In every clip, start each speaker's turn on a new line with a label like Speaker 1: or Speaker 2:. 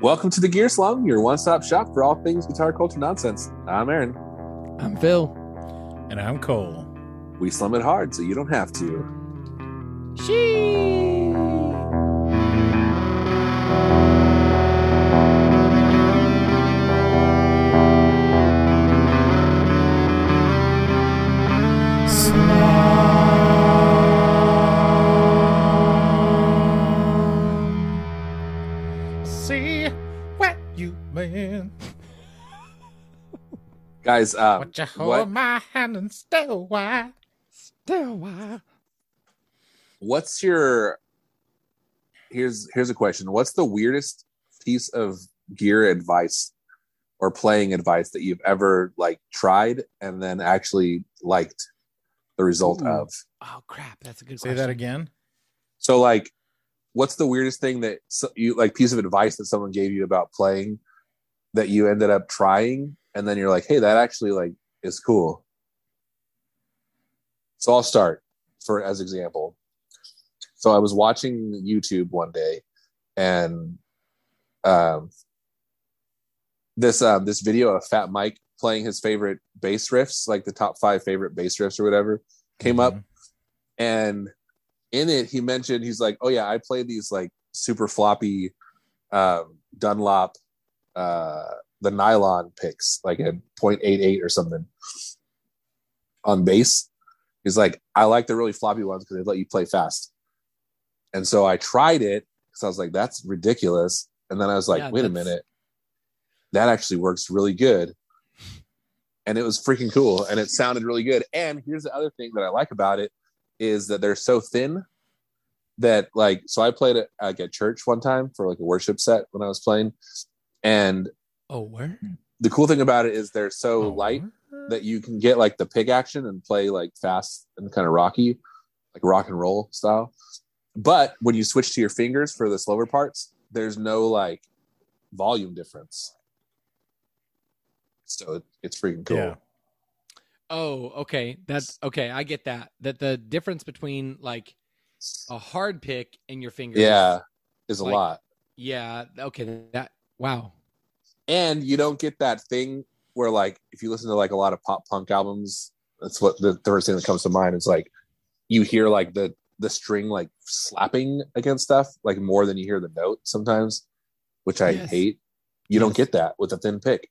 Speaker 1: Welcome to the Gear Slum, your one stop shop for all things guitar culture nonsense. I'm Aaron.
Speaker 2: I'm Phil.
Speaker 3: And I'm Cole.
Speaker 1: We slum it hard so you don't have to.
Speaker 2: She.
Speaker 3: See what you mean.
Speaker 1: Guys, uh,
Speaker 3: What you hold
Speaker 1: what?
Speaker 3: my hand and stay why.
Speaker 2: Still why?
Speaker 1: what's your here's here's a question. What's the weirdest piece of gear advice or playing advice that you've ever like tried and then actually liked the result
Speaker 2: Ooh.
Speaker 1: of?
Speaker 2: Oh crap! That's a good
Speaker 3: Say
Speaker 2: question.
Speaker 3: that again.
Speaker 1: So like what's the weirdest thing that so, you like piece of advice that someone gave you about playing that you ended up trying and then you're like, "Hey, that actually like is cool." So I'll start for as example. So I was watching YouTube one day and um this um this video of Fat Mike playing his favorite bass riffs, like the top 5 favorite bass riffs or whatever, came up
Speaker 3: Mhm.
Speaker 1: and in it he mentioned he's like oh yeah i played these like super floppy um dunlop uh the nylon picks like at 0.88 or something on bass he's like i like the really floppy ones because they let you play fast and so i tried it because i was like that's ridiculous and then i was like
Speaker 2: Yeah,
Speaker 1: wait a
Speaker 2: that's-
Speaker 1: minute that actually works really good and it was freaking cool and it sounded really good and here's the other thing that i like about it is that they're so thin that like so i played at like at church one time for like a worship set when i was playing and
Speaker 2: Oh, where?
Speaker 1: the cool thing about it is they're so
Speaker 3: Oh,
Speaker 1: light that you can get like the pig action and play like fast and kind of rocky like rock and roll style but when you switch to your fingers for the slower parts there's no like volume difference so it, it's freaking cool
Speaker 3: Yeah.
Speaker 2: Oh, okay. That's okay. I get that. That the difference between like a hard pick and your fingers.
Speaker 1: yeah is a
Speaker 2: Like-
Speaker 1: lot
Speaker 2: Yeah. Okay. That. Wow.
Speaker 1: and you don't get that thing where like if you listen to like a lot of pop punk albums that's what the first thing that comes to mind is like you hear like the the string like slapping against stuff like more than you hear the note sometimes which i
Speaker 2: Yes.
Speaker 1: hate you don't
Speaker 2: Yes.
Speaker 1: get that with a thin pick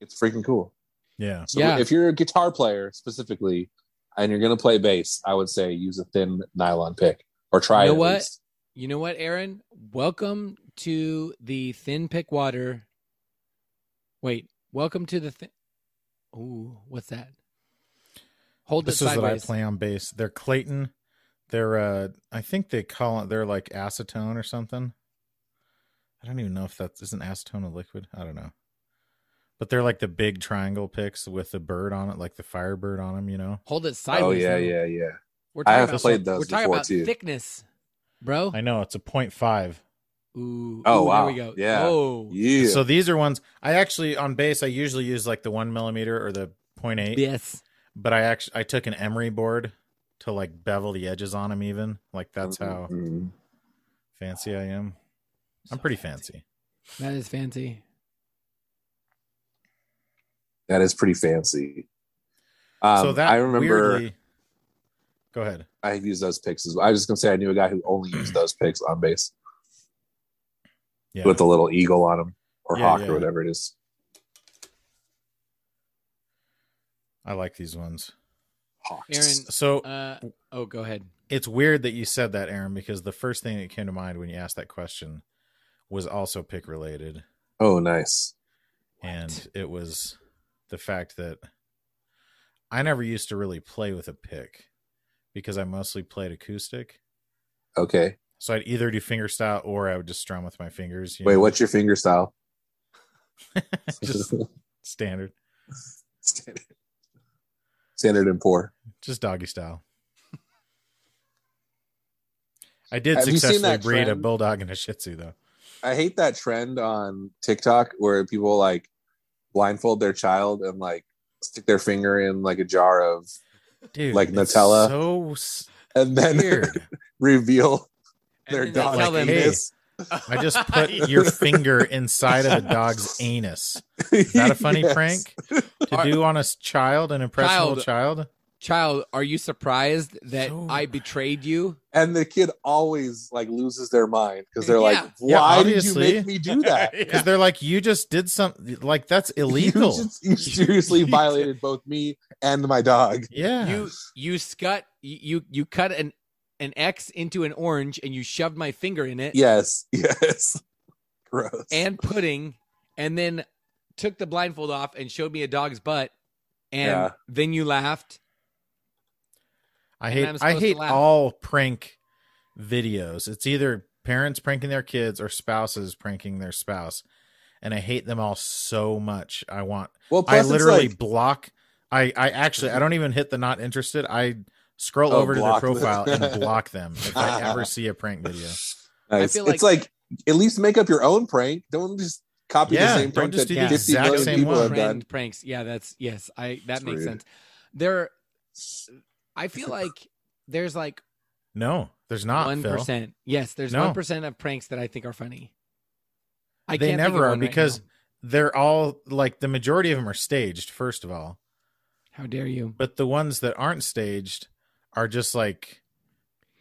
Speaker 1: it's freaking cool
Speaker 3: Yeah.
Speaker 1: so
Speaker 2: Yeah.
Speaker 1: if you're a guitar player specifically and you're going to play bass i would say use a thin nylon pick or try
Speaker 2: You know
Speaker 1: it at
Speaker 2: what?
Speaker 1: least.
Speaker 2: You know what, Aaron? Welcome to the thin pick water. Wait. Welcome to the thin. Ooh, what's that? Hold
Speaker 3: This
Speaker 2: it
Speaker 3: is what I
Speaker 2: sideways.
Speaker 3: play on bass. They're Clayton. They're uh I think they call it they're like acetone or something. I don't even know if that isn't acetone a liquid. I don't know. But they're like the big triangle picks with the bird on it, like the firebird on them, you know.
Speaker 2: Hold it sideways.
Speaker 1: oh yeah yeah
Speaker 2: though.
Speaker 1: yeah
Speaker 2: We're
Speaker 1: I
Speaker 2: talking
Speaker 1: have
Speaker 2: about,
Speaker 1: played those
Speaker 2: We're talking
Speaker 1: before,
Speaker 2: about
Speaker 1: too.
Speaker 2: thickness, bro.
Speaker 3: I know it's a point five.
Speaker 2: Ooh.
Speaker 1: Oh,
Speaker 2: ooh,
Speaker 1: wow.
Speaker 2: There we go.
Speaker 1: Yeah.
Speaker 2: Oh.
Speaker 1: yeah
Speaker 3: So these are ones I actually on bass. I usually use like the one millimeter or the point eight.
Speaker 2: Yes.
Speaker 3: But I actually I took an emery board to like bevel the edges on them. Even like that's how
Speaker 1: Mhm.
Speaker 3: fancy I am. I'm
Speaker 2: So
Speaker 3: pretty fancy.
Speaker 2: That is fancy.
Speaker 1: That is pretty fancy. Um,
Speaker 3: so that
Speaker 1: I remember
Speaker 3: Weirdly, go ahead.
Speaker 1: I've used those picks as well. I was just gonna say I knew a guy who only used those picks on base
Speaker 3: Yeah.
Speaker 1: with the little eagle on him or
Speaker 3: Yeah,
Speaker 1: hawk
Speaker 3: yeah.
Speaker 1: or whatever it is.
Speaker 3: I like these ones.
Speaker 1: Hawk.
Speaker 2: Aaron,
Speaker 3: So
Speaker 2: Uh, oh, go ahead.
Speaker 3: it's weird that you said that, Aaron, because the first thing that came to mind when you asked that question was also pick related.
Speaker 1: Oh, nice.
Speaker 3: and it was the fact that I never used to really play with a pick because I mostly played acoustic.
Speaker 1: Okay.
Speaker 3: So I'd either do finger style or I would just strum with my fingers. you
Speaker 1: Wait,
Speaker 3: know,
Speaker 1: what's your finger style?
Speaker 3: just standard,
Speaker 1: standard. Standard and poor.
Speaker 3: just doggy style. I did
Speaker 1: Have you seen
Speaker 3: successfully
Speaker 1: that
Speaker 3: breed a
Speaker 1: trend?
Speaker 3: bulldog and a Shih Tzu, though.
Speaker 1: I hate that trend on TikTok where people like blindfold their child and like stick their finger in like a jar of
Speaker 3: Dude,
Speaker 1: Like
Speaker 3: it's
Speaker 1: Nutella?
Speaker 3: So s-
Speaker 1: and then
Speaker 3: weird.
Speaker 1: reveal
Speaker 2: And
Speaker 1: their
Speaker 2: then they
Speaker 1: dog
Speaker 2: tell them,
Speaker 3: Hey.
Speaker 1: penis
Speaker 3: I just put your finger inside of a dog's anus.
Speaker 1: Is
Speaker 3: that a funny prank? To do on a s- child, an impressionable
Speaker 2: Child.
Speaker 3: child.
Speaker 2: Child, are you surprised that
Speaker 3: So-
Speaker 2: I betrayed you?
Speaker 1: And the kid always like loses their mind because they're like,
Speaker 3: Yeah,
Speaker 1: "Why did you
Speaker 3: obviously.
Speaker 1: make me do that?
Speaker 3: Because they're like, you just did something like that's illegal.
Speaker 1: You, just- you seriously
Speaker 3: You did.
Speaker 1: violated both me and my dog."
Speaker 3: yeah.
Speaker 2: You you scut you you- you cut an an X into an orange and you shoved my finger in it
Speaker 1: Yes, yes, gross.
Speaker 2: and pudding and then took the blindfold off and showed me a dog's butt and
Speaker 1: Yeah.
Speaker 2: then you laughed.
Speaker 3: I
Speaker 2: and
Speaker 3: hate
Speaker 2: I'm
Speaker 3: I
Speaker 2: supposed to
Speaker 3: hate
Speaker 2: laugh.
Speaker 3: all prank videos. It's either parents pranking their kids or spouses pranking their spouse. And I hate them all so much. I want
Speaker 1: well,
Speaker 3: I
Speaker 1: plus it's
Speaker 3: literally
Speaker 1: like-
Speaker 3: block I I actually I don't even hit the not interested. I scroll
Speaker 1: Oh,
Speaker 3: over to their
Speaker 1: block them.
Speaker 3: profile and block them if I ever see a prank video.
Speaker 1: Nice.
Speaker 2: feel
Speaker 1: it's like at least make up your own prank. Don't just copy
Speaker 3: Yeah,
Speaker 1: the same
Speaker 3: don't
Speaker 1: prank
Speaker 3: just
Speaker 1: that
Speaker 3: do the
Speaker 1: 50
Speaker 3: exact
Speaker 1: million
Speaker 3: same
Speaker 1: people
Speaker 3: one.
Speaker 1: have done.
Speaker 2: Trend pranks. Yeah, that's yes. I that
Speaker 1: It's
Speaker 2: makes
Speaker 1: rude.
Speaker 2: sense. There, I feel like there's like
Speaker 3: No, there's not.
Speaker 2: one
Speaker 3: Phil.
Speaker 2: percent. Yes, there's
Speaker 3: No.
Speaker 2: one of pranks that I think are funny. I
Speaker 3: They
Speaker 2: can't think of
Speaker 3: never are
Speaker 2: one right
Speaker 3: because-
Speaker 2: now.
Speaker 3: They're all like the majority of them are staged, first of all.
Speaker 2: how dare you?
Speaker 3: But the ones that aren't staged are just like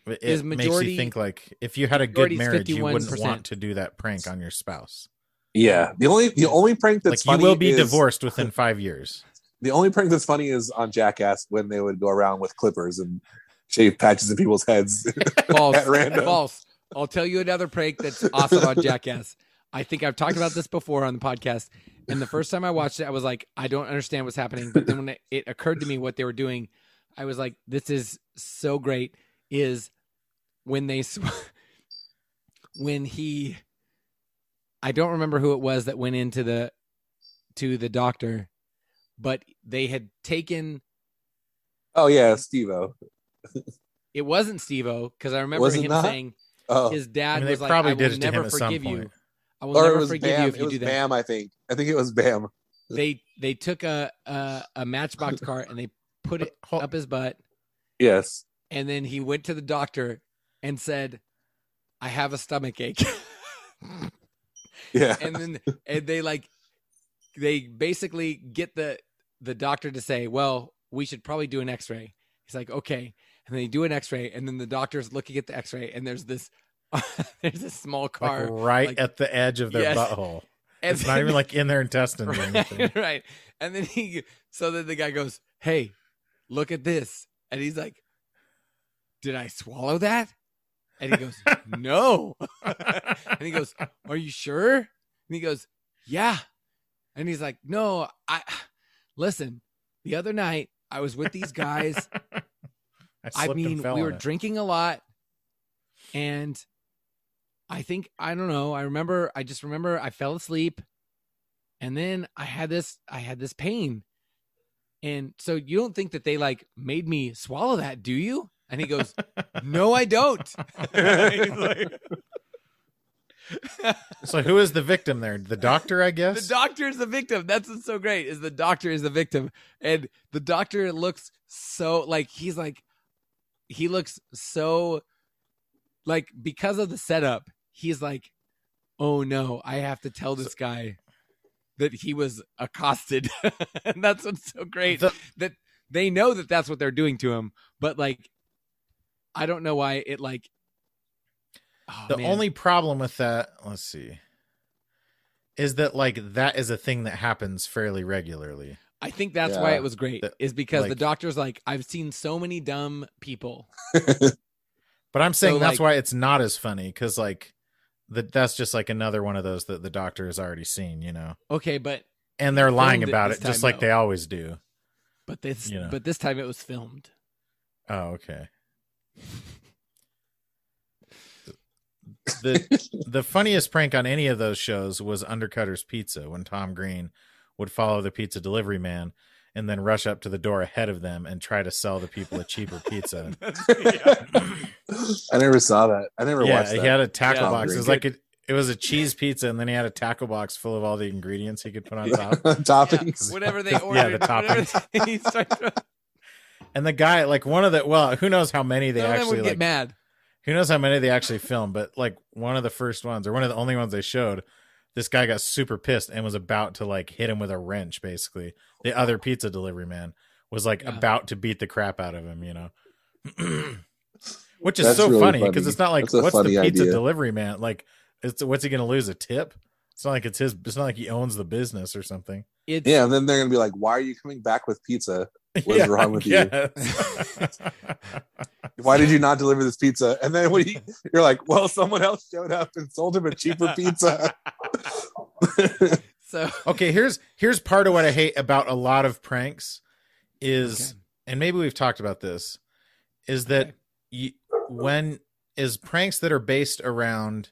Speaker 3: it
Speaker 2: Is
Speaker 3: makes
Speaker 2: majority-
Speaker 3: you think like if you had a good
Speaker 2: majority's
Speaker 3: marriage, you wouldn't
Speaker 2: 51%.
Speaker 3: want to do that prank on your spouse.
Speaker 1: Yeah, the only the only prank that's
Speaker 3: like you
Speaker 1: funny
Speaker 3: will be
Speaker 1: is-
Speaker 3: divorced within five years.
Speaker 1: The only prank that's funny is on Jackass when they would go around with clippers and shave patches in people's heads.
Speaker 2: False.
Speaker 1: At random.
Speaker 2: False. I'll tell you another prank that's awesome on Jackass. I think I've talked about this before on the podcast. And the first time I watched it, I was like, I don't understand what's happening. But then when it, it occurred to me what they were doing, I was like, this is so great. Is when they, sw- when he, I don't remember who it was that went into the, to the doctor, but they had taken,
Speaker 1: oh yeah, Steve-O.
Speaker 2: it wasn't Steve O, because I remember
Speaker 1: Was it
Speaker 2: him
Speaker 1: not?
Speaker 2: saying,
Speaker 1: Oh,
Speaker 2: his
Speaker 3: I
Speaker 2: dad
Speaker 3: mean, they
Speaker 2: was like,
Speaker 3: probably
Speaker 2: I will
Speaker 3: did it to him
Speaker 2: never
Speaker 3: at some
Speaker 2: forgive
Speaker 3: point.
Speaker 2: you. I will
Speaker 1: or it
Speaker 2: never
Speaker 1: was
Speaker 2: forgive
Speaker 1: Bam.
Speaker 2: you if
Speaker 1: it
Speaker 2: you
Speaker 1: was
Speaker 2: do that.
Speaker 1: Bam. I think. I think it was Bam.
Speaker 2: They they took a a, a matchbox car and they put it
Speaker 3: Hol-
Speaker 2: up his butt,
Speaker 1: Yes.
Speaker 2: and then he went to the doctor and said, "I have a stomach ache,"
Speaker 1: Yeah.
Speaker 2: and then and they like they basically get the the doctor to say, "Well, we should probably do an X-ray." He's like, "Okay," and they do an X-ray, and then the doctor's looking at the X-ray, and there's this there's this small car,
Speaker 3: like right
Speaker 2: like-
Speaker 3: at the edge of their
Speaker 2: Yes.
Speaker 3: butthole.
Speaker 2: and
Speaker 3: It's not
Speaker 2: then-
Speaker 3: even like in their intestines or anything.
Speaker 2: right, right. And then he, so then the guy goes, "Hey, look at this," and he's like, "Did I swallow that?" And he goes, "No." and he goes, "Are you sure?" And he goes, "Yeah." And he's like, "No, I listen. The other night I was with these guys. I
Speaker 3: slipped and
Speaker 2: mean,
Speaker 3: fell
Speaker 2: we
Speaker 3: on
Speaker 2: were
Speaker 3: it.
Speaker 2: drinking a lot, and I think I don't know. I remember. I just remember I fell asleep, and then I had this. I had this pain, and so you don't think that they like made me swallow that, do you? And he goes, "No, I don't." He's like-
Speaker 3: So who is the victim there? The doctor, I
Speaker 2: The
Speaker 3: guess.
Speaker 2: doctor is the victim. That's what's so great is the doctor is the victim, and the doctor looks so like he's like he looks so like because of the setup. He's like, oh no, I have to tell this guy that he was accosted, and that's what's so great
Speaker 3: The-
Speaker 2: that they know that that's what they're doing to him, but like, I don't know why it like. oh,
Speaker 3: the
Speaker 2: man.
Speaker 3: only problem with that, let's see, is that like that is a thing that happens fairly regularly.
Speaker 2: I think that's why
Speaker 1: Yeah.
Speaker 2: it was great
Speaker 3: The-
Speaker 2: is because the
Speaker 3: like-
Speaker 2: doctor's like, I've seen so many dumb people.
Speaker 3: But I'm saying
Speaker 2: So,
Speaker 3: that's
Speaker 2: like-
Speaker 3: why it's not as funny because like that that's just like another one of those that the doctor has already seen, you know.
Speaker 2: Okay, but
Speaker 3: And they're lying
Speaker 2: filmed it
Speaker 3: about
Speaker 2: this
Speaker 3: it just
Speaker 2: time,
Speaker 3: like they
Speaker 2: though.
Speaker 3: always do.
Speaker 2: but this
Speaker 3: You know.
Speaker 2: but this time it was filmed.
Speaker 3: Oh, okay. the the funniest prank on any of those shows was Undercutter's Pizza when Tom Green would follow the pizza delivery man and then rush up to the door ahead of them and try to sell the people a cheaper pizza.
Speaker 1: I never saw that. I never
Speaker 3: yeah,
Speaker 1: watched
Speaker 3: he
Speaker 1: that.
Speaker 3: had a tackle
Speaker 2: Yeah,
Speaker 3: box. It
Speaker 1: Tom
Speaker 3: was
Speaker 1: Green.
Speaker 3: like a, it was a cheese pizza, and then he had a tackle box full of all the ingredients he could put on top.
Speaker 1: Toppings.
Speaker 2: whatever they
Speaker 3: Yeah, the
Speaker 2: ordered. whatever
Speaker 3: toppings.
Speaker 2: they- he started-
Speaker 3: And the guy, like one of the, well, who knows how many they
Speaker 2: Some of them
Speaker 3: actually
Speaker 2: would get
Speaker 3: like
Speaker 2: mad.
Speaker 3: Who knows how many they actually filmed, but like one of the first ones or one of the only ones they showed, this guy got super pissed and was about to like hit him with a wrench, basically. The other pizza delivery man was like
Speaker 2: Yeah.
Speaker 3: about to beat the crap out of him, you know. Which is
Speaker 1: That's
Speaker 3: so
Speaker 1: really
Speaker 3: funny
Speaker 1: funny.
Speaker 3: because it's not like
Speaker 1: That's a
Speaker 3: what's the
Speaker 1: funny
Speaker 3: pizza
Speaker 1: idea.
Speaker 3: delivery man? Like it's what's he gonna lose? A tip? It's not like it's his it's not like he owns the business or something.
Speaker 2: It's
Speaker 1: Yeah, and then they're gonna be like, "Why are you coming back with pizza? What is wrong with you?
Speaker 3: you?
Speaker 1: Why did you not deliver this pizza?" And then when he, you're like, "Well, someone else showed up and sold him a cheaper pizza."
Speaker 2: so
Speaker 3: okay here's here's part of what i hate about a lot of pranks is and maybe we've talked about this is that
Speaker 2: Okay.
Speaker 3: you, when is pranks that are based around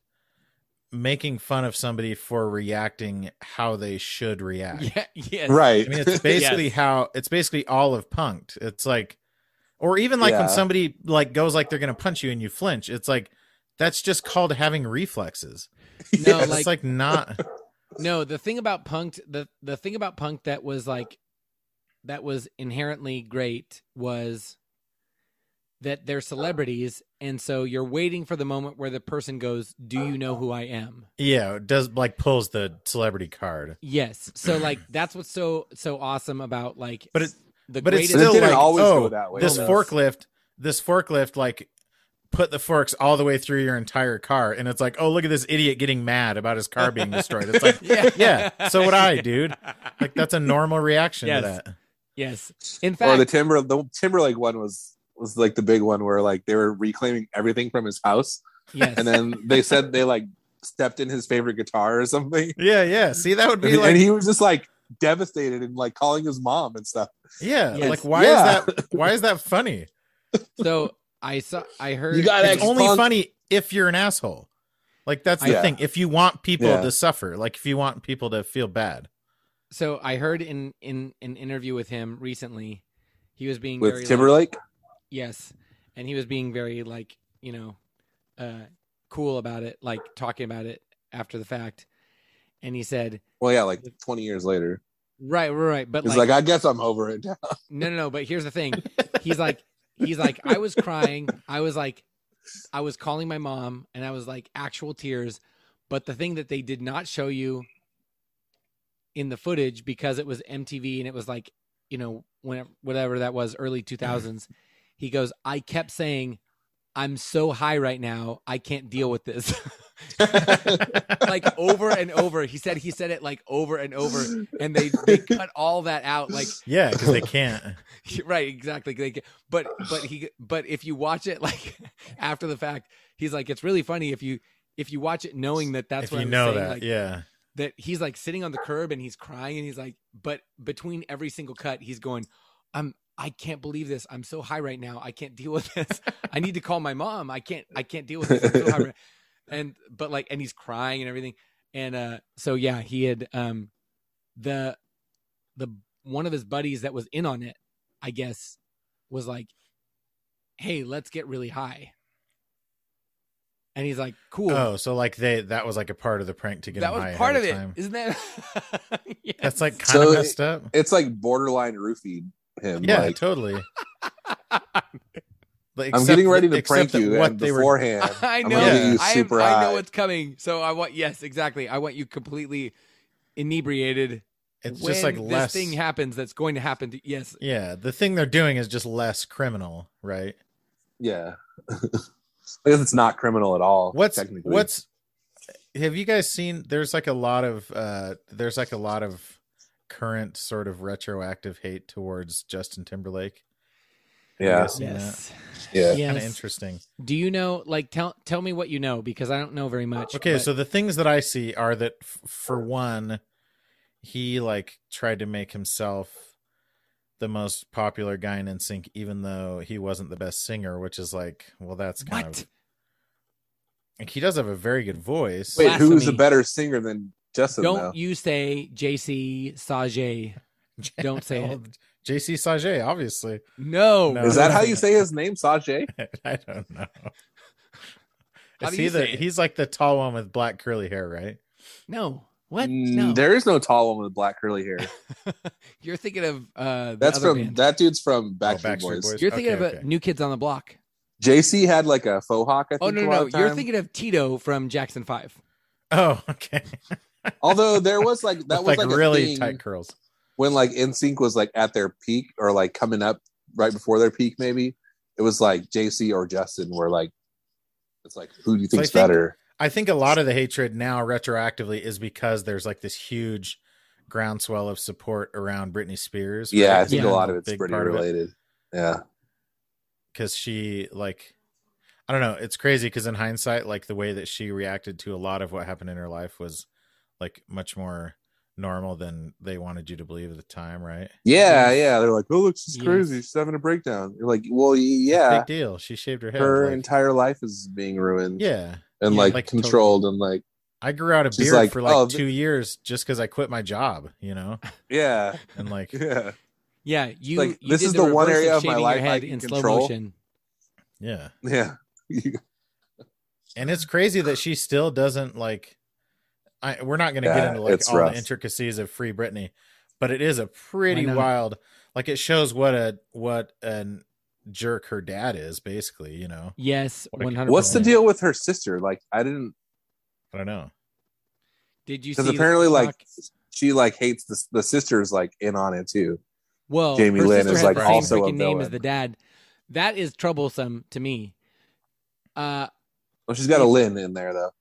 Speaker 3: making fun of somebody for reacting how they should react
Speaker 2: yeah, yes.
Speaker 1: right.
Speaker 3: i mean it's basically
Speaker 2: Yes.
Speaker 3: how it's basically all of punked it's like or even like
Speaker 1: Yeah.
Speaker 3: when somebody like goes like they're gonna punch you and you flinch it's like that's just called having reflexes
Speaker 2: No,
Speaker 1: Yes.
Speaker 2: like-
Speaker 3: it's like not
Speaker 2: No, the thing about punked the the thing about punk that was like that was inherently great was that they're celebrities and so you're waiting for the moment where the person goes, "Do you know who I am?"
Speaker 3: Yeah, it does like pulls the celebrity card.
Speaker 2: Yes. So like that's what's so so awesome about like
Speaker 3: But it-
Speaker 2: the
Speaker 3: But it's
Speaker 2: greatest
Speaker 3: still
Speaker 1: didn't
Speaker 3: like,
Speaker 1: always
Speaker 3: oh,
Speaker 1: go that way,
Speaker 3: this
Speaker 1: though.
Speaker 3: forklift, this forklift, like put the forks all the way through your entire car, and it's like, oh, look at this idiot getting mad about his car being destroyed. It's like,
Speaker 2: yeah.
Speaker 3: yeah, so would I, dude. Like that's a normal reaction
Speaker 2: Yes.
Speaker 3: to that.
Speaker 2: Yes. In
Speaker 1: or
Speaker 2: fact,
Speaker 1: the timber the Timberlake one was was like the big one where like they were reclaiming everything from his house,
Speaker 2: yes.
Speaker 1: and then they said they like stepped in his favorite guitar or something,
Speaker 3: Yeah, yeah. See, that would be
Speaker 1: and
Speaker 3: like,
Speaker 1: he was just like devastated and like calling his mom and stuff.
Speaker 3: yeah,
Speaker 2: Yes.
Speaker 3: like why
Speaker 1: Yeah.
Speaker 3: is that? Why is that funny?
Speaker 2: so I saw I heard
Speaker 1: You got
Speaker 3: It's
Speaker 1: Ex-punk-
Speaker 3: only funny if you're an asshole. Like that's the
Speaker 1: Yeah.
Speaker 3: thing. If you want people
Speaker 1: Yeah.
Speaker 3: to suffer, like if you want people to feel bad.
Speaker 2: so I heard in in an interview with him recently, he was being very
Speaker 1: With
Speaker 2: like-
Speaker 1: Timberlake,
Speaker 2: Yes. And he was being very like, you know, uh cool about it, like talking about it after the fact. And he said,
Speaker 1: well, yeah, like twenty years later,
Speaker 2: "Right, right, right." But
Speaker 1: he's
Speaker 2: like,
Speaker 1: like, "I guess I'm over it." now."
Speaker 2: no, no, no. But here's the thing: he's like, he's like, I was crying. I was like, I was calling my mom, and I was like, actual tears. But the thing that they did not show you in the footage because it was MTV and it was like, you know, when whatever that was, early two thousands. He goes, I kept saying, I'm so high right now, I can't deal with this. like over and over. He said he said it like over and over, and they they cut all that out. Like
Speaker 3: Yeah, because they can't.
Speaker 2: right exactly They get- but but he but if you watch it like after the fact he's like it's really funny if you if you watch it knowing that that's
Speaker 3: if
Speaker 2: what
Speaker 3: you
Speaker 2: I was
Speaker 3: know
Speaker 2: saying,
Speaker 3: that,
Speaker 2: like,
Speaker 3: yeah.
Speaker 2: that he's like sitting on the curb and he's crying and he's like but between every single cut he's going i'm i can't believe this i'm so high right now i can't deal with this i need to call my mom i can't i can't deal with this I'm so high right-" and but like and he's crying and everything and uh so yeah he had um the the one of his buddies that was in on it i guess was like hey let's get really high and he's like cool
Speaker 3: Oh, so like they that was like a part of the prank to get
Speaker 2: that
Speaker 3: him high
Speaker 2: was part
Speaker 3: ahead
Speaker 2: of it,
Speaker 3: time.
Speaker 2: not that? Yes.
Speaker 3: That's like
Speaker 1: So
Speaker 3: kind of
Speaker 1: it-
Speaker 3: messed up.
Speaker 1: It's like borderline roofied him.
Speaker 3: yeah,
Speaker 1: like,
Speaker 3: totally. Like,
Speaker 1: I'm
Speaker 3: except
Speaker 1: getting ready
Speaker 3: that-
Speaker 1: to
Speaker 3: except
Speaker 1: prank
Speaker 3: that
Speaker 1: you,
Speaker 3: What
Speaker 1: and
Speaker 3: they were
Speaker 1: beforehand,
Speaker 2: I
Speaker 1: I'm
Speaker 2: know.
Speaker 1: gonna get you
Speaker 2: I, am-
Speaker 1: super
Speaker 2: I know
Speaker 1: high.
Speaker 2: what's coming. So I want yes, exactly. I want you completely inebriated.
Speaker 3: it's
Speaker 2: when
Speaker 3: just like
Speaker 2: this
Speaker 3: less.
Speaker 2: thing happens that's going to happen. To, yes,
Speaker 3: yeah, the thing they're doing is just less criminal, right?
Speaker 1: yeah. I guess it's not criminal at all.
Speaker 3: What's
Speaker 1: technically
Speaker 3: what's have you guys seen there's like a lot of uh there's like a lot of current sort of retroactive hate towards Justin Timberlake. Have you
Speaker 1: Yeah.
Speaker 3: guys seen that?
Speaker 2: yes,
Speaker 1: yeah.
Speaker 3: Kind of
Speaker 2: yes.
Speaker 3: interesting.
Speaker 2: Do you know? Like, tell tell me what you know because I don't know very much.
Speaker 3: Okay,
Speaker 2: but-
Speaker 3: so the things that I see are that f- for one, he like tried to make himself the most popular guy in NSYNC, even though he wasn't the best singer, which is like, well, that's kind
Speaker 2: what?
Speaker 3: of like he does have a very good voice.
Speaker 1: Wait, who's a
Speaker 2: Blasphemy.
Speaker 1: better singer than Justin?
Speaker 2: Don't
Speaker 1: though?
Speaker 2: you say JC Sage? Don't say it.
Speaker 3: JC Sage, obviously.
Speaker 2: No.
Speaker 3: Oh, No.
Speaker 1: Is that how you say his name, Sajay?
Speaker 3: I don't know.
Speaker 2: How
Speaker 3: Is
Speaker 2: do
Speaker 3: he
Speaker 2: you
Speaker 3: the,
Speaker 2: say it?
Speaker 3: he's like the tall one with black curly hair, right?
Speaker 2: No. What?
Speaker 1: Mm,
Speaker 2: No.
Speaker 1: There is no tall one with black curly hair.
Speaker 2: You're thinking of uh, the
Speaker 1: That's
Speaker 2: other
Speaker 1: from
Speaker 2: band.
Speaker 1: that dude's from Oh, Backstreet,
Speaker 3: Backstreet
Speaker 1: Boys.
Speaker 3: Boys.
Speaker 2: You're thinking
Speaker 3: Okay,
Speaker 2: of a
Speaker 3: okay.
Speaker 2: New Kids on the Block.
Speaker 1: JC had like a faux hawk. I think,
Speaker 2: Oh no,
Speaker 1: a
Speaker 2: no,
Speaker 1: lot
Speaker 2: no.
Speaker 1: of
Speaker 2: You're
Speaker 1: time.
Speaker 2: thinking of Tito from Jackson Five.
Speaker 3: Oh, okay.
Speaker 1: Although there was like that was
Speaker 3: With, like,
Speaker 1: like, a
Speaker 3: really
Speaker 1: thing
Speaker 3: tight curls.
Speaker 1: when like NSYNC was like at their peak or like coming up right before their peak. Maybe it was like JC or Justin were like, it's like who do you
Speaker 3: So I
Speaker 1: think's
Speaker 3: think-
Speaker 1: better?
Speaker 3: I think a lot of the hatred now retroactively is because there's like this huge groundswell of support around Britney Spears.
Speaker 1: Yeah, I
Speaker 3: right?
Speaker 1: think
Speaker 2: Yeah.
Speaker 1: a lot of it's pretty related. Yeah,
Speaker 3: because she like i don't know it's crazy because in hindsight like the way that she reacted to a lot of what happened in her life was like much more normal than they wanted you to believe at the time right
Speaker 1: yeah, yeah. They're like, oh, look, she's
Speaker 2: Yes.
Speaker 1: crazy. She's having a breakdown. You're like, well, y-
Speaker 3: big
Speaker 1: yeah.
Speaker 3: deal she shaved her head
Speaker 1: Her
Speaker 3: like-
Speaker 1: entire life is being ruined
Speaker 3: yeah
Speaker 1: and
Speaker 3: yeah,
Speaker 1: like,
Speaker 3: like,
Speaker 1: controlled and like,
Speaker 3: i grew out a
Speaker 1: She's
Speaker 3: beard
Speaker 1: like,
Speaker 3: for like
Speaker 1: "Oh, th-
Speaker 3: two years just because i quit my job you know
Speaker 1: yeah,
Speaker 3: and like
Speaker 1: yeah.
Speaker 2: Yeah, you.
Speaker 1: Like,
Speaker 2: you
Speaker 1: this
Speaker 2: did
Speaker 1: is the one
Speaker 2: reverse
Speaker 1: area of my
Speaker 2: shaving your
Speaker 1: life I
Speaker 2: head
Speaker 1: can
Speaker 2: in slow
Speaker 1: control.
Speaker 2: motion.
Speaker 3: yeah
Speaker 1: Yeah.
Speaker 3: and it's crazy that she still doesn't like I, we're not going to get
Speaker 1: Yeah,
Speaker 3: into like
Speaker 1: it's
Speaker 3: all
Speaker 1: rough.
Speaker 3: the intricacies of free Britney, but it is a pretty
Speaker 2: know.
Speaker 3: wild. Like it shows what a what an jerk her dad is, basically. You know,
Speaker 2: Yes,
Speaker 3: Like,
Speaker 2: one hundred.
Speaker 1: What's the deal with her sister? Like, I didn't
Speaker 3: I don't know.
Speaker 2: Did you?
Speaker 1: because
Speaker 2: see the
Speaker 1: apparently, like,
Speaker 2: TikTok?
Speaker 1: she like hates the the sister's like in on it too.
Speaker 2: well,
Speaker 1: Jamie
Speaker 2: her
Speaker 1: Lynn
Speaker 2: sister
Speaker 3: is,
Speaker 2: had
Speaker 3: like,
Speaker 2: the same
Speaker 3: also
Speaker 1: a
Speaker 2: freaking name as
Speaker 1: villain.
Speaker 2: the dad. That is troublesome to me. Uh,
Speaker 1: Well, she's got a Lynn in there though.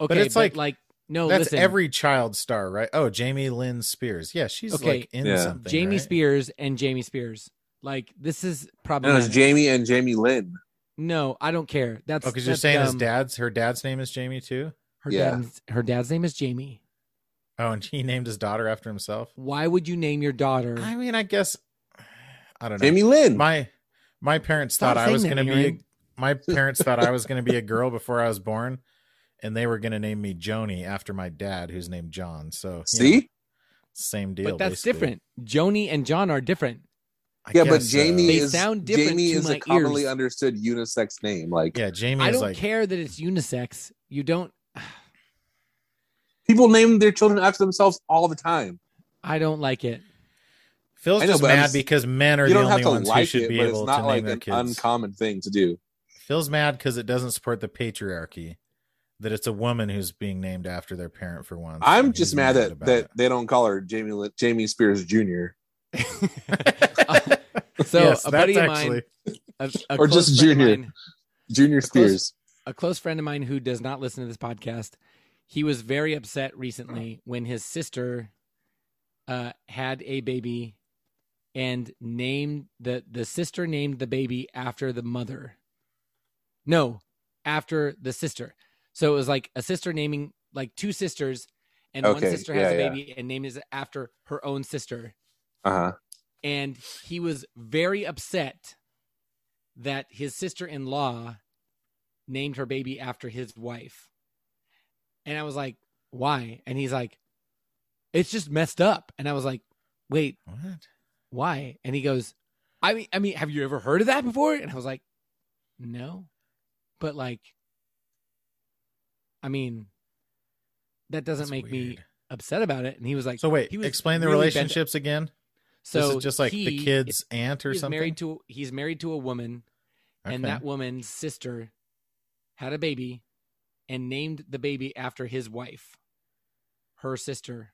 Speaker 2: okay,
Speaker 3: it's like-
Speaker 2: no,
Speaker 3: That's
Speaker 2: listen,
Speaker 3: every child star, right? Oh, Jamie Lynn Spears. Yeah, she's
Speaker 2: Okay.
Speaker 3: like in
Speaker 1: Yeah.
Speaker 3: something.
Speaker 2: Jamie
Speaker 3: right?
Speaker 2: Spears and Jamie Spears. Like this
Speaker 1: No,
Speaker 2: is
Speaker 1: no, it's
Speaker 2: problematic.
Speaker 1: Jamie and Jamie Lynn.
Speaker 2: no, I don't care. That's
Speaker 3: Oh, because you're
Speaker 2: that's
Speaker 3: saying his
Speaker 2: dumb.
Speaker 3: dad's her dad's name is Jamie too.
Speaker 2: Her,
Speaker 1: Yeah.
Speaker 2: dad's, her dad's name is Jamie.
Speaker 3: Oh, and he named his daughter after himself.
Speaker 2: Why would you name your daughter?
Speaker 3: I mean, I guess I don't know.
Speaker 1: Jamie Lynn.
Speaker 3: my my parents
Speaker 2: Stop
Speaker 3: thought I
Speaker 2: saying
Speaker 3: was
Speaker 2: that,
Speaker 3: going to be a,
Speaker 2: Aaron.
Speaker 3: my parents thought I was going to be a girl before I was born, and they were going to name me Joni after my dad, who's named John. So you
Speaker 1: See?
Speaker 3: know, same deal.
Speaker 2: but that's
Speaker 3: basically.
Speaker 2: different. Joni and John are different.
Speaker 3: I
Speaker 1: yeah, but
Speaker 3: guess uh, so.
Speaker 1: Jamie
Speaker 2: They
Speaker 1: is
Speaker 2: sound different
Speaker 1: Jamie
Speaker 2: to
Speaker 1: is
Speaker 2: my
Speaker 1: a commonly
Speaker 2: ears.
Speaker 1: understood unisex name. Like
Speaker 3: yeah, Jamie
Speaker 2: I
Speaker 3: is
Speaker 2: don't
Speaker 3: like
Speaker 2: care that it's unisex. You don't.
Speaker 1: people name their children after themselves all the time.
Speaker 2: I don't like it.
Speaker 3: Phil's
Speaker 1: I know,
Speaker 3: just
Speaker 1: but I'm
Speaker 3: mad
Speaker 1: just-
Speaker 3: because men are
Speaker 1: you
Speaker 3: the
Speaker 1: don't have
Speaker 3: only
Speaker 1: to
Speaker 3: ones who
Speaker 1: like
Speaker 3: should
Speaker 1: it,
Speaker 3: be
Speaker 1: but it's
Speaker 3: able to
Speaker 1: not
Speaker 3: name
Speaker 1: like
Speaker 3: their
Speaker 1: an
Speaker 3: kids.
Speaker 1: uncommon thing to do.
Speaker 3: Phil's mad because it doesn't support the patriarchy that it's a woman who's being named after their parent for once.
Speaker 1: I'm
Speaker 3: and
Speaker 1: just
Speaker 3: he's
Speaker 1: mad that
Speaker 3: about
Speaker 1: that
Speaker 3: it.
Speaker 1: they don't call her Jamie Lynn- Jamie Spears Jr.
Speaker 2: So
Speaker 3: Yes, that's
Speaker 2: a buddy of
Speaker 3: actually-
Speaker 2: mine, a, a
Speaker 1: Or
Speaker 2: close
Speaker 1: just
Speaker 2: friend of
Speaker 1: Junior.
Speaker 2: mine-
Speaker 1: Junior
Speaker 2: Of course.
Speaker 1: Spears.
Speaker 2: a close friend of mine who does not listen to this podcast, he was very upset recently when his sister uh, had a baby and named the the sister named the baby after the mother. No, after the sister. So it was like a sister naming like two sisters, and one
Speaker 1: Okay,
Speaker 2: sister has
Speaker 1: yeah,
Speaker 2: a
Speaker 1: yeah.
Speaker 2: baby and names it after her own sister
Speaker 1: Uh huh.
Speaker 2: and he was very upset that his sister-in-law named her baby after his wife and i was like why and he's like it's just messed up and i was like wait
Speaker 3: What?
Speaker 2: why and he goes i mean i mean have you ever heard of that before and i was like no but like i mean that doesn't
Speaker 3: That's
Speaker 2: make me
Speaker 3: weird.
Speaker 2: upset about it and he was like
Speaker 3: So wait,
Speaker 2: he was
Speaker 3: explain the
Speaker 2: really bent-
Speaker 3: relationships again.
Speaker 2: so
Speaker 3: this is just like the
Speaker 2: he-
Speaker 3: kid's aunt or
Speaker 2: he's
Speaker 3: something.
Speaker 2: married to he's married to a woman and
Speaker 3: Okay.
Speaker 2: that woman's sister had a baby and named the baby after his wife her sister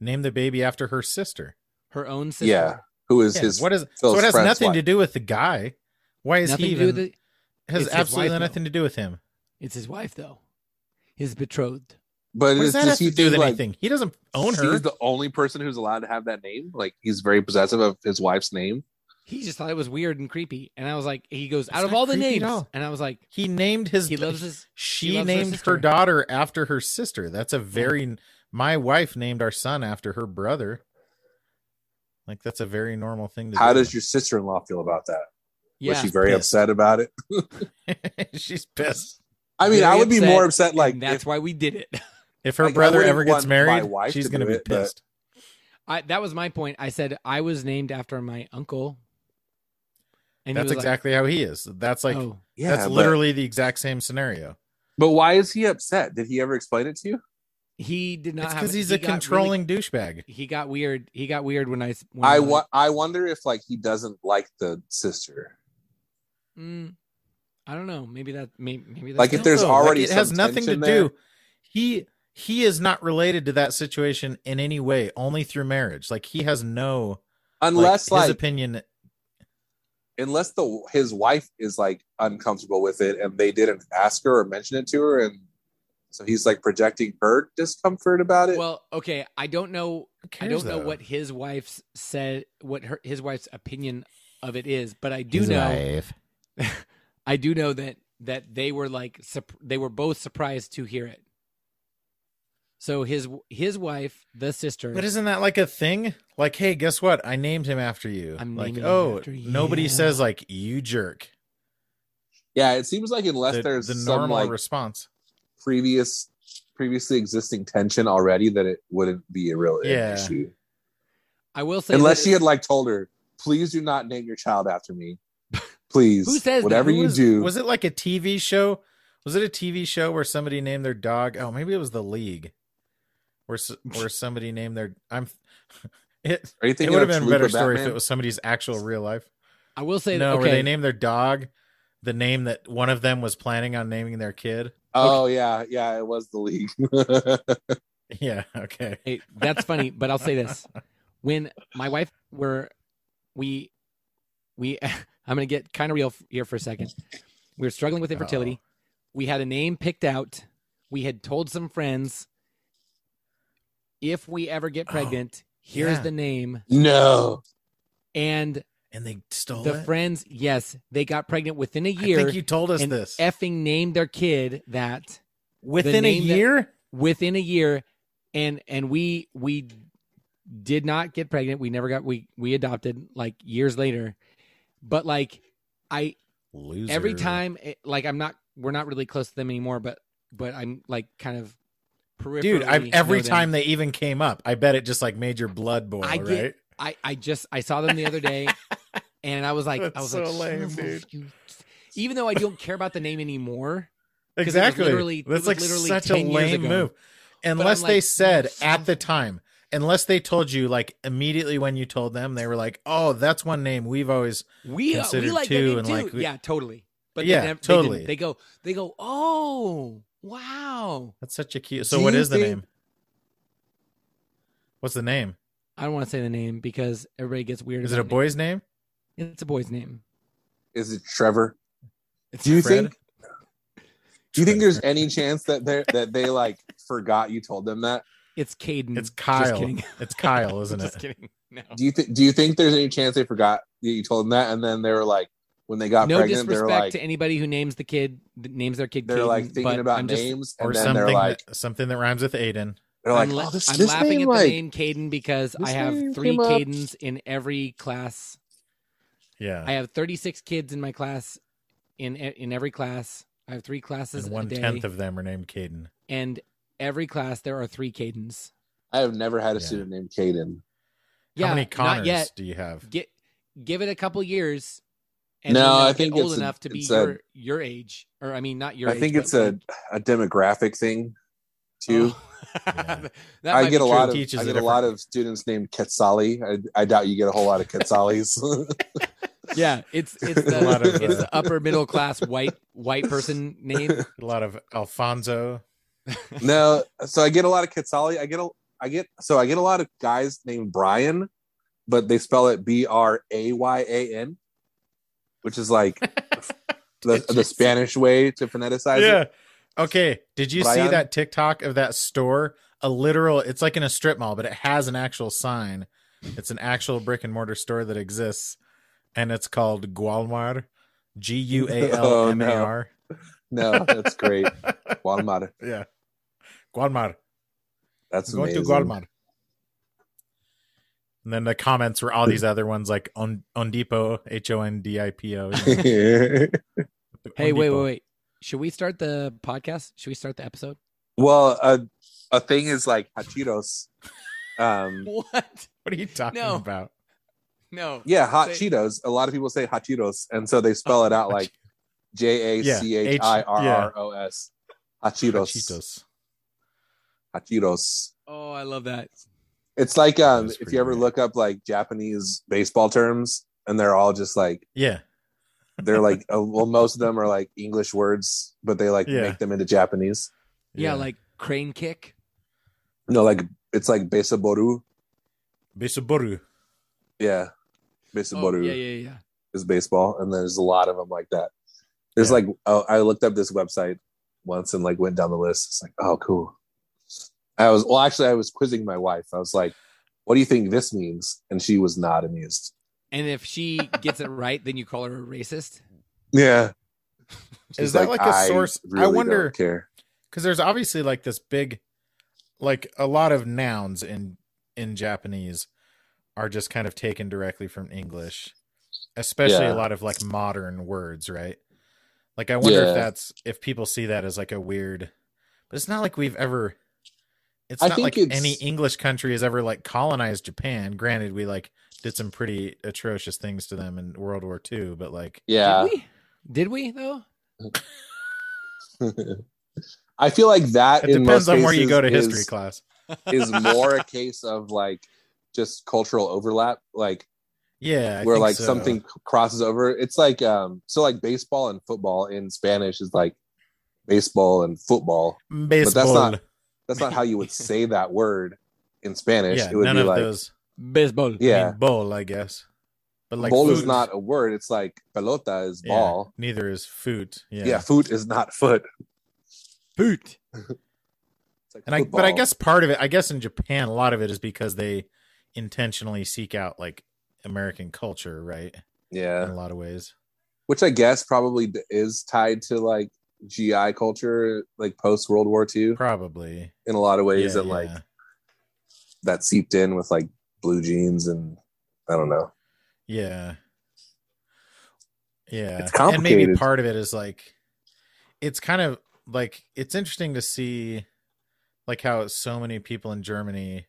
Speaker 3: name the baby after her sister.
Speaker 2: her own sister
Speaker 1: Yeah. Who is
Speaker 3: Yeah,
Speaker 1: his?
Speaker 3: what is
Speaker 1: Phil's
Speaker 3: so? It has
Speaker 1: friend's
Speaker 3: nothing
Speaker 1: wife.
Speaker 3: to do with the guy. Why is
Speaker 2: nothing
Speaker 3: he
Speaker 2: to do
Speaker 3: even
Speaker 2: with it
Speaker 3: has
Speaker 2: It's his
Speaker 3: absolutely
Speaker 2: wife, though.
Speaker 3: nothing to do with him?
Speaker 2: it's his wife though his betrothed
Speaker 1: but
Speaker 3: What does
Speaker 1: it's
Speaker 3: that have
Speaker 1: just
Speaker 3: to
Speaker 1: he
Speaker 3: do
Speaker 1: thinks
Speaker 3: with
Speaker 1: like
Speaker 3: anything? He doesn't own her.
Speaker 1: she's the only person who's allowed to have that name. Like he's very possessive of his wife's name.
Speaker 2: he just thought it was weird and creepy and i was like he goes
Speaker 3: It's
Speaker 2: out of
Speaker 3: not
Speaker 2: all the
Speaker 3: creepy at
Speaker 2: names
Speaker 3: all.
Speaker 2: and i was like
Speaker 3: he named his.
Speaker 2: he loves his
Speaker 3: she
Speaker 2: he loves her
Speaker 3: named her,
Speaker 2: sister.
Speaker 3: daughter after her sister. That's a very. My wife named our son after her brother. Like that's a very normal thing to
Speaker 1: How
Speaker 3: do.
Speaker 1: does your sister-in-law feel about that?
Speaker 2: yeah
Speaker 1: Was she very
Speaker 3: pissed.
Speaker 1: upset about it?
Speaker 3: She's pissed.
Speaker 1: I mean,
Speaker 2: Very
Speaker 1: I would be
Speaker 2: upset,
Speaker 1: more upset. Like
Speaker 2: and that's
Speaker 1: if-
Speaker 2: why we did it
Speaker 3: If her
Speaker 1: Like, I
Speaker 3: brother
Speaker 1: wouldn't
Speaker 3: ever gets
Speaker 1: want my
Speaker 3: married,
Speaker 1: wife
Speaker 3: she's
Speaker 1: to
Speaker 3: gonna
Speaker 1: do
Speaker 3: be
Speaker 1: it, but-
Speaker 3: pissed.
Speaker 2: I, that was my point i said i was named after my uncle and he
Speaker 3: That's
Speaker 2: was like,
Speaker 3: exactly how he is. That's like
Speaker 2: "Oh."
Speaker 1: yeah,
Speaker 3: that's
Speaker 1: but-
Speaker 3: literally the exact same scenario.
Speaker 1: But why is he upset? Did he ever explain it to you?
Speaker 2: He did not
Speaker 3: It's
Speaker 2: have
Speaker 3: because
Speaker 2: it.
Speaker 3: he's
Speaker 2: He
Speaker 3: a
Speaker 2: got really-
Speaker 3: controlling douchebag.
Speaker 2: he got weird. He got weird when I. s- When
Speaker 1: I
Speaker 2: was
Speaker 1: wa- I wonder if like he doesn't like the sister.
Speaker 2: like, "Mm, I don't know. Maybe that. Maybe, maybe that's
Speaker 1: Like, if
Speaker 2: it.
Speaker 3: don't
Speaker 1: there's
Speaker 3: know.
Speaker 1: already
Speaker 3: it has
Speaker 1: some
Speaker 3: nothing to
Speaker 1: tension there-
Speaker 3: do. He he is not related to that situation in any way, only through marriage. Like he has no like,
Speaker 1: unless like,
Speaker 3: his opinion.
Speaker 1: unless the his wife is like uncomfortable with it and they didn't ask her or mention it to her and so he's like projecting her discomfort about it
Speaker 2: Well, okay. I don't know.
Speaker 3: Who
Speaker 2: I
Speaker 3: cares,
Speaker 2: don't know
Speaker 3: though?
Speaker 2: what his wife's said. What her his wife's opinion of it is, but I do
Speaker 3: His
Speaker 2: know.
Speaker 3: wife.
Speaker 2: I do know that that they were like sup- they were both surprised to hear it. So his his wife, the sister,
Speaker 3: But isn't that like a thing? Like, hey, guess what? I named him after you.
Speaker 2: I'm
Speaker 3: like,
Speaker 2: naming him
Speaker 3: oh,
Speaker 2: after you.
Speaker 3: nobody
Speaker 2: Yeah.
Speaker 3: says like you jerk.
Speaker 1: yeah it seems like unless
Speaker 3: The,
Speaker 1: there's
Speaker 3: the
Speaker 1: some
Speaker 3: normal
Speaker 1: like
Speaker 3: response.
Speaker 1: previous previously existing tension already that it wouldn't be a real
Speaker 3: Yeah.
Speaker 1: issue
Speaker 2: I will say,
Speaker 1: unless
Speaker 2: that-
Speaker 1: she had like told her please do not name your child after me please
Speaker 2: Who says that?
Speaker 1: whatever
Speaker 3: Who
Speaker 1: you
Speaker 3: was-
Speaker 1: do
Speaker 3: Was it like a TV show? Was it a TV show where somebody named their dog? Oh, maybe it was the league, where s- where somebody named their. I'm. It,
Speaker 1: are you
Speaker 3: it
Speaker 1: thinking
Speaker 3: would
Speaker 1: of
Speaker 3: have been a
Speaker 1: Chalupa
Speaker 3: better story if
Speaker 1: Batman?
Speaker 3: it was somebody's actual real life.
Speaker 2: I will say,
Speaker 3: no,
Speaker 2: that,
Speaker 3: where
Speaker 2: okay,
Speaker 3: they named their dog the name that one of them was planning on naming their kid.
Speaker 1: oh yeah yeah it was the league
Speaker 3: Yeah. Okay.
Speaker 2: Hey, that's funny, but I'll say this: when my wife were, we, we, I'm gonna get kind of real f- here for a second. We were struggling with infertility. We had a name picked out. We had told some friends, if we ever get
Speaker 3: Oh,
Speaker 2: pregnant, here's
Speaker 3: yeah.
Speaker 2: the name.
Speaker 1: no
Speaker 2: And
Speaker 3: And they stole
Speaker 2: the
Speaker 3: it.
Speaker 2: friends, yes, they got pregnant within a
Speaker 3: I
Speaker 2: year
Speaker 3: think you told us
Speaker 2: and
Speaker 3: this
Speaker 2: effing named their kid that.
Speaker 3: within a
Speaker 2: name that-
Speaker 3: year.
Speaker 2: within a year and and we we did not get pregnant we never got we we adopted like years later but like i
Speaker 3: Loser.
Speaker 2: every time it, like i'm not we're not really close to them anymore but but i'm like kind of
Speaker 3: dude, I've,
Speaker 2: peripherally
Speaker 3: every
Speaker 2: know them.
Speaker 3: time they even came up, I bet it just like made your blood boil,
Speaker 2: I get-
Speaker 3: right?
Speaker 2: i i just i saw them the other day and i was like i
Speaker 3: That's
Speaker 2: was
Speaker 3: so
Speaker 2: like "Son
Speaker 3: lame,
Speaker 2: of a
Speaker 3: dude."
Speaker 2: you- even though i don't care about the name anymore 'Cause it was
Speaker 3: Exactly.
Speaker 2: literally- it
Speaker 3: That's
Speaker 2: was
Speaker 3: like
Speaker 2: literally
Speaker 3: such a
Speaker 2: 10 years
Speaker 3: lame
Speaker 2: ago.
Speaker 3: move.
Speaker 2: I'm
Speaker 3: Unless they
Speaker 2: like,
Speaker 3: said
Speaker 2: "Dude,
Speaker 3: at the time, unless they told you like immediately when you told them, they were like, "Oh, that's one name we've always."
Speaker 2: we uh, we
Speaker 3: considered
Speaker 2: like
Speaker 3: too,
Speaker 2: that name
Speaker 3: and,
Speaker 2: too.
Speaker 3: like, we-
Speaker 2: yeah, totally. But
Speaker 3: Yeah,
Speaker 2: they never, They,
Speaker 3: totally.
Speaker 2: didn't. they go. They go. Oh wow!
Speaker 3: That's such a cute. So,
Speaker 1: Do
Speaker 3: what
Speaker 1: you
Speaker 3: is the
Speaker 1: think-
Speaker 3: name? What's the name?
Speaker 2: I don't want to say the name because everybody gets weird.
Speaker 3: Is it a
Speaker 2: about
Speaker 3: boy's name?
Speaker 2: name. It's a boy's name.
Speaker 1: is it trevor
Speaker 2: It's
Speaker 1: do you
Speaker 3: Fred?
Speaker 1: think do you think there's any chance that they that they like forgot you told them that
Speaker 2: It's Caden.
Speaker 3: It's Kyle.
Speaker 2: Just kidding.
Speaker 3: It's Kyle, isn't
Speaker 2: Just
Speaker 3: it?
Speaker 2: kidding. No.
Speaker 1: do you think do you think there's any chance they forgot that you told them that and then they were like when they got
Speaker 2: no
Speaker 1: pregnant they
Speaker 2: disrespect
Speaker 1: were like
Speaker 2: to anybody who names the kid that names their kid.
Speaker 1: they're
Speaker 2: Caden,
Speaker 1: like thinking
Speaker 2: but
Speaker 1: about
Speaker 2: I'm just,
Speaker 1: names
Speaker 3: Or
Speaker 1: and then they're
Speaker 3: something
Speaker 1: like
Speaker 3: that, something that rhymes with Aiden.
Speaker 1: they're like
Speaker 2: I'm, la-
Speaker 1: oh, this,
Speaker 2: I'm
Speaker 1: this
Speaker 2: laughing
Speaker 1: name,
Speaker 2: at the
Speaker 1: like,
Speaker 2: name Caden because I
Speaker 1: this
Speaker 2: have
Speaker 1: name
Speaker 2: three
Speaker 1: came up."
Speaker 2: Cadens in every class.
Speaker 3: Yeah.
Speaker 2: I have 36 kids in my class. In in every class, I have three classes.
Speaker 3: and
Speaker 2: a
Speaker 3: one
Speaker 2: day.
Speaker 3: tenth of them are named Caden.
Speaker 2: and every class there are three Cadens.
Speaker 1: I have never had a
Speaker 3: Yeah.
Speaker 1: student named Caden.
Speaker 2: Yeah,
Speaker 3: How many
Speaker 2: not
Speaker 3: Connors
Speaker 2: yet.
Speaker 3: do you have?
Speaker 2: Get give it a couple years.
Speaker 1: No,
Speaker 2: then they'll
Speaker 1: I
Speaker 2: get
Speaker 1: think
Speaker 2: old
Speaker 1: it's a-
Speaker 2: enough to be
Speaker 1: it's a-
Speaker 2: your your age, or I mean, not your.
Speaker 1: I think
Speaker 2: age,
Speaker 1: it's
Speaker 2: but
Speaker 1: a, a demographic thing too.
Speaker 3: Yeah.
Speaker 2: oh. That
Speaker 1: I get
Speaker 2: might be
Speaker 1: a lot
Speaker 2: true.
Speaker 1: of
Speaker 3: Teaches
Speaker 1: I
Speaker 3: a
Speaker 1: get a lot
Speaker 3: different-
Speaker 1: of students named Quetzali. I, I doubt you get a whole lot of Quetzalis.
Speaker 2: Yeah, it's it's
Speaker 1: A lot
Speaker 2: the,
Speaker 3: of,
Speaker 2: it's
Speaker 3: uh,
Speaker 2: the upper middle class white white person name.
Speaker 3: A lot of Alfonso.
Speaker 1: no, so I get a lot of Quetzali. I get a I get so I get a lot of guys named Brian, but they spell it B R A Y A N, which is like the, the Spanish way to phoneticize it.
Speaker 3: Okay. Did you see
Speaker 1: Brian?
Speaker 3: that TikTok of that store? A literal, it's like in a strip mall, but it has an actual sign. It's an actual brick and mortar store that exists, and it's called Gualmar. G U A L M A R.
Speaker 1: No, that's great. Guadalmar.
Speaker 3: Yeah. Gualmar.
Speaker 1: That's
Speaker 3: I'm going
Speaker 1: amazing.
Speaker 3: to Gualmar. And then the comments were all these other ones like on Ondipo, H O N D I P O. you know.
Speaker 2: Hey, wait, wait,
Speaker 3: Ondipo.
Speaker 2: wait. Should we start the podcast? Should we start the episode?
Speaker 1: well, a a thing is like hachiros. Um,
Speaker 2: What?
Speaker 3: What are you talking
Speaker 2: No.
Speaker 3: about?
Speaker 2: No.
Speaker 1: yeah, hot
Speaker 2: Say-
Speaker 1: Cheetos. A lot of people say hachiros, and so they spell it out like J A C H I R R O S. Hachiros.
Speaker 3: Cheetos.
Speaker 1: Hachiros.
Speaker 2: Oh, I love that.
Speaker 1: It's like um,
Speaker 3: That's
Speaker 1: if
Speaker 3: pretty
Speaker 1: you ever
Speaker 3: weird.
Speaker 1: look up like Japanese baseball terms, and they're all just like
Speaker 3: Yeah.
Speaker 1: they're like uh, well most of them are like english words but they like
Speaker 3: Yeah.
Speaker 1: make them into japanese
Speaker 2: Yeah, like crane kick.
Speaker 1: no like it's like besaboru
Speaker 3: Bisaboru.
Speaker 1: yeah
Speaker 2: Oh,
Speaker 1: besaboru
Speaker 2: yeah, yeah, yeah.
Speaker 1: is baseball and there's a lot of them like that there's
Speaker 3: Yeah.
Speaker 1: like oh, i looked up this website once and like went down the list it's like oh cool i was well actually i was quizzing my wife i was like what do you think this means and she was not amused
Speaker 2: And if she gets it right, then you call her a racist.
Speaker 1: yeah
Speaker 3: Is that like a
Speaker 1: a
Speaker 3: source- I wonder-
Speaker 1: care
Speaker 3: because there's obviously like this big like a lot of nouns in in japanese are just kind of taken directly from english especially
Speaker 1: Yeah.
Speaker 3: a lot of like modern words right like i wonder
Speaker 1: Yeah.
Speaker 3: if that's if people see that as like a weird but it's not like we've ever it's
Speaker 1: I
Speaker 3: not
Speaker 1: think
Speaker 3: like
Speaker 1: it's-
Speaker 3: any english country has ever like colonized japan granted we like did some pretty atrocious things to them in world war ii but like
Speaker 1: yeah
Speaker 2: Did we? Did we though?
Speaker 1: i feel like that
Speaker 3: it
Speaker 1: in
Speaker 3: depends
Speaker 1: most
Speaker 3: on where you
Speaker 1: cases
Speaker 3: go to history
Speaker 1: is-
Speaker 3: class
Speaker 1: is more a case of like just cultural overlap like
Speaker 3: yeah I
Speaker 1: where
Speaker 3: think
Speaker 1: like
Speaker 3: so.
Speaker 1: something c- crosses over it's like um so like baseball and football in spanish is like baseball and football
Speaker 3: baseball
Speaker 1: not- that's not how you would say that word in spanish
Speaker 3: yeah,
Speaker 1: it would
Speaker 3: none
Speaker 1: be
Speaker 3: of
Speaker 1: like
Speaker 3: those.
Speaker 2: Baseball.
Speaker 3: I mean,
Speaker 1: yeah
Speaker 3: bowl, I guess. But like
Speaker 1: ball is
Speaker 3: food-
Speaker 1: not a word it's like pelota is
Speaker 3: yeah,
Speaker 1: ball
Speaker 3: Neither is foot. Yeah,
Speaker 1: yeah, foot is not foot
Speaker 2: Boot.
Speaker 1: It's like
Speaker 3: and I but
Speaker 1: football.
Speaker 3: I guess part of it, I guess in Japan, a lot of it is because they intentionally seek out like American culture, right? In
Speaker 1: yeah
Speaker 3: a lot of ways.
Speaker 1: which i guess probably d- is tied to like gi culture like post world war ii
Speaker 3: Probably
Speaker 1: in a lot of ways
Speaker 3: Yeah,
Speaker 1: that like
Speaker 3: yeah.
Speaker 1: that seeped in with like blue jeans and I don't know.
Speaker 3: Yeah. Yeah.
Speaker 1: It's
Speaker 3: And maybe
Speaker 1: complicated.
Speaker 3: part of it is like it's kind of like it's interesting to see like how so many people in Germany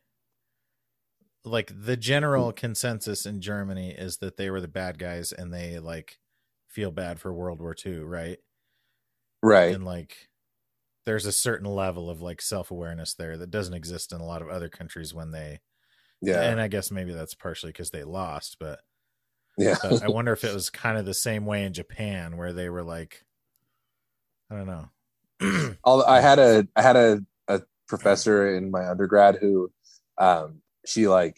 Speaker 3: like the general
Speaker 1: Mm.
Speaker 3: consensus in Germany is that they were the bad guys and they like feel bad for World War II, right?
Speaker 1: Right.
Speaker 3: And like there's a certain level of like self-awareness there that doesn't exist in a lot of other countries when they
Speaker 1: Yeah.
Speaker 3: and I guess maybe that's partially because they lost, but
Speaker 1: Yeah.
Speaker 3: but I wonder if it was kind of the same way in Japan where they were like, I don't know.
Speaker 1: Although I had a I had a, a professor in my undergrad who um she like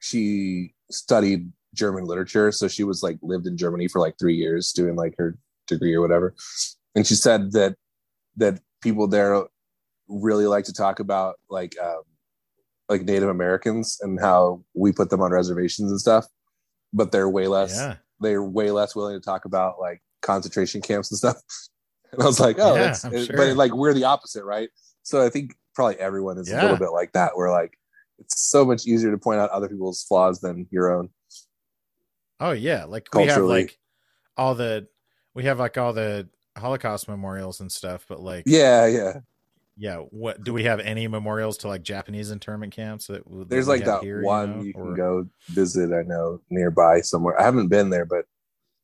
Speaker 1: she studied German literature. So she was like lived in Germany for like three years doing like her degree or whatever. And she said that that people there really like to talk about like um like Native Americans and how we put them on reservations and stuff, but they're way less
Speaker 3: yeah.
Speaker 1: they're way less willing to talk about like concentration camps and stuff. And I was like, oh,
Speaker 3: Yeah,
Speaker 1: that's,
Speaker 3: I'm
Speaker 1: it-
Speaker 3: sure.
Speaker 1: but like we're the opposite, right? So I think probably everyone is a
Speaker 3: Yeah.
Speaker 1: little bit like that. Where like it's so much easier to point out other people's flaws than your own.
Speaker 3: Oh yeah. Like we have
Speaker 1: Culturally.
Speaker 3: like all the we have like all the Holocaust memorials and stuff, but like
Speaker 1: Yeah, yeah.
Speaker 3: yeah, what do we have any memorials to like Japanese internment camps that w-
Speaker 1: There's
Speaker 3: we
Speaker 1: like
Speaker 3: have
Speaker 1: that
Speaker 3: here,
Speaker 1: one you,
Speaker 3: know,
Speaker 1: can
Speaker 3: or-
Speaker 1: go visit. I know nearby somewhere. I haven't been there, but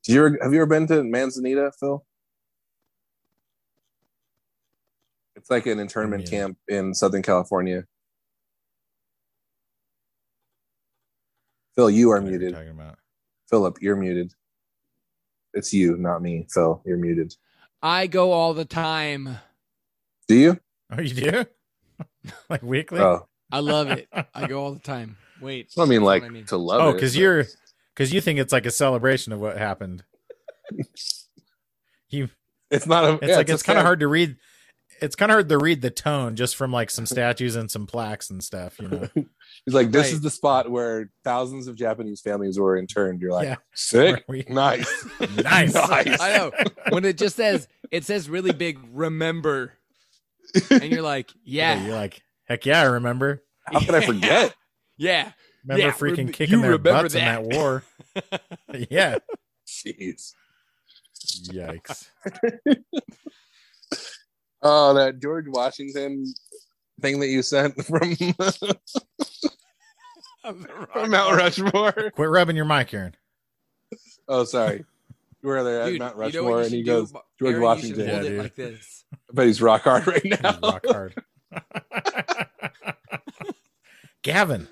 Speaker 1: do you ever, have you ever been to Manzanita, Phil? It's like an internment
Speaker 3: Yeah.
Speaker 1: camp in Southern California. Phil, you are
Speaker 3: what you're
Speaker 1: muted.
Speaker 3: Talking about.
Speaker 1: Philip, you're muted. It's you, not me. Phil, you're muted.
Speaker 2: I go all the time.
Speaker 1: Do you?
Speaker 3: Oh, you do? like weekly?
Speaker 1: Oh,
Speaker 2: I love it. I go all the time. Wait.
Speaker 1: I mean,
Speaker 2: that's what
Speaker 1: like
Speaker 2: mean.
Speaker 1: to love.
Speaker 3: oh,
Speaker 1: it,
Speaker 3: because
Speaker 1: but-
Speaker 3: you're because you think it's like a celebration of what happened. you
Speaker 1: It's not a.
Speaker 3: It's
Speaker 1: yeah,
Speaker 3: like
Speaker 1: a
Speaker 3: it's kind of
Speaker 1: camp.
Speaker 3: hard to read. It's kind of hard to read the tone just from like some statues and some plaques and stuff, you know.
Speaker 1: He's like, this
Speaker 2: Right.
Speaker 1: is the spot where thousands of Japanese families were interned. You're like,
Speaker 3: Yeah.
Speaker 1: sick,
Speaker 3: We-
Speaker 1: nice,
Speaker 3: Nice.
Speaker 2: I know. When it just says it says really big remember and you're like, yeah.
Speaker 3: You're like, heck yeah, I remember.
Speaker 1: How could I forget?
Speaker 2: Yeah.
Speaker 3: Remember
Speaker 2: Yeah,
Speaker 3: freaking
Speaker 2: remember-
Speaker 3: kicking
Speaker 2: you
Speaker 3: their
Speaker 2: remember
Speaker 3: butts
Speaker 2: that.
Speaker 3: in that war. yeah.
Speaker 1: Jeez.
Speaker 3: Yikes.
Speaker 1: Oh, that George Washington thing that you sent from, from Mount Rushmore.
Speaker 3: Quit rubbing your mic, Aaron.
Speaker 1: Oh, sorry. Where they're at
Speaker 2: Dude,
Speaker 1: Mount
Speaker 2: you know
Speaker 1: Rushmore,
Speaker 2: what you
Speaker 1: and he
Speaker 2: should do,
Speaker 1: goes,
Speaker 2: Ma-
Speaker 1: George
Speaker 2: Aaron, you should
Speaker 1: Washington.
Speaker 2: hold
Speaker 3: Yeah,
Speaker 2: it
Speaker 3: dude.
Speaker 2: like this.
Speaker 1: I bet he's rock hard right
Speaker 3: He's
Speaker 1: now.
Speaker 3: rock hard. Gavin.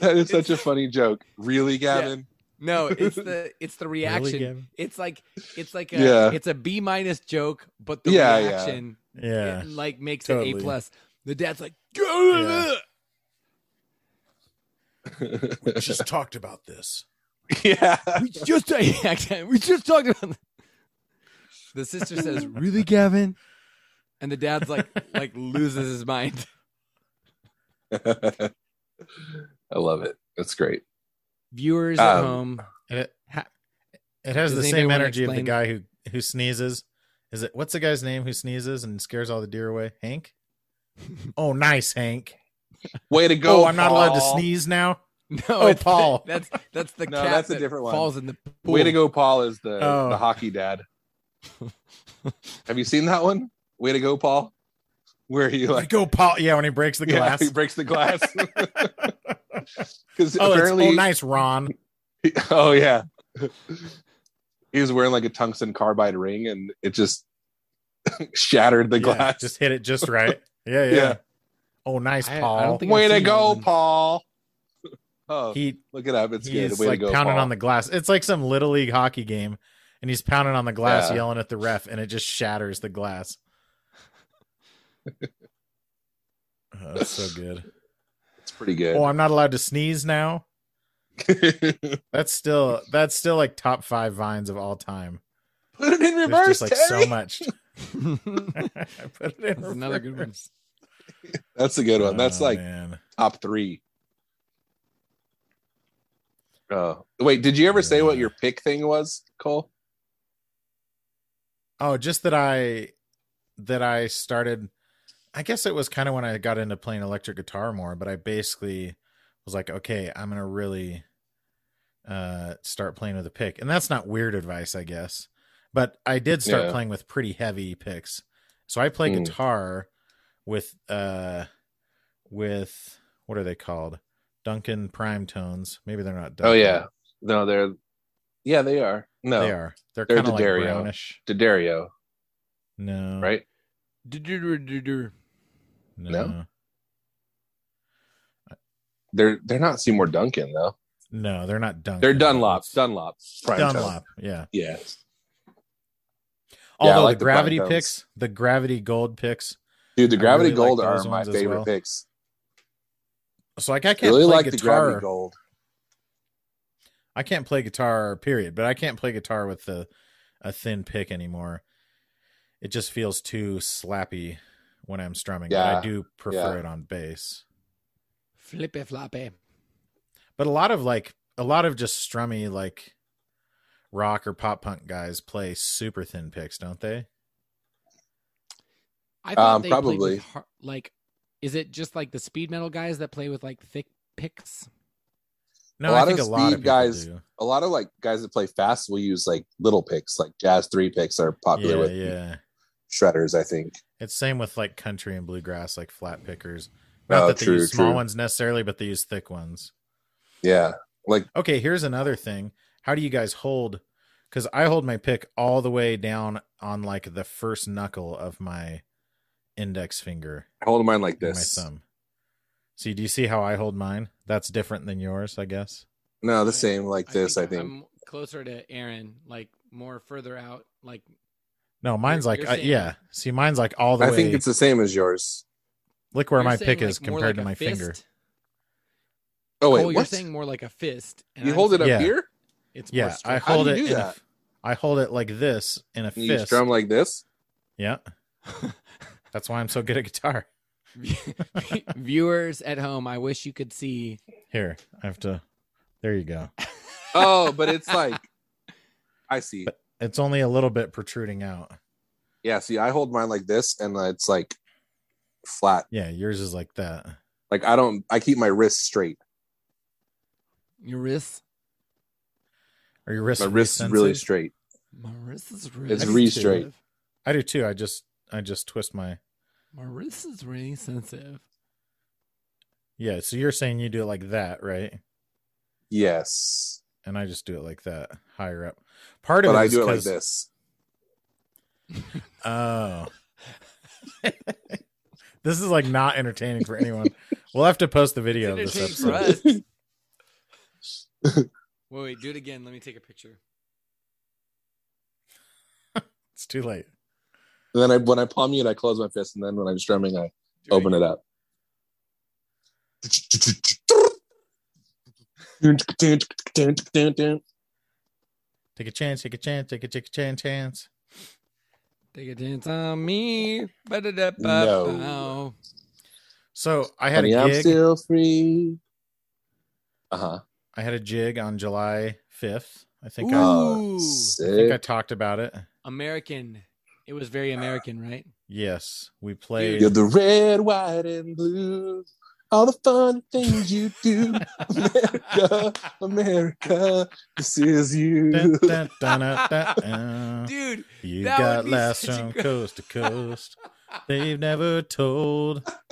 Speaker 1: that is
Speaker 2: It's-
Speaker 1: such a funny joke. Really, Gavin?
Speaker 2: No, it's the it's the reaction.
Speaker 3: Gavin?
Speaker 2: it's like it's like a
Speaker 1: Yeah.
Speaker 2: it's a B minus joke, but the
Speaker 1: Yeah, yeah.
Speaker 2: reaction
Speaker 3: Yeah.
Speaker 2: it, like makes it
Speaker 3: totally.
Speaker 2: A plus. The dad's like,
Speaker 3: Yeah.
Speaker 1: yeah.
Speaker 3: just talked about this.
Speaker 2: we just yeah, we just talked about. that." The sister says, "Really, Gavin?" And the dad's like like loses his mind.
Speaker 1: I love it. That's great.
Speaker 2: Viewers at
Speaker 1: Um,
Speaker 2: home,
Speaker 3: It, it has
Speaker 2: Does
Speaker 3: the
Speaker 2: anybody
Speaker 3: same
Speaker 2: wanna
Speaker 3: energy of the
Speaker 2: explain-
Speaker 3: guy who who sneezes. Is it what's the guy's name who sneezes and scares all the deer away? Hank. Oh, nice, Hank.
Speaker 1: Way to go.
Speaker 3: oh, I'm not allowed to
Speaker 1: Paul.
Speaker 3: sneeze now.
Speaker 2: no,
Speaker 3: Oh,
Speaker 2: it's-
Speaker 3: Paul.
Speaker 2: that's that's the
Speaker 1: No,
Speaker 2: cat
Speaker 1: that's a
Speaker 2: that
Speaker 1: different one.
Speaker 2: falls in the pool.
Speaker 1: Way to go, Paul is the,
Speaker 3: Oh.
Speaker 1: the hockey dad. Have you seen that one? Way to go, Paul. Where he
Speaker 3: Like,
Speaker 1: like
Speaker 3: go, Paul. Yeah, when he breaks the
Speaker 1: yeah,
Speaker 3: glass.
Speaker 1: he breaks the glass. Because
Speaker 3: oh, it's,
Speaker 1: apparently,
Speaker 3: oh, nice, Ron.
Speaker 1: oh yeah, he was wearing like a tungsten carbide ring, and it just shattered the
Speaker 3: Yeah,
Speaker 1: glass.
Speaker 3: just hit it just right. Yeah, yeah.
Speaker 1: Yeah.
Speaker 3: Oh, nice,
Speaker 2: I- I
Speaker 3: Paul.
Speaker 2: don't think
Speaker 1: Way
Speaker 2: I've
Speaker 1: to
Speaker 2: seen that
Speaker 1: go,
Speaker 2: one.
Speaker 1: Paul. Oh,
Speaker 3: he
Speaker 1: look it up. It's good.
Speaker 3: he's
Speaker 1: Way
Speaker 3: like
Speaker 1: to go,
Speaker 3: pounding
Speaker 1: Paul.
Speaker 3: on the glass. It's like some little league hockey game, and he's pounding on the glass,
Speaker 1: Yeah.
Speaker 3: yelling at the ref, and it just shatters the glass. oh, that's so good.
Speaker 1: It's pretty good.
Speaker 3: Oh, I'm not allowed to sneeze now. That's still that's still like top five vines of all time.
Speaker 1: Put it in
Speaker 3: There's
Speaker 1: reverse,
Speaker 3: just like
Speaker 1: Terry.
Speaker 3: so much. I put it in
Speaker 2: that's another good one.
Speaker 3: reverse.
Speaker 1: That's a good one. That's
Speaker 3: Oh,
Speaker 1: like
Speaker 3: man.
Speaker 1: top three. Oh wait, did you ever say what
Speaker 3: Yeah.
Speaker 1: your pick thing was, Cole?
Speaker 3: Oh, just that I that I started I guess it was kind of when I got into playing electric guitar more, but I basically was like, okay, I'm going to really uh start playing with a pick. And that's not weird advice, I guess. But I did start
Speaker 1: Yeah.
Speaker 3: playing with pretty heavy picks. So I play
Speaker 1: Mm.
Speaker 3: guitar with uh with what are they called? Duncan Prime Tones. Maybe they're not Duncan.
Speaker 1: Oh yeah, no, they're yeah they are. No,
Speaker 3: They are. They're,
Speaker 1: They're
Speaker 3: kind of like
Speaker 1: D'Addario.
Speaker 3: brownish.
Speaker 1: D'Addario,
Speaker 3: No.
Speaker 1: right?
Speaker 2: Du-du-du-du-du.
Speaker 3: No.
Speaker 1: They're they're not Seymour Duncan though.
Speaker 3: No, they're not Duncan.
Speaker 1: They're Dunlop,
Speaker 3: It's
Speaker 1: Dunlop, prime time.
Speaker 3: Dunlop. Yeah.
Speaker 1: Yeah, Yeah, I
Speaker 3: Although
Speaker 1: like
Speaker 3: the
Speaker 1: the
Speaker 3: gravity
Speaker 1: Prime Tones.
Speaker 3: picks, the gravity gold picks.
Speaker 1: dude, the
Speaker 3: I
Speaker 1: Gravity
Speaker 3: really like
Speaker 1: Gold
Speaker 3: those
Speaker 1: are my
Speaker 3: ones as
Speaker 1: favorite
Speaker 3: well.
Speaker 1: picks.
Speaker 3: So like I can't
Speaker 1: Really
Speaker 3: play
Speaker 1: like the
Speaker 3: guitar.
Speaker 1: Gravity Gold.
Speaker 3: I can't play guitar. Period. But I can't play guitar with the a thin pick anymore. It just feels too slappy when I'm strumming. But I
Speaker 1: Yeah,
Speaker 3: do prefer
Speaker 1: yeah.
Speaker 3: it on bass.
Speaker 2: Flippy floppy.
Speaker 3: But a lot of like a lot of just strummy like rock or pop punk guys play super thin picks, don't they?
Speaker 2: I thought
Speaker 1: Um,
Speaker 2: they played with
Speaker 1: probably.
Speaker 2: har- like, is it just like the speed metal guys that play with like thick picks?
Speaker 3: No,
Speaker 1: A
Speaker 3: I
Speaker 1: lot
Speaker 3: think
Speaker 1: of
Speaker 3: a lot of
Speaker 1: speed
Speaker 3: people
Speaker 1: guys
Speaker 3: do.
Speaker 1: A lot of like guys that play fast will use like little picks, like jazz three picks are popular
Speaker 3: yeah,
Speaker 1: with
Speaker 3: yeah.
Speaker 1: shredders. I think.
Speaker 3: It's same with like country and bluegrass, like flat pickers. Not
Speaker 1: Oh,
Speaker 3: that they
Speaker 1: true,
Speaker 3: use small
Speaker 1: true.
Speaker 3: ones necessarily, but they use thick ones.
Speaker 1: Yeah,
Speaker 3: Okay, here's another thing. How do you guys hold? Because I hold my pick all the way down on like the first knuckle of my index finger,
Speaker 1: I hold mine like
Speaker 3: and my
Speaker 1: this.
Speaker 3: thumb. See, do you see how I hold mine? That's different than yours, I guess.
Speaker 1: No, the same like this. I think.
Speaker 2: I'm closer to Aaron, like more further out. Like
Speaker 3: No, mine's like
Speaker 2: you're
Speaker 3: uh,
Speaker 2: saying-
Speaker 3: yeah. See, mine's like all the
Speaker 1: I
Speaker 3: way.
Speaker 1: think it's the same as yours.
Speaker 3: look where
Speaker 2: you're
Speaker 3: my
Speaker 2: saying,
Speaker 3: pick
Speaker 2: like,
Speaker 3: is
Speaker 2: more
Speaker 3: compared
Speaker 2: like
Speaker 3: to
Speaker 2: a
Speaker 3: my finger.
Speaker 2: fist.
Speaker 1: Oh wait,
Speaker 2: Cole, you're
Speaker 1: what?
Speaker 2: saying more like a fist. and
Speaker 1: you
Speaker 2: I'm
Speaker 1: hold it up
Speaker 3: Yeah.
Speaker 1: here
Speaker 2: saying It's more
Speaker 3: Yeah, I
Speaker 2: straight.
Speaker 1: How do
Speaker 3: hold
Speaker 1: you
Speaker 3: it.
Speaker 1: do
Speaker 3: in a
Speaker 1: that?
Speaker 3: f- I hold it like this in a
Speaker 1: and you
Speaker 3: fist.
Speaker 1: strum like this.
Speaker 3: Yeah, that's why I'm so good at guitar.
Speaker 2: Viewers at home, I wish you could see.
Speaker 3: Here, I have to. There you go.
Speaker 1: Oh, but it's like I see.
Speaker 3: But- It's only a little bit protruding out.
Speaker 1: Yeah, see, I hold mine like this, and it's like flat.
Speaker 3: Yeah, yours is like that.
Speaker 1: Like I don't. I keep my wrist straight.
Speaker 2: your wrists.
Speaker 3: Or your wrist?
Speaker 1: My wrist is
Speaker 3: resensitive?
Speaker 1: really straight.
Speaker 2: My wrist is really
Speaker 1: It's really
Speaker 2: sensitive.
Speaker 3: I do too. I just I just twist my.
Speaker 2: My wrist is really sensitive.
Speaker 3: Yeah. So you're saying you do it like that, right?
Speaker 1: Yes,
Speaker 3: And I just do it like that, higher up. Part of
Speaker 1: but
Speaker 3: it
Speaker 1: I
Speaker 3: is
Speaker 1: do it like
Speaker 3: 'cause-
Speaker 1: this.
Speaker 3: Oh. this is like not entertaining for anyone. We'll have to post the video of
Speaker 2: It's
Speaker 3: this
Speaker 2: entertaining
Speaker 3: episode.
Speaker 2: for us. Wait, wait, do it again. Let me take a picture.
Speaker 3: It's too late.
Speaker 1: And then I, when I palm mute, I close my fist, and then when I'm strumming, I
Speaker 2: Do
Speaker 1: open it up.
Speaker 3: Take a chance, take a chance, take a take a chance, chance.
Speaker 2: Take a chance on me.
Speaker 1: No.
Speaker 2: No.
Speaker 3: So I had
Speaker 1: Honey,
Speaker 3: a
Speaker 1: I'm
Speaker 3: gig.
Speaker 1: still free. Uh huh.
Speaker 3: I had a jig on July fifth. I think I,
Speaker 2: Ooh,
Speaker 3: I think I
Speaker 1: sick.
Speaker 3: talked about it.
Speaker 2: American. It was very American, right?
Speaker 3: Yes, we played.
Speaker 1: You're the red, white, and blue. All the fun things you do, America, America, this is
Speaker 3: Dun,
Speaker 1: you.
Speaker 3: dun, dun, dun, dun, dun.
Speaker 2: Dude,
Speaker 3: You
Speaker 2: that would
Speaker 3: got
Speaker 2: be
Speaker 3: laughs
Speaker 2: such a
Speaker 3: from
Speaker 2: good-
Speaker 3: coast to coast. They've never told.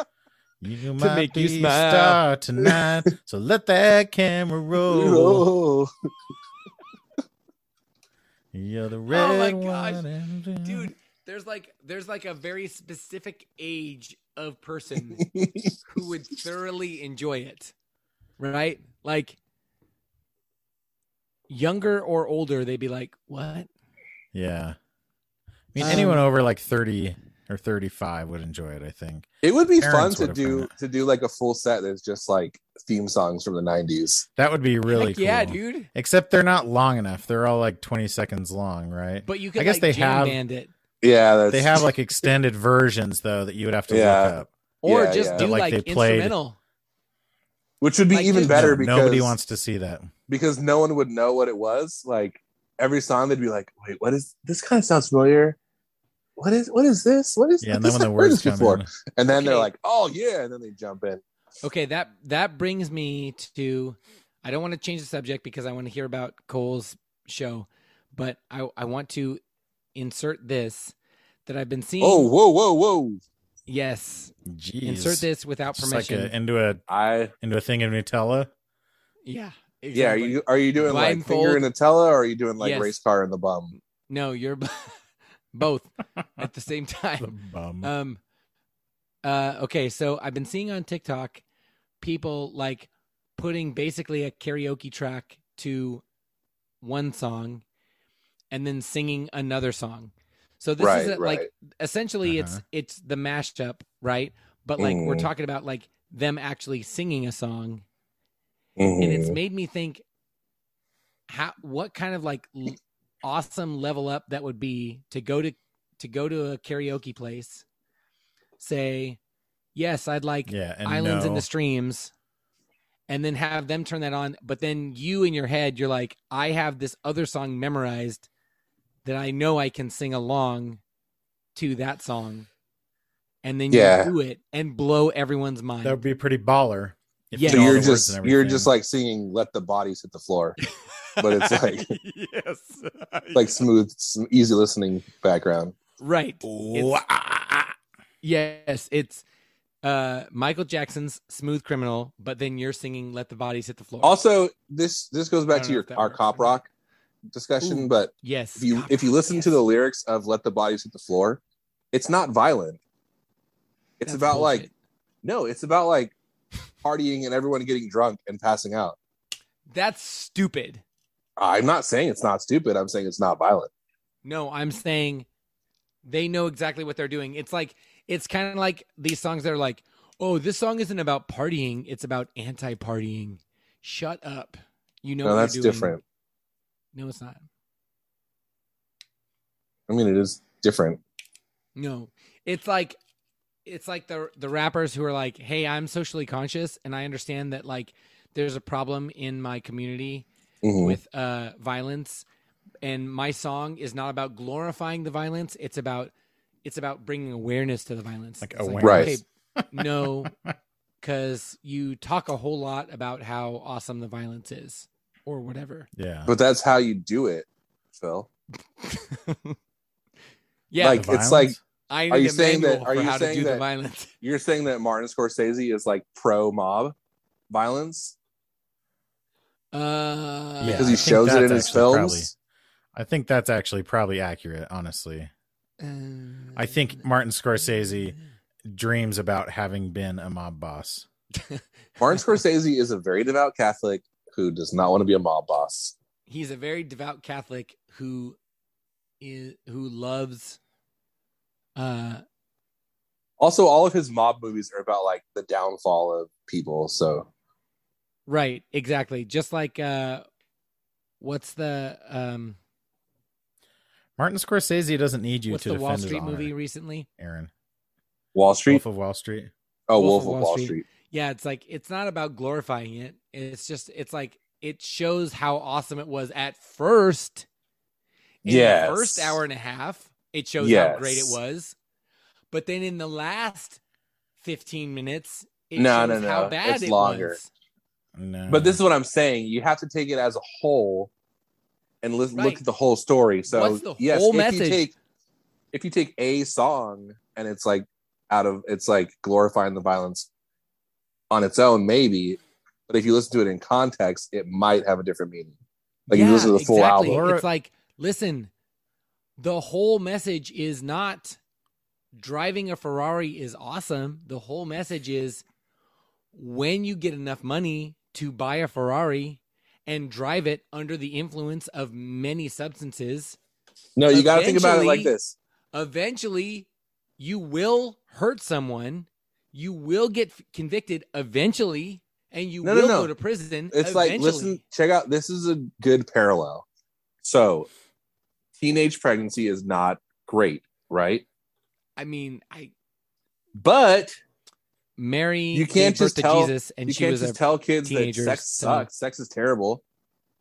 Speaker 3: You might
Speaker 2: make
Speaker 3: be
Speaker 2: you
Speaker 3: a
Speaker 2: smile.
Speaker 3: star tonight, so let that camera roll.
Speaker 1: Oh,
Speaker 3: You're the
Speaker 2: Oh my
Speaker 3: red one,
Speaker 2: gosh.
Speaker 3: and blue.
Speaker 2: dude, there's like there's like a very specific age of person who would thoroughly enjoy it. Right? Like younger or older, they'd be like, "What?"
Speaker 3: Yeah, I mean,
Speaker 1: Um,
Speaker 3: anyone over like thirty or thirty-five would enjoy it. I think.
Speaker 1: it would be
Speaker 3: Parents
Speaker 1: fun
Speaker 3: would
Speaker 1: to
Speaker 3: have
Speaker 1: do
Speaker 3: done
Speaker 1: to do like a full set that's just like theme songs from the '90s.
Speaker 3: That would be really
Speaker 2: Heck
Speaker 3: cool.
Speaker 2: yeah, dude.
Speaker 3: Except they're not long enough. They're all like 20 seconds long, right?
Speaker 2: But you could
Speaker 3: I guess
Speaker 2: like
Speaker 3: they
Speaker 2: jam
Speaker 3: have-
Speaker 2: band it.
Speaker 1: Yeah, that's,
Speaker 3: they have like extended versions though that you would have to
Speaker 1: Yeah.
Speaker 3: look up.
Speaker 2: Or
Speaker 1: Yeah,
Speaker 2: just
Speaker 1: yeah.
Speaker 2: do
Speaker 3: Like,
Speaker 2: like,
Speaker 3: they played-
Speaker 2: instrumental.
Speaker 1: which would be
Speaker 2: like,
Speaker 1: even
Speaker 2: dude,
Speaker 1: better
Speaker 3: No,
Speaker 1: because
Speaker 3: nobody wants to see that.
Speaker 1: because no one would know what it was. Like every song, they'd be like, "Wait, what is this? Kind of sounds familiar. What is what is this? What is
Speaker 3: Yeah, and then
Speaker 1: this?
Speaker 3: when the
Speaker 1: I've heard
Speaker 3: words
Speaker 1: this
Speaker 3: come
Speaker 1: before."
Speaker 3: in,
Speaker 1: And then they're
Speaker 2: Okay.
Speaker 1: like, "Oh yeah," and then they jump in.
Speaker 2: Okay, that that brings me to I don't want to change the subject because I want to hear about Cole's show, but I I want to insert this that I've been seeing.
Speaker 1: Oh, whoa, whoa, whoa!
Speaker 2: yes.
Speaker 3: jeez.
Speaker 2: Insert this without
Speaker 3: Just like
Speaker 2: permission.
Speaker 3: a, into a
Speaker 1: I
Speaker 3: into a thing of Nutella.
Speaker 2: yeah.
Speaker 1: yeah. Are you are you doing like
Speaker 2: Blindfold.
Speaker 1: finger in a tella, or are you doing like
Speaker 2: Yes.
Speaker 1: race car in the bum?
Speaker 2: No, you're b- both at the same
Speaker 3: The
Speaker 2: time.
Speaker 3: bum.
Speaker 2: Um uh okay, so I've been seeing on TikTok people like putting basically a karaoke track to one song and then singing another song. So this
Speaker 1: Right,
Speaker 2: is a,
Speaker 1: right.
Speaker 2: like essentially it's
Speaker 3: Uh-huh.
Speaker 2: it's the mashup, right? But like we're
Speaker 1: Mm.
Speaker 2: talking about like them actually singing a song and
Speaker 1: Mm-hmm.
Speaker 3: Mm-hmm.
Speaker 2: it's made me think how what kind of like l- awesome level up that would be to go to to go to a karaoke place say yes i'd like
Speaker 3: yeah, and
Speaker 2: islands
Speaker 3: no.
Speaker 2: in the streams and then have them turn that on but then you in your head you're like i have this other song memorized that i know i can sing along to that song and then
Speaker 1: Yeah.
Speaker 2: you do it and blow everyone's mind
Speaker 3: That would be pretty baller. if you
Speaker 2: Yeah.
Speaker 1: so
Speaker 3: knew
Speaker 1: you're
Speaker 3: all the words
Speaker 1: just
Speaker 3: and
Speaker 1: you're
Speaker 3: everything.
Speaker 1: just like singing "Let the bodies hit the floor," but it's like
Speaker 3: yes.
Speaker 1: like smooth, sm- easy listening background.
Speaker 2: right
Speaker 3: Ooh, ah, ah, ah.
Speaker 2: Yes, it's uh Michael Jackson's Smooth Criminal, but then you're singing Let the Bodies Hit the Floor.
Speaker 1: Also, this this goes
Speaker 2: I
Speaker 1: back
Speaker 2: don't
Speaker 1: to
Speaker 2: know
Speaker 1: your
Speaker 2: if that
Speaker 1: our
Speaker 2: works
Speaker 1: cop
Speaker 2: or not.
Speaker 1: rock discussion,
Speaker 2: Ooh.
Speaker 1: but
Speaker 2: yes.
Speaker 1: if you
Speaker 2: God,
Speaker 1: if you listen to the lyrics of "Let the Bodies Hit the Floor," it's not violent. It's
Speaker 2: that's
Speaker 1: about like
Speaker 2: bullshit.
Speaker 1: no, it's about like partying and everyone getting drunk and passing out.
Speaker 2: That's stupid.
Speaker 1: I'm not saying it's not stupid. I'm saying it's not violent.
Speaker 2: No, I'm saying they know exactly what they're doing. It's like it's kind of like these songs that are like, "Oh, this song isn't about partying, it's about anti-partying." Shut up. You know
Speaker 1: No,
Speaker 2: what
Speaker 1: that's
Speaker 2: you're doing.
Speaker 1: different.
Speaker 2: No, it's not.
Speaker 1: I mean, it is different.
Speaker 2: No, it's like it's like the the rappers who are like, "Hey, I'm socially conscious, and I understand that like there's a problem in my community
Speaker 1: Mhm.
Speaker 2: with uh, violence, and my song is not about glorifying the violence. It's about it's about bringing awareness to the violence.
Speaker 3: Like
Speaker 2: It's
Speaker 1: awareness.
Speaker 2: okay, no, because you talk a whole lot about how awesome the violence is, or whatever.
Speaker 3: yeah.
Speaker 1: But that's how you do it, Phil.
Speaker 2: yeah,
Speaker 1: Like,
Speaker 3: The
Speaker 1: it's like-
Speaker 3: violence?
Speaker 2: I need
Speaker 1: are you
Speaker 2: a
Speaker 1: saying that-
Speaker 2: manual
Speaker 1: are
Speaker 2: for
Speaker 1: you
Speaker 2: how to
Speaker 1: saying
Speaker 2: do the
Speaker 1: that-
Speaker 2: violence.
Speaker 1: You're saying that Martin Scorsese is like pro mob violence
Speaker 2: Uh,
Speaker 3: Yeah,
Speaker 1: because
Speaker 3: I
Speaker 1: he
Speaker 3: think
Speaker 1: shows it in
Speaker 3: that's
Speaker 1: his
Speaker 3: actually probably-
Speaker 1: films.
Speaker 3: I think that's actually probably accurate, honestly.
Speaker 2: Um,
Speaker 3: I think Martin Scorsese dreams about having been a mob boss.
Speaker 1: Martin Scorsese is a very devout Catholic who does not want to be a mob boss.
Speaker 2: He's a very devout Catholic who is who loves uh
Speaker 1: Also, all of his mob movies are about like the downfall of people. So
Speaker 2: right, exactly. Just like uh what's the um
Speaker 3: Martin Scorsese doesn't need you
Speaker 2: what's
Speaker 3: to
Speaker 2: the
Speaker 3: defend
Speaker 2: Wall
Speaker 3: his
Speaker 2: Street
Speaker 3: honor,
Speaker 2: movie recently?
Speaker 3: Aaron.
Speaker 1: Wall Street.
Speaker 3: Wolf of Wall Street.
Speaker 1: oh, Wolf, of Wall Street.
Speaker 2: Yeah, it's like it's not about glorifying it. It's just it's like it shows how awesome it was at first. In
Speaker 1: Yes.
Speaker 2: the first hour and a half, it shows how great it
Speaker 1: Yes.
Speaker 2: was. But then in the last 15 minutes, it
Speaker 1: No,
Speaker 2: shows
Speaker 1: no, no.
Speaker 2: how bad
Speaker 1: It's
Speaker 2: it
Speaker 1: longer.
Speaker 2: was.
Speaker 3: No.
Speaker 1: But this is what I'm saying. You have to take it as a whole and li-
Speaker 2: Right.
Speaker 1: look at the whole story. So
Speaker 2: What's the
Speaker 1: yes,
Speaker 2: whole
Speaker 1: if
Speaker 2: message?
Speaker 1: you take if you take a song and it's like out of it's like glorifying the violence on its own, maybe. But if you listen to it in context, it might have a different meaning. Like you listen to the full
Speaker 2: exactly.
Speaker 1: album.
Speaker 2: It's like, listen, the whole message is not driving a Ferrari is awesome. The whole message is when you get enough money to buy a Ferrari and drive it under the influence of many substances,
Speaker 1: No, you got to think about it like
Speaker 2: Eventually-
Speaker 1: this.
Speaker 2: eventually you will hurt someone. You will get f- convicted eventually, and you
Speaker 1: No, no,
Speaker 2: will
Speaker 1: no.
Speaker 2: go to prison.
Speaker 1: It's like
Speaker 2: eventually.
Speaker 1: listen, check out this is a good parallel. So, teenage pregnancy is not great, right?
Speaker 2: I mean, I
Speaker 1: But
Speaker 2: Mary
Speaker 1: You can't
Speaker 2: gave birth
Speaker 1: just
Speaker 2: to
Speaker 1: tell-
Speaker 2: Jesus, and
Speaker 1: you
Speaker 2: she
Speaker 1: can't
Speaker 2: was
Speaker 1: just
Speaker 2: a
Speaker 1: tell kids that
Speaker 2: teenager,
Speaker 1: sex
Speaker 2: so-
Speaker 1: sucks. Sex is terrible.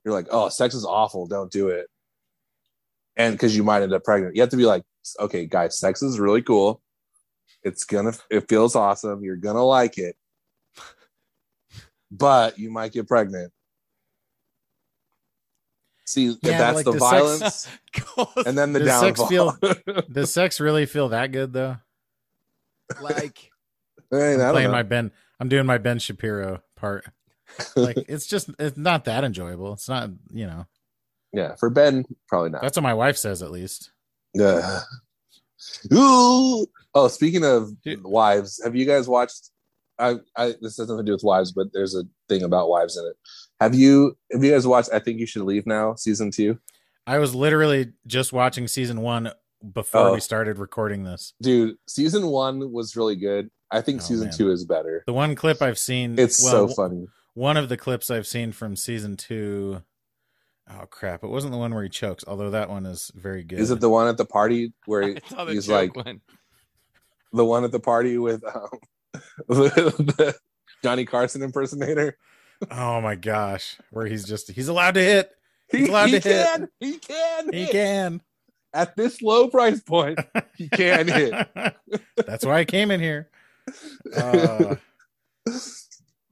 Speaker 1: You're like, oh, sex is awful. Don't do it. And because you might end up pregnant, you have to be like, okay, guys, sex is really cool. It's gonna, it feels awesome. You're gonna like it, but you might get pregnant. See, if
Speaker 3: Yeah,
Speaker 1: that's
Speaker 3: like
Speaker 1: the,
Speaker 3: the sex-
Speaker 1: violence, and then the,
Speaker 3: Does sex
Speaker 1: downfall.
Speaker 3: feel- Does sex really feel that good though?
Speaker 2: like
Speaker 1: Hey, I
Speaker 3: I'm
Speaker 1: don't
Speaker 3: playing
Speaker 1: know.
Speaker 3: my Ben. I'm doing my Ben Shapiro part. Like it's just it's not that enjoyable. It's not you know.
Speaker 1: yeah, for Ben, probably not.
Speaker 3: That's what my wife says at least.
Speaker 1: Yeah. Ooh. Oh, speaking of
Speaker 3: Dude.
Speaker 1: wives, have you guys watched? I, I this has nothing to do with wives, but there's a thing about wives in it. Have you have you guys watched? I think you should leave now, season two,
Speaker 3: I was literally just watching season one before
Speaker 1: Oh.
Speaker 3: we started recording this.
Speaker 1: dude. Season one was really good. I think
Speaker 3: Oh,
Speaker 1: season
Speaker 3: man.
Speaker 1: two is better.
Speaker 3: The one clip I've seen
Speaker 1: It's
Speaker 3: well,
Speaker 1: so funny.
Speaker 3: One of the clips I've seen from season two oh crap! It wasn't the one where he chokes, although that one is very good.
Speaker 1: Is it the one at the party where
Speaker 2: I
Speaker 1: he-
Speaker 2: saw the
Speaker 1: he's
Speaker 2: joke
Speaker 1: like
Speaker 2: one.
Speaker 1: the one at the party with um, the Johnny Carson impersonator?
Speaker 3: Oh my gosh! Where he's just he's allowed to hit.
Speaker 1: He,
Speaker 3: He's allowed
Speaker 1: he
Speaker 3: to hit.
Speaker 1: can. He can.
Speaker 3: He
Speaker 1: hit.
Speaker 3: can.
Speaker 1: At this low price point, he can hit.
Speaker 3: That's why I came in here. Uh,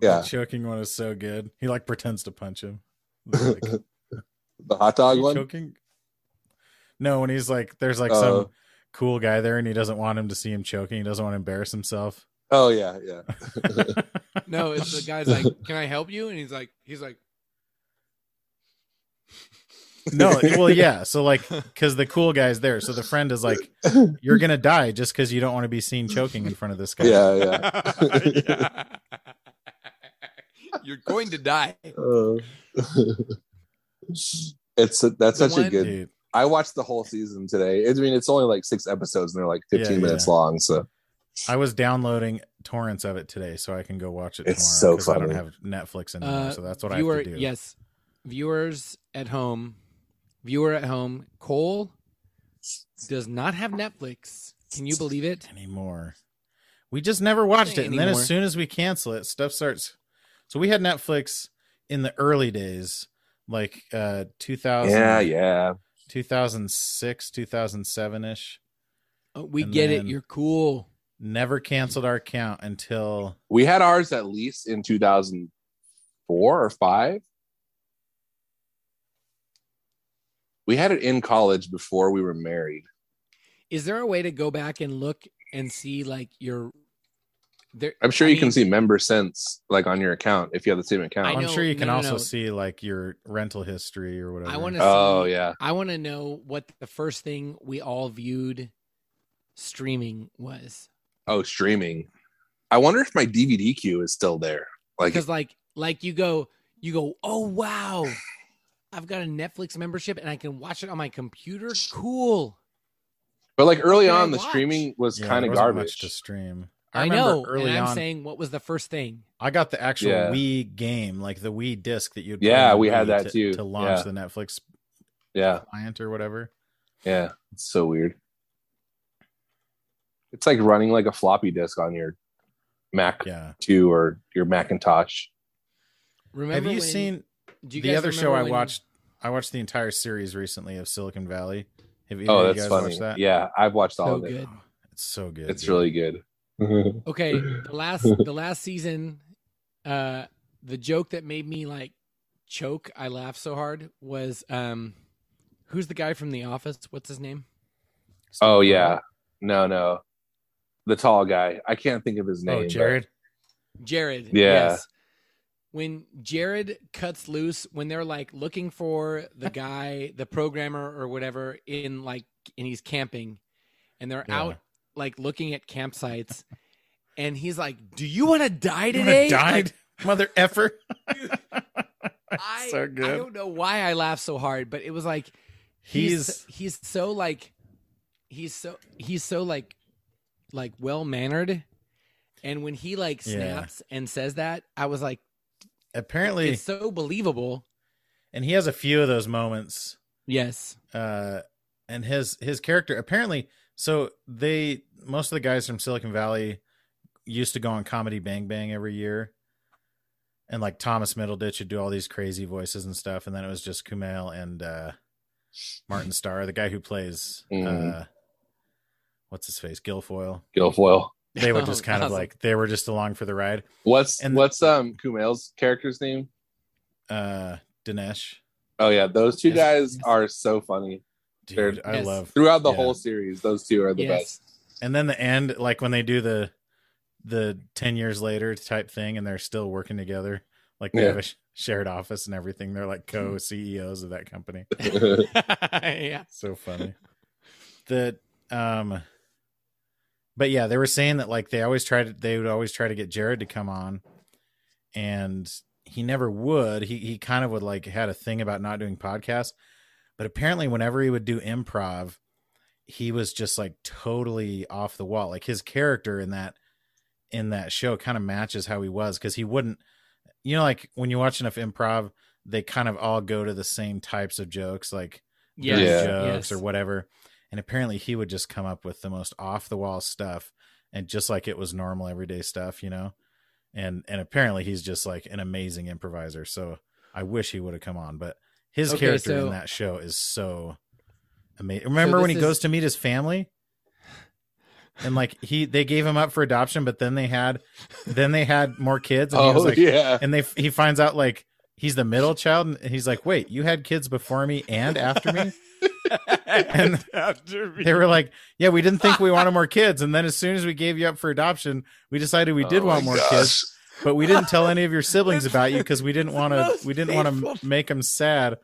Speaker 1: yeah,
Speaker 3: The choking one is so good. He like pretends to punch him. Like, "Are
Speaker 1: the hot dog
Speaker 3: you
Speaker 1: one.
Speaker 3: choking? No, when he's like, there's like
Speaker 1: Uh.
Speaker 3: some cool guy there, and he doesn't want him to see him choking. He doesn't want to embarrass himself.
Speaker 1: Oh yeah, yeah.
Speaker 2: No, it's the guy's like, "Can I help you?" And he's like, "He's like,
Speaker 3: No, well, yeah. So like, because the cool guy's there, so the friend is like, "You're gonna die just because you don't want to be seen choking in front of this guy."
Speaker 1: yeah, yeah.
Speaker 2: you're going to die."
Speaker 1: Uh, it's a, that's
Speaker 2: The
Speaker 1: such a
Speaker 2: one-
Speaker 1: good.
Speaker 3: Dude,
Speaker 1: I watched the whole season today. I mean, it's only like six episodes, and they're like fifteen
Speaker 3: Yeah,
Speaker 1: minutes
Speaker 3: yeah.
Speaker 1: long. So
Speaker 3: I was downloading torrents of it today, so I can go watch it.
Speaker 1: It's
Speaker 3: tomorrow,
Speaker 1: so
Speaker 3: 'cause I
Speaker 1: funny.
Speaker 3: don't have Netflix anymore,
Speaker 2: Uh,
Speaker 3: so that's what I
Speaker 2: Viewer,
Speaker 3: have to do.
Speaker 2: yes, viewers at home, viewer at home. Cole does not have Netflix. Can you believe it?
Speaker 3: anymore. We just never watched it. And then
Speaker 2: Anymore.
Speaker 3: as soon as we cancel it, stuff starts. So we had Netflix in the early days, like uh 2000,
Speaker 1: yeah, yeah.
Speaker 3: 2006, 2007 ish.
Speaker 2: Oh, we
Speaker 3: And
Speaker 2: get
Speaker 3: then-
Speaker 2: it. You're cool.
Speaker 3: Never canceled our account until
Speaker 1: We had ours at least in two thousand four or five. We had it in college before we were married.
Speaker 2: Is there a way to go back and look and see like your there?
Speaker 1: I'm sure
Speaker 2: I
Speaker 1: you
Speaker 2: mean-
Speaker 1: can see member cents like on your account if you have the same account.
Speaker 2: I
Speaker 3: I'm
Speaker 2: know-
Speaker 3: sure you
Speaker 2: no,
Speaker 3: can
Speaker 2: no,
Speaker 3: also
Speaker 2: no.
Speaker 3: see like your rental history or whatever.
Speaker 2: I wanna-
Speaker 1: oh yeah.
Speaker 2: I want to know what the first thing we all viewed streaming was
Speaker 1: Oh, streaming. I wonder if my DVD queue is still there. Like,
Speaker 2: because like like you go you go, oh wow, I've got a Netflix membership and I can watch it on my computer. Cool.
Speaker 1: But like early
Speaker 2: Can I
Speaker 1: on, the
Speaker 2: watch?
Speaker 1: streaming was
Speaker 3: Yeah,
Speaker 1: kind
Speaker 3: there
Speaker 1: of
Speaker 3: wasn't
Speaker 1: garbage.
Speaker 3: Much to stream.
Speaker 2: I,
Speaker 3: remember
Speaker 2: know.
Speaker 3: Early
Speaker 2: and I'm
Speaker 3: on,
Speaker 2: saying, what was the first thing?
Speaker 3: I got the actual
Speaker 1: Yeah.
Speaker 3: Wii game, like the Wii disc that you'd. put
Speaker 1: Yeah,
Speaker 3: in the
Speaker 1: we had
Speaker 3: Wii
Speaker 1: that
Speaker 3: to,
Speaker 1: too.
Speaker 3: to launch
Speaker 1: Yeah.
Speaker 3: the Netflix
Speaker 1: yeah,
Speaker 3: client or whatever.
Speaker 1: yeah, it's so weird. It's like running like a floppy disk on your Mac
Speaker 3: Yeah.
Speaker 1: two or your Macintosh.
Speaker 2: Remember?
Speaker 3: Have you
Speaker 2: when-
Speaker 3: seen
Speaker 2: do you
Speaker 3: the
Speaker 2: guys
Speaker 3: other show
Speaker 2: remember
Speaker 3: I
Speaker 2: when-
Speaker 3: watched? I watched the entire series recently of Silicon Valley. Have either
Speaker 1: oh,
Speaker 3: of you
Speaker 1: that's
Speaker 3: guys
Speaker 1: funny.
Speaker 3: watched that?
Speaker 1: Yeah, I've watched all
Speaker 2: So
Speaker 1: of it.
Speaker 2: good.
Speaker 3: Oh, it's so good.
Speaker 1: It's
Speaker 3: dude.
Speaker 1: really good. Oh,
Speaker 2: Okay, the last the last season, uh, the joke that made me like choke, I laughed so hard was um, who's the guy from The Office? What's his name?
Speaker 1: oh yeah, no, no, the tall guy. I can't think of his name.
Speaker 3: Oh,
Speaker 1: but-
Speaker 3: Jared.
Speaker 2: Jared.
Speaker 1: Yeah.
Speaker 2: Yes. When Jared cuts loose, when they're like looking for the guy, the programmer or whatever, in like, and he's camping, and they're
Speaker 3: Yeah.
Speaker 2: out like looking at campsites, and he's like, "Do you want to die
Speaker 3: You
Speaker 2: today?"
Speaker 3: died, mother effer.
Speaker 2: Like, I,
Speaker 3: so
Speaker 2: I
Speaker 3: good.
Speaker 2: don't know why I laughed so hard, but it was like
Speaker 3: He's
Speaker 2: he's he's so like he's so he's so like like well mannered, and when he like
Speaker 3: Yeah.
Speaker 2: snaps and says that, I was like.
Speaker 3: apparently,
Speaker 2: It's so believable.
Speaker 3: and he has a few of those moments
Speaker 2: Yes.
Speaker 3: uh and his his character apparently so they most of the guys from silicon valley used to go on comedy bang bang every year and like thomas middleditch would do all these crazy voices and stuff and then it was just kumail and uh martin starr the guy who plays
Speaker 1: Mhm.
Speaker 2: Mm.
Speaker 3: uh what's his face guilfoyle
Speaker 1: Guilfoyle.
Speaker 3: they were
Speaker 2: Oh,
Speaker 3: just kind of
Speaker 2: awesome.
Speaker 3: like they were just along for the ride
Speaker 1: What's
Speaker 3: And-
Speaker 1: what's um Kumail's character's name?
Speaker 3: uh dinesh
Speaker 1: Oh yeah, those two
Speaker 3: Yes.
Speaker 1: guys are so funny
Speaker 3: dude i
Speaker 2: Yes.
Speaker 3: love
Speaker 1: throughout the
Speaker 3: Yeah.
Speaker 1: whole series. Those two are the
Speaker 2: yes.
Speaker 1: best.
Speaker 3: And then the end, like when they do the the ten years later type thing, and they're still working together, like they
Speaker 1: Yeah.
Speaker 3: have a sh- shared office and everything. They're like co CEOs of that company.
Speaker 2: yeah.
Speaker 3: So funny. the um, but yeah, they were saying that like they always tried to, they would always try to get Jared to come on, and he never would. He he kind of would like had a thing about not doing podcasts, but apparently whenever he would do improv, he was just like totally off the wall. Like his character in that in that show kind of matches how he was because he wouldn't you know like when you watch enough improv they kind of all go to the same types of jokes like
Speaker 2: Yes.
Speaker 1: Yeah.
Speaker 3: jokes
Speaker 2: Yes.
Speaker 3: or whatever. And apparently he would just come up with the most off the wall stuff and just like it was normal everyday stuff, you know? And and apparently he's just like an amazing improviser. So I wish he would have come on, but his
Speaker 2: Okay,
Speaker 3: character
Speaker 2: so-
Speaker 3: in that show is so amazing. Remember when
Speaker 2: this
Speaker 3: he
Speaker 2: is-
Speaker 3: goes to meet his family? And like he they gave him up for adoption, but then they had then they had more kids and he was
Speaker 1: oh
Speaker 3: like
Speaker 1: yeah,
Speaker 3: and they he finds out like he's the middle child and he's like, "Wait, you had kids before me and after me?" And-
Speaker 2: after me.
Speaker 3: they were like, "Yeah, we didn't think we wanted more kids, and then as soon as we gave you up for adoption, we decided we did
Speaker 1: Oh
Speaker 3: want
Speaker 1: my
Speaker 3: more
Speaker 1: gosh.
Speaker 3: kids, but we didn't tell any of your siblings about you because we didn't
Speaker 2: It's
Speaker 3: want
Speaker 2: the
Speaker 3: to.
Speaker 2: most
Speaker 3: We didn't want
Speaker 2: painful-
Speaker 3: to make them sad."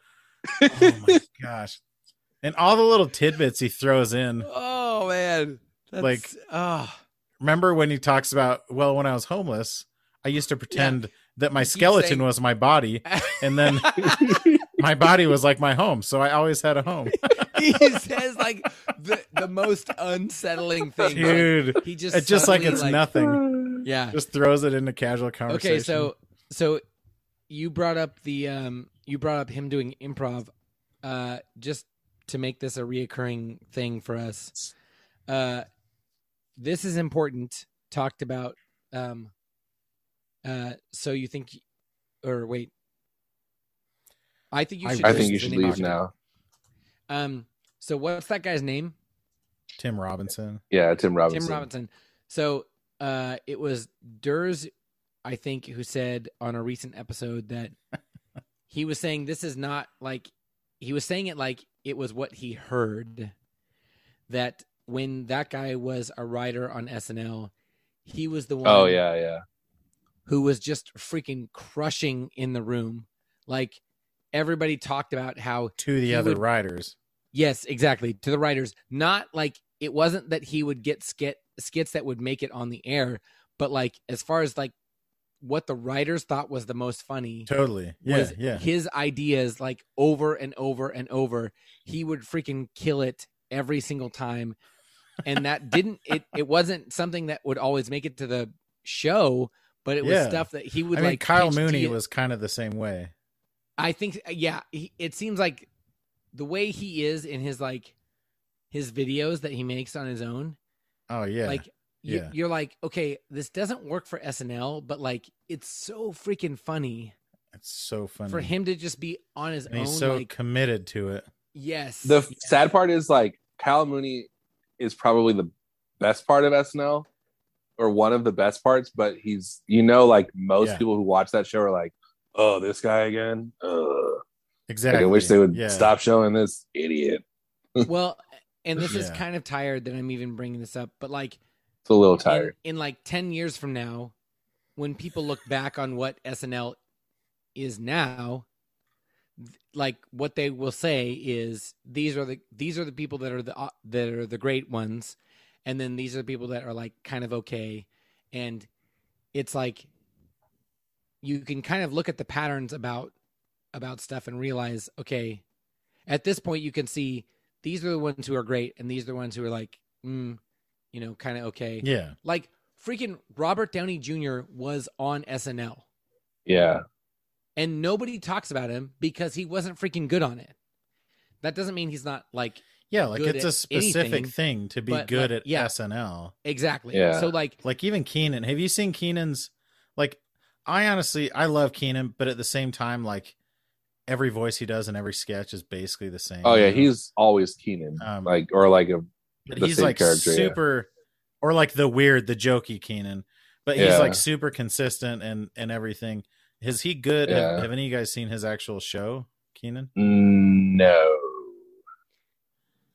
Speaker 3: Oh my gosh! And all the little tidbits he throws in.
Speaker 2: Oh man. That's,
Speaker 3: Like-
Speaker 2: oh.
Speaker 3: Remember when he talks about, "Well, when I was homeless, I used to pretend that my
Speaker 2: keeps
Speaker 3: skeleton
Speaker 2: saying-
Speaker 3: was my body, and then my body was like my home, so I always had a home."
Speaker 2: he says like the the most unsettling thing.
Speaker 3: Dude,
Speaker 2: He just
Speaker 3: it's just like
Speaker 2: suddenly,
Speaker 3: it's nothing.
Speaker 2: Yeah.
Speaker 3: Just throws it into casual conversation.
Speaker 2: Okay, so so you brought up the um you brought up him doing improv uh just to make this a reoccurring thing for us. Uh this is important talked about um uh so you think or wait I think you
Speaker 3: I-
Speaker 2: should
Speaker 1: I
Speaker 2: leave.
Speaker 1: think you
Speaker 2: The
Speaker 1: should
Speaker 2: name
Speaker 1: leave
Speaker 2: is-
Speaker 1: now.
Speaker 2: Um so what's that guy's name?
Speaker 3: Tim Robinson.
Speaker 1: Yeah, Tim Robinson.
Speaker 2: Tim Robinson. So uh, it was Durs, I think, who said on a recent episode that he was saying this is not like he was saying it like it was what he heard that when that guy was a writer on SNL, he was the one
Speaker 1: Oh yeah, yeah.
Speaker 2: who was just freaking crushing in the room. Like everybody talked about how
Speaker 3: to the
Speaker 2: He
Speaker 3: other
Speaker 2: would-
Speaker 3: writers.
Speaker 2: Yes, exactly. To the writers, not like it wasn't that he would get skit skits that would make it on the air, but like as far as like what the writers thought was the most funny
Speaker 3: Totally. Yeah,
Speaker 2: was
Speaker 3: yeah.
Speaker 2: his ideas like over and over and over. He would freaking kill it every single time. And that didn't it it wasn't something that would always make it to the show, but it was
Speaker 3: Yeah.
Speaker 2: stuff that he
Speaker 3: I
Speaker 2: would
Speaker 3: mean,
Speaker 2: like
Speaker 3: Kyle
Speaker 2: pitch to
Speaker 3: Mooney
Speaker 2: you.
Speaker 3: was kind of the same way.
Speaker 2: I think yeah, he, it seems like the way he is in his like his videos that he makes on his own,
Speaker 3: Oh yeah.
Speaker 2: like you,
Speaker 3: yeah.
Speaker 2: you're like, okay, this doesn't work for SNL, but like it's so freaking funny,
Speaker 3: it's so funny.
Speaker 2: for him to just be on his
Speaker 3: and
Speaker 2: own.
Speaker 3: he's so
Speaker 2: like,
Speaker 3: committed to it.
Speaker 2: yes,
Speaker 1: The sad part is like Kyle Mooney is probably the best part of SNL or one of the best parts, but he's you know like most
Speaker 3: Yeah.
Speaker 1: people who watch that show are like, oh, this guy again. Ugh. Like,
Speaker 3: Exactly.
Speaker 1: I wish they would
Speaker 3: Yeah.
Speaker 1: stop showing this idiot.
Speaker 2: well and this is
Speaker 3: Yeah.
Speaker 2: kind of tired that i'm even bringing this up but like
Speaker 1: It's a little
Speaker 2: in-
Speaker 1: tired.
Speaker 2: In, like 10 years from now when people look back on what snl is now th- like what they will say is these are the these are the people that are the au- that are the great ones and then these are the people that are like kind of okay and it's like you can kind of look at the patterns about about stuff and realize okay at this point you can see these are the ones who are great and these are the ones who are like mm, you know kind of okay
Speaker 3: Yeah.
Speaker 2: like freaking robert downey jr was on snl
Speaker 1: Yeah.
Speaker 2: and nobody talks about him because he wasn't freaking good on it that doesn't mean he's not like
Speaker 3: Yeah, like
Speaker 2: good
Speaker 3: it's a
Speaker 2: at
Speaker 3: specific
Speaker 2: anything,
Speaker 3: thing to be
Speaker 2: but,
Speaker 3: good
Speaker 2: like,
Speaker 3: at
Speaker 2: yeah.
Speaker 3: SNL.
Speaker 2: exactly
Speaker 1: Yeah.
Speaker 2: so like
Speaker 3: Like even Keenan. Have you seen Keenan's like I honestly I love Keenan, but at the same time, like every voice he does and every sketch is basically the same.
Speaker 1: Oh yeah,
Speaker 3: you know?
Speaker 1: he's always Keenan.
Speaker 3: Um,
Speaker 1: like or like a
Speaker 3: But
Speaker 1: the
Speaker 3: he's
Speaker 1: same
Speaker 3: like
Speaker 1: character, yeah.
Speaker 3: super or like the weird, the jokey Keenan. But he's
Speaker 1: Yeah.
Speaker 3: like super consistent and and everything. Is he good? Have,
Speaker 1: Yeah.
Speaker 3: have any of you guys seen his actual show, Keenan?
Speaker 1: no.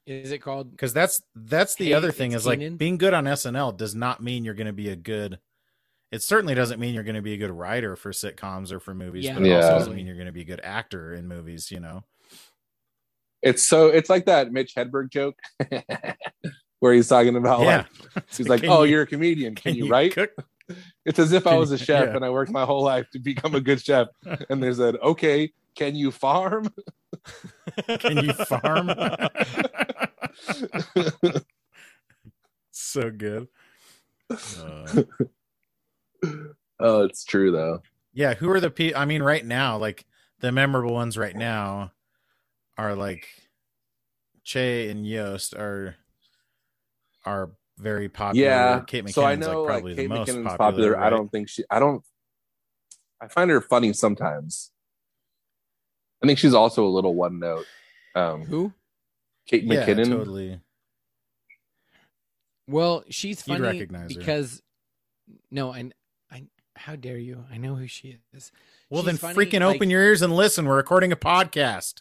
Speaker 2: is it called
Speaker 3: Because that's that's the
Speaker 2: Hey,
Speaker 3: other thing
Speaker 2: it's
Speaker 3: is
Speaker 2: Keenan.
Speaker 3: like being good on SNL does not mean you're going to be a good. It certainly doesn't mean you're going to be a good writer for sitcoms or for movies,
Speaker 2: Yeah.
Speaker 3: but it also
Speaker 1: Yeah.
Speaker 3: doesn't mean you're going to be a good actor in movies. You know,
Speaker 1: It's so it's like that Mitch Hedberg joke where he's talking about
Speaker 3: yeah.
Speaker 1: Oh, like he's like,
Speaker 3: Can
Speaker 1: Oh,
Speaker 3: you-
Speaker 1: you, are a comedian, can, you write?
Speaker 3: cook?
Speaker 1: It's as if I
Speaker 3: Can
Speaker 1: was a
Speaker 3: you-
Speaker 1: chef
Speaker 3: yeah.
Speaker 1: and I worked my whole life to become a good chef. And there's that, okay, can you farm?
Speaker 3: Can you farm? so good. Uh,
Speaker 1: Oh, it's true though.
Speaker 3: yeah, who are the people? I mean, right now, like the memorable ones right now are like Che and Yost are are very popular.
Speaker 1: Yeah.
Speaker 3: Kate McKinnon's
Speaker 1: so I know
Speaker 3: like probably
Speaker 1: like,
Speaker 3: the
Speaker 1: Kate
Speaker 3: most
Speaker 1: McKinnon's
Speaker 3: popular.
Speaker 1: popular.
Speaker 3: right?
Speaker 1: I don't think she I don't I find her funny sometimes. I think she's also a little one note. Um
Speaker 2: who
Speaker 1: Kate
Speaker 3: yeah,
Speaker 1: McKinnon.
Speaker 3: totally.
Speaker 2: well she's
Speaker 3: You'd
Speaker 2: funny
Speaker 3: recognize her.
Speaker 2: because no and I, how dare you i know who she is
Speaker 3: Well,
Speaker 2: She's
Speaker 3: then
Speaker 2: funny,
Speaker 3: freaking
Speaker 2: like-
Speaker 3: open your ears and listen. We're recording a podcast.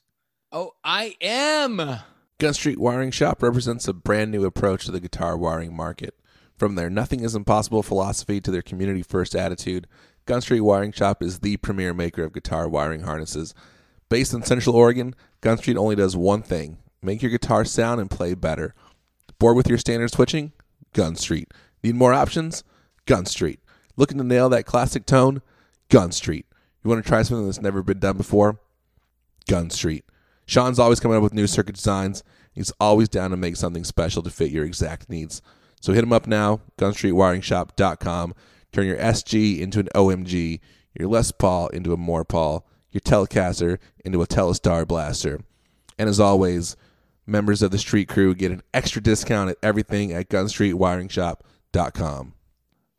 Speaker 2: oh i am
Speaker 4: Gun Street Wiring Shop represents a brand new approach to the guitar wiring market. From their nothing is impossible philosophy to their community first attitude, Gun Street Wiring Shop is the premier maker of guitar wiring harnesses. Based in Central Oregon, Gun Street only does one thing make your guitar sound and play better. Bored with your standard switching? Gun Street. Need more options? Gun Street. Looking to nail that classic tone? Gun Street. You want to try something that's never been done before? Gun Street. Sean's always coming up with new circuit designs. He's always down to make something special to fit your exact needs. So hit him up now, gunstreetwiringshop.com. Turn your SG into an OMG, your Les Paul into a More Paul, your Telecaster into a Telestar Blaster. And as always, members of the street crew get an extra discount at everything at gunstreetwiringshop.com.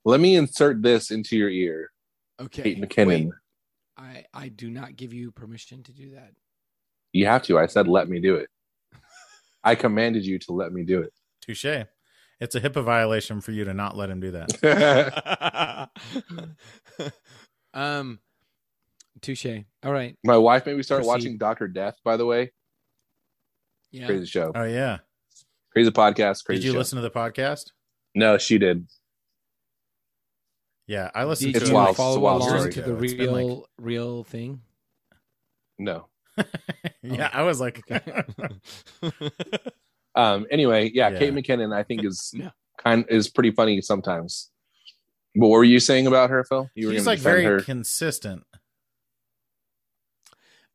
Speaker 1: Let me insert this into your ear,
Speaker 2: okay
Speaker 1: Kate McKinnon.
Speaker 2: Wait, i i do not give you permission to do that
Speaker 1: You have to. I said, let me do it. I commanded you to let me do it.
Speaker 3: Touche. It's a HIPAA violation for you to not let him do that.
Speaker 2: um, touche. All right.
Speaker 1: My wife made me start
Speaker 2: Proceed.
Speaker 1: watching Doctor Death. By the way,
Speaker 2: Yeah.
Speaker 1: crazy show,
Speaker 3: Oh yeah.
Speaker 1: crazy podcast, crazy.
Speaker 3: Did you
Speaker 1: show.
Speaker 3: listen to the podcast?
Speaker 1: No, she did.
Speaker 3: Yeah, I listened
Speaker 2: Did
Speaker 1: It's
Speaker 3: to
Speaker 2: you
Speaker 1: wild.
Speaker 3: it.
Speaker 1: It's a
Speaker 2: follow
Speaker 1: wild
Speaker 2: along
Speaker 1: story.
Speaker 2: to the
Speaker 3: It's been, like-
Speaker 2: real, real thing?
Speaker 1: No.
Speaker 3: yeah, I was like
Speaker 1: Um. Anyway, yeah,
Speaker 3: Yeah.
Speaker 1: Kate McKinnon, I think is
Speaker 2: No.
Speaker 1: kind is pretty funny sometimes. What were you saying about her, Phil? You were
Speaker 3: She's
Speaker 1: gonna
Speaker 3: like
Speaker 1: defend
Speaker 3: very
Speaker 1: her.
Speaker 3: consistent.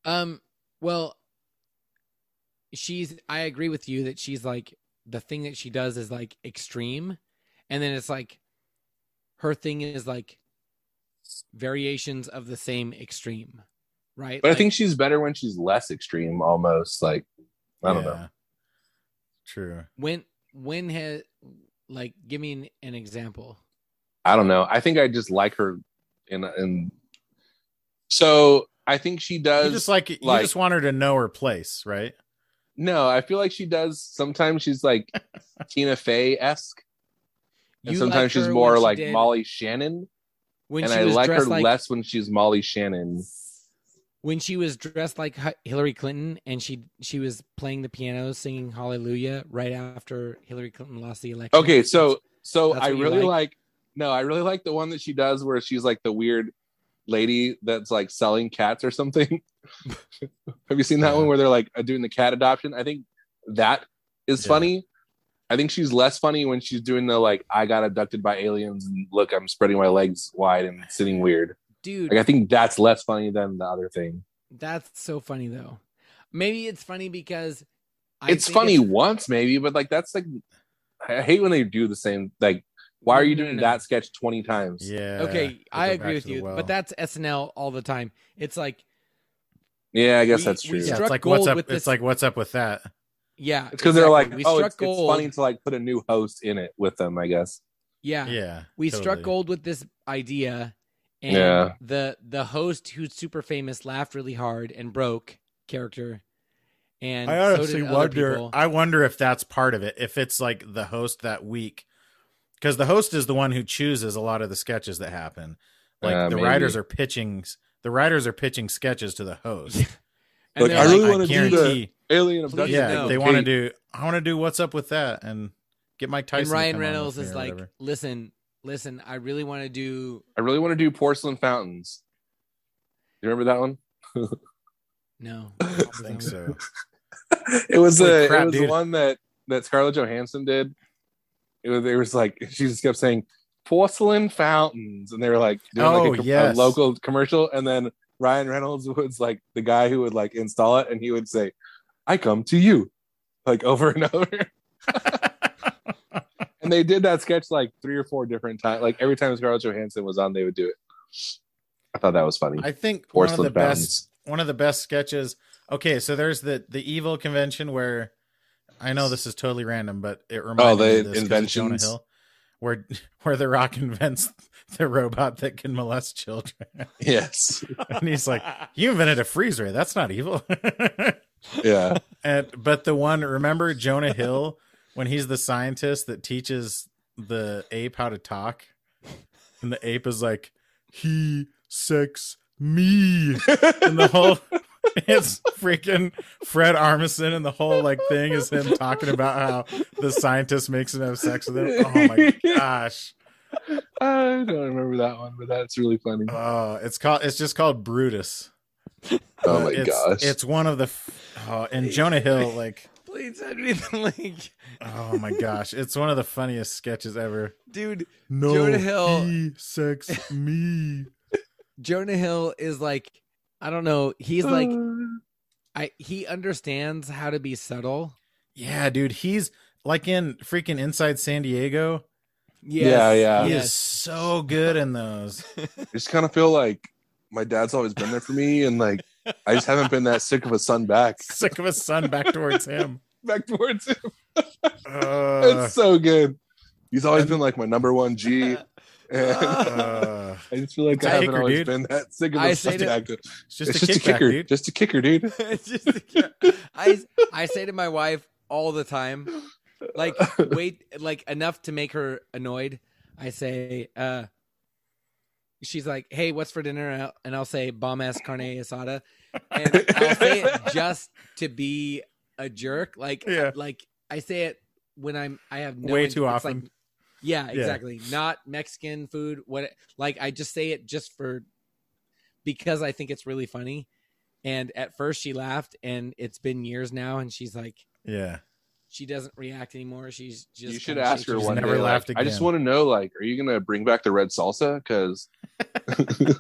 Speaker 2: Um, well, she's. I agree with you that she's like the thing that she does is like extreme, and then it's like her thing is like variations of the same extreme, right?
Speaker 1: But I
Speaker 2: Like,
Speaker 1: think she's better when she's less extreme, almost. Like, I don't know.
Speaker 3: Yeah. True.
Speaker 2: when when has like give me an, an example.
Speaker 1: I don't know. I think I just like her in in. So I think she
Speaker 3: You
Speaker 1: does.
Speaker 3: just like, you
Speaker 1: like-
Speaker 3: just want her to know her place, right?
Speaker 1: no, I feel like she does. Sometimes she's like Tina Fey esque, and
Speaker 2: You
Speaker 1: sometimes
Speaker 2: liked
Speaker 1: she's
Speaker 2: her
Speaker 1: more
Speaker 2: when she
Speaker 1: like
Speaker 2: did-
Speaker 1: Molly Shannon.
Speaker 2: when
Speaker 1: and
Speaker 2: she
Speaker 1: I
Speaker 2: was
Speaker 1: like her
Speaker 2: dressed like
Speaker 1: less when she's Molly Shannon.
Speaker 2: when she was dressed like Hi- Hillary Clinton and she she was playing the piano singing Hallelujah right after Hillary Clinton lost the election.
Speaker 1: Okay, so so
Speaker 2: That's
Speaker 1: I
Speaker 2: what you
Speaker 1: really like.
Speaker 2: like?
Speaker 1: no, I really like the one that she does where she's like the weird lady that's like selling cats or something. Have you seen that
Speaker 3: Yeah.
Speaker 1: one where they're like doing the cat adoption? I think that is
Speaker 3: Yeah.
Speaker 1: funny. I think she's less funny when she's doing the like I got abducted by aliens and look I'm spreading my legs wide and sitting weird.
Speaker 2: dude,
Speaker 1: Like I think that's less funny than the other thing.
Speaker 2: that's so funny though. Maybe it's funny because I
Speaker 1: it's
Speaker 2: think
Speaker 1: funny once maybe, but like that's like I hate when they do the same like why are
Speaker 2: No,
Speaker 1: you
Speaker 2: no, no,
Speaker 1: doing
Speaker 2: no.
Speaker 1: that sketch 20 times?
Speaker 3: Yeah.
Speaker 2: okay,
Speaker 3: They
Speaker 2: I
Speaker 3: go
Speaker 2: agree
Speaker 3: back
Speaker 2: with
Speaker 3: to the
Speaker 2: you,
Speaker 3: well.
Speaker 2: but that's SNL all the time. It's like
Speaker 1: Yeah, I guess
Speaker 2: We-
Speaker 1: that's
Speaker 2: we
Speaker 1: true.
Speaker 3: yeah,
Speaker 1: It's
Speaker 3: it's
Speaker 2: struck
Speaker 3: like what's
Speaker 2: gold
Speaker 3: up.
Speaker 2: with
Speaker 3: It's
Speaker 2: this-
Speaker 3: like what's up with that?
Speaker 2: yeah,
Speaker 1: because they're like,
Speaker 2: exactly. we
Speaker 1: oh,
Speaker 2: struck
Speaker 1: it's, it's
Speaker 2: gold.
Speaker 1: funny to like put a new host in it with them. I guess.
Speaker 2: yeah.
Speaker 3: Yeah,
Speaker 2: we struck
Speaker 3: totally.
Speaker 2: gold with this idea and
Speaker 1: Yeah.
Speaker 2: the the host who's super famous laughed really hard and broke character and
Speaker 3: I honestly
Speaker 2: so did other
Speaker 3: wonder.
Speaker 2: people.
Speaker 3: I wonder if that's part of it. If it's like the host that week, because the host is the one who chooses a lot of the sketches that happen. Like
Speaker 1: Uh,
Speaker 3: the
Speaker 1: maybe.
Speaker 3: writers are pitching. The writers are pitching sketches to the host.
Speaker 2: and
Speaker 1: Look,
Speaker 2: they're
Speaker 1: I
Speaker 2: like,
Speaker 1: really
Speaker 3: Like,
Speaker 1: wanna do
Speaker 3: guarantee-
Speaker 1: the- Alien
Speaker 2: Please
Speaker 1: abduction.
Speaker 3: Yeah,
Speaker 2: no.
Speaker 3: they want to do. I want to do what's up with that and get Mike Tyson.
Speaker 2: and
Speaker 3: to
Speaker 2: Ryan
Speaker 3: come on with
Speaker 2: Reynolds
Speaker 3: me
Speaker 2: is
Speaker 3: or
Speaker 2: like
Speaker 3: whatever.
Speaker 2: listen listen I really want to do
Speaker 1: I really want to do porcelain fountains. You remember that one?
Speaker 2: no
Speaker 3: I think so.
Speaker 1: it was
Speaker 3: Holy
Speaker 1: the
Speaker 3: crap,
Speaker 1: it was the
Speaker 3: dude.
Speaker 1: one that that Scarlett Johansson did. It was, it was like she just kept saying porcelain fountains, and they were like doing like a,
Speaker 3: Oh,
Speaker 1: com- a
Speaker 3: yes.
Speaker 1: local commercial, and then Ryan Reynolds was like the guy who would like install it, and he would say, "I come to you," like over and over. And they did that sketch like three or four different times. Like every time Scarlett Johansson was on, they would do it. I thought that was funny.
Speaker 3: I think one of
Speaker 1: Porcelain
Speaker 3: the best
Speaker 1: fountains.
Speaker 3: one of the best sketches. Okay, so there's the the evil convention where I know this is totally random, but it reminds
Speaker 1: the
Speaker 3: me of this 'cause of Jonah
Speaker 1: inventions.
Speaker 3: Hill, where where the Rock invents the robot that can molest children,
Speaker 1: Yes.
Speaker 3: and he's like, "You invented a freezer. That's not evil."
Speaker 1: Yeah.
Speaker 3: and but the one remember Jonah Hill when he's the scientist that teaches the ape how to talk, and the ape is like, "He sex me." and the whole it's freaking Fred Armisen and the whole like thing is him talking about how the scientist makes him have sex with him. Oh my gosh.
Speaker 1: I don't remember that one, but that's really funny.
Speaker 3: Oh, it's called it's just called Brutus.
Speaker 1: Oh my
Speaker 3: it's,
Speaker 1: gosh.
Speaker 3: It's one of the f- oh, and Jonah Hill like
Speaker 2: please send me the link
Speaker 3: oh my gosh, it's one of the funniest sketches ever.
Speaker 2: dude
Speaker 3: No.
Speaker 2: Jonah Hill-
Speaker 3: He sex me.
Speaker 2: Jonah Hill is like I don't know he's like
Speaker 1: Uh.
Speaker 2: I he understands how to be subtle
Speaker 3: Yeah, dude, he's like in freaking Inside San Diego.
Speaker 1: Yeah, yeah.
Speaker 2: Uh,
Speaker 3: He is so good in those.
Speaker 1: I just kind of feel like my dad's always been there for me, and like I just haven't been that sick of a son back
Speaker 3: Sick of his son back towards him.
Speaker 1: back towards him.
Speaker 3: Uh,
Speaker 1: It's so good. He's always been like my number one G. And
Speaker 3: uh,
Speaker 1: I just feel like
Speaker 3: It's a
Speaker 1: I haven't
Speaker 3: kicker,
Speaker 1: always
Speaker 3: dude.
Speaker 1: been that sick of
Speaker 2: I
Speaker 1: a
Speaker 2: say
Speaker 1: son
Speaker 2: to-
Speaker 1: back.
Speaker 3: it's
Speaker 1: It's
Speaker 3: just, a, kickback,
Speaker 1: kicker,
Speaker 3: dude.
Speaker 1: just a kicker, dude.
Speaker 2: It's just a cat. I I say to my wife all the time, like wait, like enough to make her annoyed. I say, uh, she's like, "Hey, what's for dinner?" And I'll, and I'll say, "Bomb ass carne asada," and I'll say it just to be a jerk. Like,
Speaker 3: Yeah.
Speaker 2: like I say it when I'm I have no
Speaker 3: Way
Speaker 2: int-
Speaker 3: too
Speaker 2: it's like-
Speaker 3: often.
Speaker 2: yeah,
Speaker 3: Yeah.
Speaker 2: exactly. Not Mexican food. What like I just say it just for because I think it's really funny. And at first she laughed, and it's been years now, and she's like,
Speaker 3: Yeah.
Speaker 2: she doesn't react anymore. She's just
Speaker 1: you should
Speaker 2: kinda
Speaker 1: ask
Speaker 2: shakes
Speaker 1: her one
Speaker 2: head.
Speaker 1: day.
Speaker 3: never
Speaker 1: like,
Speaker 3: laughed
Speaker 1: I just
Speaker 3: again.
Speaker 1: want to know, like, are you gonna bring back the red salsa? Because the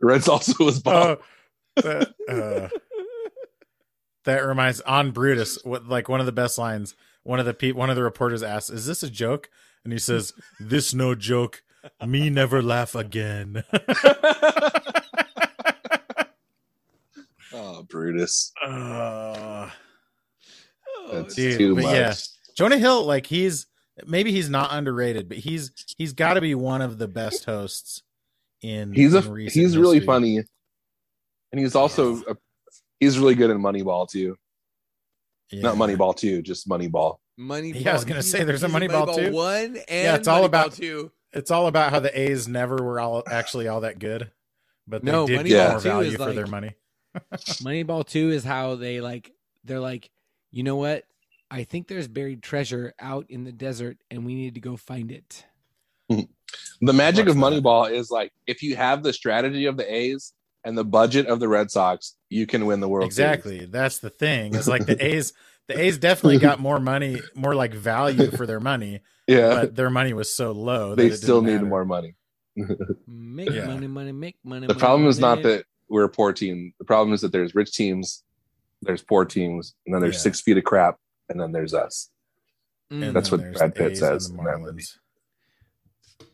Speaker 1: red salsa was bomb.
Speaker 3: Oh, that, uh, that reminds on Brutus. What like one of the best lines. One of the pe- one of the reporters asks, "Is this a joke?" And he says, "This no joke. Me never laugh again."
Speaker 1: Oh, Brutus,
Speaker 3: Uh,
Speaker 2: Oh,
Speaker 1: that's
Speaker 3: dude,
Speaker 1: too
Speaker 3: but
Speaker 1: much.
Speaker 3: yeah. Jonah Hill, like he's maybe he's not underrated, but he's he's got to be one of the best hosts in.
Speaker 1: He's a
Speaker 3: in recent
Speaker 1: he's really
Speaker 3: history.
Speaker 1: funny, and he's also a, he's really good in Moneyball too.
Speaker 3: Yeah.
Speaker 1: Not Moneyball too, just Moneyball.
Speaker 2: Moneyball.
Speaker 3: Yeah, I was gonna
Speaker 2: he's-
Speaker 3: say, there's a
Speaker 2: he's
Speaker 3: Moneyball too.
Speaker 2: One and
Speaker 3: it's all
Speaker 2: Moneyball
Speaker 3: about-
Speaker 2: two.
Speaker 3: It's all about how the A's never were all actually all that good, but they
Speaker 2: No,
Speaker 3: did
Speaker 1: Moneyball
Speaker 3: get more
Speaker 2: too
Speaker 3: value
Speaker 2: is
Speaker 3: for their
Speaker 2: like-
Speaker 3: money.
Speaker 2: Moneyball two is how they like. They're like, you know what? I think there's buried treasure out in the desert, and we need to go find it.
Speaker 1: The magic of
Speaker 3: Watch that.
Speaker 1: Moneyball is like if you have the strategy of the A's and the budget of the Red Sox, you can win the World
Speaker 3: Exactly, that's the thing. It's like the A's, the A's definitely got more money, more like value for their money,
Speaker 1: Series. Yeah,
Speaker 3: but their money was so low. that
Speaker 1: they
Speaker 3: it didn't
Speaker 1: still need
Speaker 3: matter.
Speaker 1: more money.
Speaker 2: Make
Speaker 3: Yeah.
Speaker 2: money, money, make money.
Speaker 1: The
Speaker 2: money,
Speaker 1: problem is not
Speaker 2: money.
Speaker 1: that we're a poor team. The problem is that there's rich teams, there's poor teams, and then there's
Speaker 3: Yeah.
Speaker 1: six feet of crap, and then there's us.
Speaker 2: Mm,
Speaker 1: That's
Speaker 3: then
Speaker 1: what
Speaker 3: there's
Speaker 1: Brad
Speaker 3: the
Speaker 1: Pitt
Speaker 3: A's
Speaker 1: says
Speaker 3: and the
Speaker 1: in that movie.
Speaker 3: Marlins.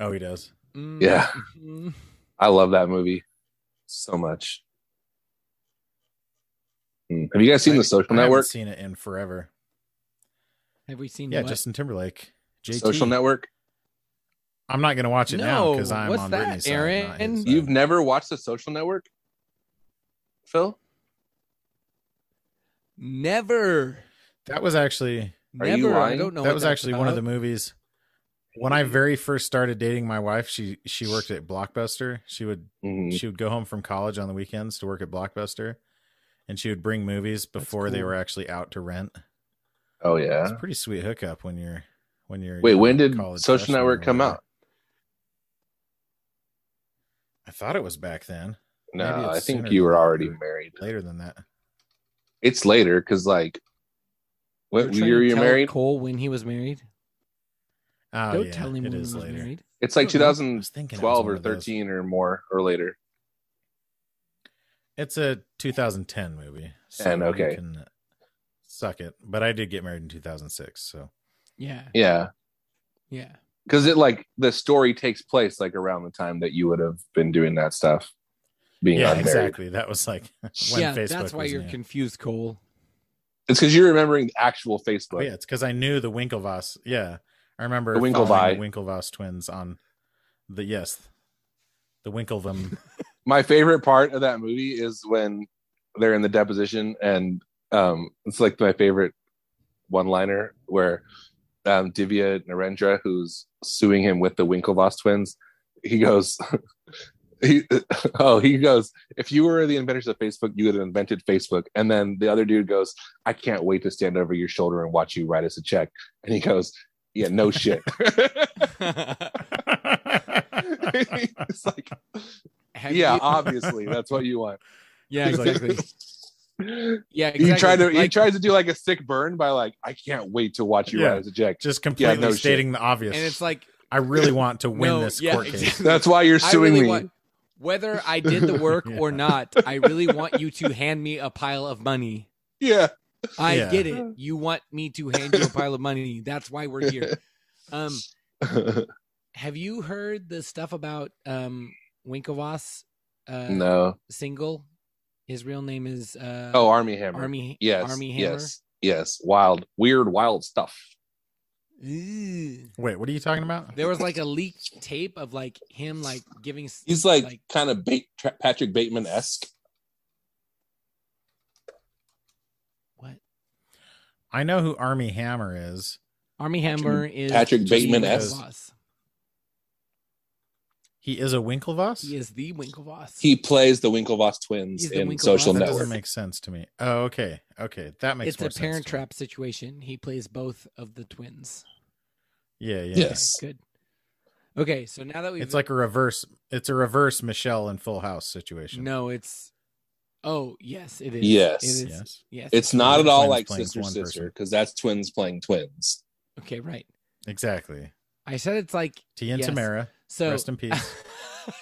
Speaker 3: Oh, he does.
Speaker 2: mm,
Speaker 1: Yeah.
Speaker 2: mm.
Speaker 1: I love that movie so much. Mm. Have you guys seen
Speaker 3: I-
Speaker 1: The Social
Speaker 3: I haven't
Speaker 1: Network?
Speaker 3: Seen it in forever.
Speaker 2: Have we seen?
Speaker 3: Yeah,
Speaker 2: what?
Speaker 3: Justin Timberlake. JT.
Speaker 1: Social Network.
Speaker 3: I'm not gonna watch it now because
Speaker 2: No,
Speaker 3: I'm
Speaker 2: what's
Speaker 3: on
Speaker 2: that,
Speaker 3: Britney's side, not his
Speaker 2: Aaron?
Speaker 3: side.
Speaker 1: You've never watched The Social Network, Phil?
Speaker 2: Never.
Speaker 3: that was actually
Speaker 1: Are
Speaker 2: Never.
Speaker 1: you
Speaker 2: I
Speaker 1: lying?
Speaker 2: don't know.
Speaker 3: that
Speaker 2: what
Speaker 3: was
Speaker 2: that's
Speaker 3: actually one of the
Speaker 2: about.
Speaker 3: movies. When I very first started dating my wife, she she worked at Blockbuster. She would
Speaker 2: Mm.
Speaker 1: Mhm.
Speaker 3: she would go home from college on the weekends to work at Blockbuster, and she would bring movies before they
Speaker 2: cool.
Speaker 3: were actually out to rent.
Speaker 1: Oh
Speaker 3: It's
Speaker 1: yeah.
Speaker 3: a pretty sweet hookup when you're when you're.
Speaker 1: Wait,
Speaker 3: a
Speaker 1: when did
Speaker 3: college
Speaker 1: Social
Speaker 3: freshman or
Speaker 1: Network come
Speaker 3: whatever.
Speaker 1: out?
Speaker 3: I thought it was back then, Maybe
Speaker 1: No,
Speaker 3: it's
Speaker 1: I think
Speaker 3: sooner
Speaker 1: you
Speaker 3: than
Speaker 1: were
Speaker 3: that.
Speaker 1: already married.
Speaker 3: later than that.
Speaker 1: It's later because like,
Speaker 2: You're
Speaker 1: what
Speaker 2: trying
Speaker 1: year
Speaker 2: to
Speaker 1: were you
Speaker 2: tell
Speaker 1: married?
Speaker 2: Cole when he was married.
Speaker 3: Oh,
Speaker 2: don't
Speaker 3: yeah,
Speaker 2: tell him
Speaker 3: it
Speaker 2: when he
Speaker 3: is
Speaker 2: was
Speaker 3: later.
Speaker 2: married.
Speaker 1: It's like
Speaker 2: I don't know. I was
Speaker 3: I
Speaker 1: 2012
Speaker 3: was thinking it was one
Speaker 1: or
Speaker 3: of those.
Speaker 1: 13 or more or later.
Speaker 3: It's a 2010 movie. so
Speaker 1: 10,
Speaker 3: you
Speaker 1: okay.
Speaker 3: can suck it. But I did get married in 2006, so
Speaker 2: Yeah.
Speaker 1: Yeah,
Speaker 2: Yeah.
Speaker 1: because it like the story takes place like around the time that you would have been doing that stuff, being
Speaker 3: yeah,
Speaker 1: unmarried.
Speaker 3: exactly. That was like when
Speaker 2: yeah.
Speaker 3: Facebook.
Speaker 2: that's why
Speaker 3: was
Speaker 2: you're
Speaker 3: new.
Speaker 2: confused, Cole.
Speaker 1: It's because you're remembering the actual
Speaker 3: Oh,
Speaker 1: Facebook.
Speaker 3: yeah, it's because I knew the Winklevoss. Yeah, I remember
Speaker 1: The
Speaker 3: following
Speaker 1: Winklevi.
Speaker 3: the Winklevoss twins on the yes, the Winklevum.
Speaker 1: My favorite part of that movie is when they're in the deposition, and um, it's like my favorite one-liner where um, Divya Narendra, who's suing him with the Winklevoss twins, he goes. He, oh, he goes. If you were the inventors of Facebook, you would have invented Facebook. And then the other dude goes, "I can't wait to stand over your shoulder and watch you write us a check." And he goes, "Yeah, no shit." it's like,
Speaker 2: Have
Speaker 1: yeah,
Speaker 2: you-
Speaker 1: obviously, that's what you want.
Speaker 2: yeah, exactly. Yeah, exactly.
Speaker 1: He tried to he
Speaker 2: Like,
Speaker 1: tries to do like a sick burn by like I can't wait to watch you
Speaker 3: Yeah.
Speaker 1: write as a jack.
Speaker 3: Just completely
Speaker 1: no shit.
Speaker 3: stating the obvious.
Speaker 2: and it's like
Speaker 3: I really want to win
Speaker 2: no,
Speaker 3: this
Speaker 2: yeah,
Speaker 3: court case.
Speaker 2: exactly.
Speaker 1: That's why you're
Speaker 2: I
Speaker 1: suing
Speaker 2: really
Speaker 1: me.
Speaker 2: want- whether I did the work or
Speaker 3: Yeah.
Speaker 2: not, I really want you to hand me a pile of money.
Speaker 1: yeah,
Speaker 2: I
Speaker 3: Yeah.
Speaker 2: get it. You want me to hand you a pile of money. That's why we're here. Um, have you heard the stuff about um Winklevoss uh
Speaker 1: no.
Speaker 2: single? His real name is uh
Speaker 1: Oh, Army Hammer.
Speaker 2: Army
Speaker 1: yes,
Speaker 2: Army Hammer.
Speaker 1: yes, yes. Wild, weird, wild stuff.
Speaker 2: Ooh.
Speaker 3: Wait, what are you talking about?
Speaker 2: There was like a leaked tape of like him like giving s-
Speaker 1: He's like, kind of bait, tra- Patrick Bateman esque.
Speaker 2: what?
Speaker 3: I know who Army Hammer is.
Speaker 2: Army Hammer is
Speaker 1: Patrick
Speaker 2: the
Speaker 1: Bateman-esque.
Speaker 2: Winklevoss.
Speaker 3: He is a Winklevoss.
Speaker 2: He is the Winklevoss.
Speaker 1: He plays the Winklevoss twins
Speaker 2: He's the
Speaker 1: in
Speaker 2: Winklevoss.
Speaker 1: Social
Speaker 3: that
Speaker 2: Network.
Speaker 3: doesn't
Speaker 1: Network.
Speaker 3: make sense to me. Oh, okay, okay, that makes
Speaker 2: it's
Speaker 3: more
Speaker 2: a parent
Speaker 3: sense to me.
Speaker 2: trap situation. He plays both of the twins.
Speaker 3: Yeah, yeah.
Speaker 1: Yes.
Speaker 2: Okay, good. Okay, so now that we've
Speaker 3: It's like a reverse. It's a reverse Michelle and Full House situation.
Speaker 2: no, it's Oh yes, it is.
Speaker 1: Yes.
Speaker 2: it is.
Speaker 3: Yes.
Speaker 2: yes.
Speaker 1: It's not at all
Speaker 3: Twins
Speaker 1: like
Speaker 3: playing
Speaker 1: sister
Speaker 3: one
Speaker 1: sister
Speaker 3: person.
Speaker 1: because that's twins playing twins.
Speaker 2: okay, right.
Speaker 3: Exactly.
Speaker 2: I said it's like
Speaker 3: T and
Speaker 2: Yes.
Speaker 3: Tamara,
Speaker 2: so.
Speaker 3: rest in peace.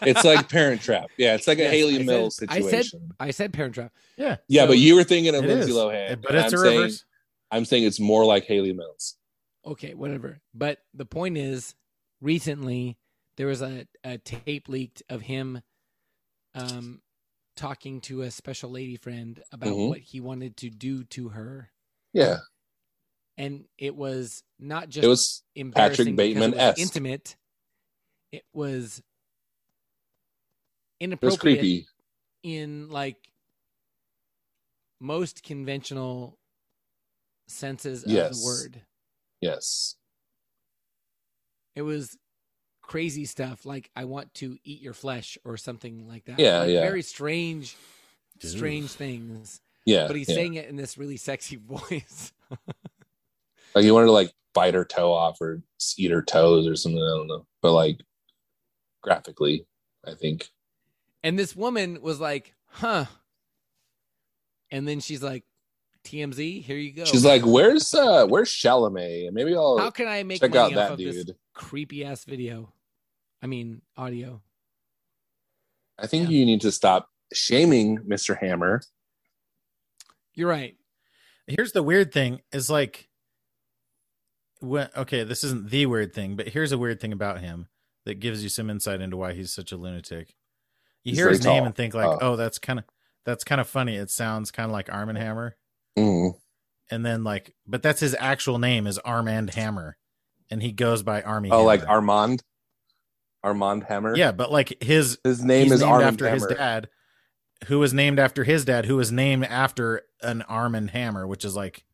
Speaker 1: It's like Parent Trap. Yeah, it's like a
Speaker 2: Yes, I
Speaker 1: Haley
Speaker 2: said-
Speaker 1: Mills
Speaker 2: I said-
Speaker 1: situation.
Speaker 2: I said Parent Trap.
Speaker 3: Yeah,
Speaker 1: yeah,
Speaker 2: so-
Speaker 1: but you were thinking of
Speaker 3: it
Speaker 1: Lindsay
Speaker 3: is.
Speaker 1: Lohan,
Speaker 3: But
Speaker 1: and
Speaker 3: it's
Speaker 1: I'm
Speaker 3: a
Speaker 1: saying,
Speaker 3: reverse.
Speaker 1: I'm saying it's more like Haley Mills.
Speaker 2: Okay, whatever. But the point is, recently there was a, a tape leaked of him um, talking to a special lady friend about
Speaker 1: Mhm.
Speaker 2: what he wanted to do to her.
Speaker 1: Yeah,
Speaker 2: And it was not just
Speaker 1: it was
Speaker 2: embarrassing because it was
Speaker 1: Bateman-esque.
Speaker 2: intimate. It was
Speaker 1: it was
Speaker 2: inappropriate
Speaker 1: creepy.
Speaker 2: in like most conventional senses of
Speaker 1: Yes.
Speaker 2: the word.
Speaker 1: Yes,
Speaker 2: It was crazy stuff like I want to eat your flesh or something like that.
Speaker 1: Yeah,
Speaker 2: Like,
Speaker 1: yeah.
Speaker 2: Very strange,
Speaker 3: Dude.
Speaker 2: strange things.
Speaker 1: yeah.
Speaker 2: But he's
Speaker 1: yeah.
Speaker 2: saying it in this really sexy voice.
Speaker 1: like you wanted to like bite her toe off or eat her toes or something. I don't know, but like graphically, I think
Speaker 2: and this woman was like, huh. And then she's like, TMZ, here you go.
Speaker 1: she's like, "Where's uh, where's Chalamet? Maybe I'll
Speaker 2: How can I make
Speaker 1: Oh, check
Speaker 2: money
Speaker 1: out
Speaker 2: off
Speaker 1: that
Speaker 2: of this
Speaker 1: dude."
Speaker 2: creepy ass video? I mean, audio.
Speaker 1: I think
Speaker 2: Yeah.
Speaker 1: you need to stop shaming Mr. Hammer.
Speaker 2: You're right.
Speaker 3: Here's the weird thing is like when okay, this isn't the weird thing, but here's a weird thing about him that gives you some insight into why he's such a lunatic. You
Speaker 1: He's
Speaker 3: hear
Speaker 1: very
Speaker 3: his name
Speaker 1: tall.
Speaker 3: and think like,
Speaker 1: Oh.
Speaker 3: "Oh, that's kind of that's kind of funny. It sounds kind of like Arm and Hammer."
Speaker 1: Mm.
Speaker 3: And then like, but that's his actual name is Arm and Hammer, and he goes by Army.
Speaker 1: Oh, like
Speaker 3: Hammer.
Speaker 1: Armand, Armand Hammer.
Speaker 3: yeah, but like his
Speaker 1: his name
Speaker 3: he's
Speaker 1: is
Speaker 3: named
Speaker 1: Armand
Speaker 3: after his
Speaker 1: Hammer.
Speaker 3: dad, who was named after his dad, who was named after an arm and hammer, which is like,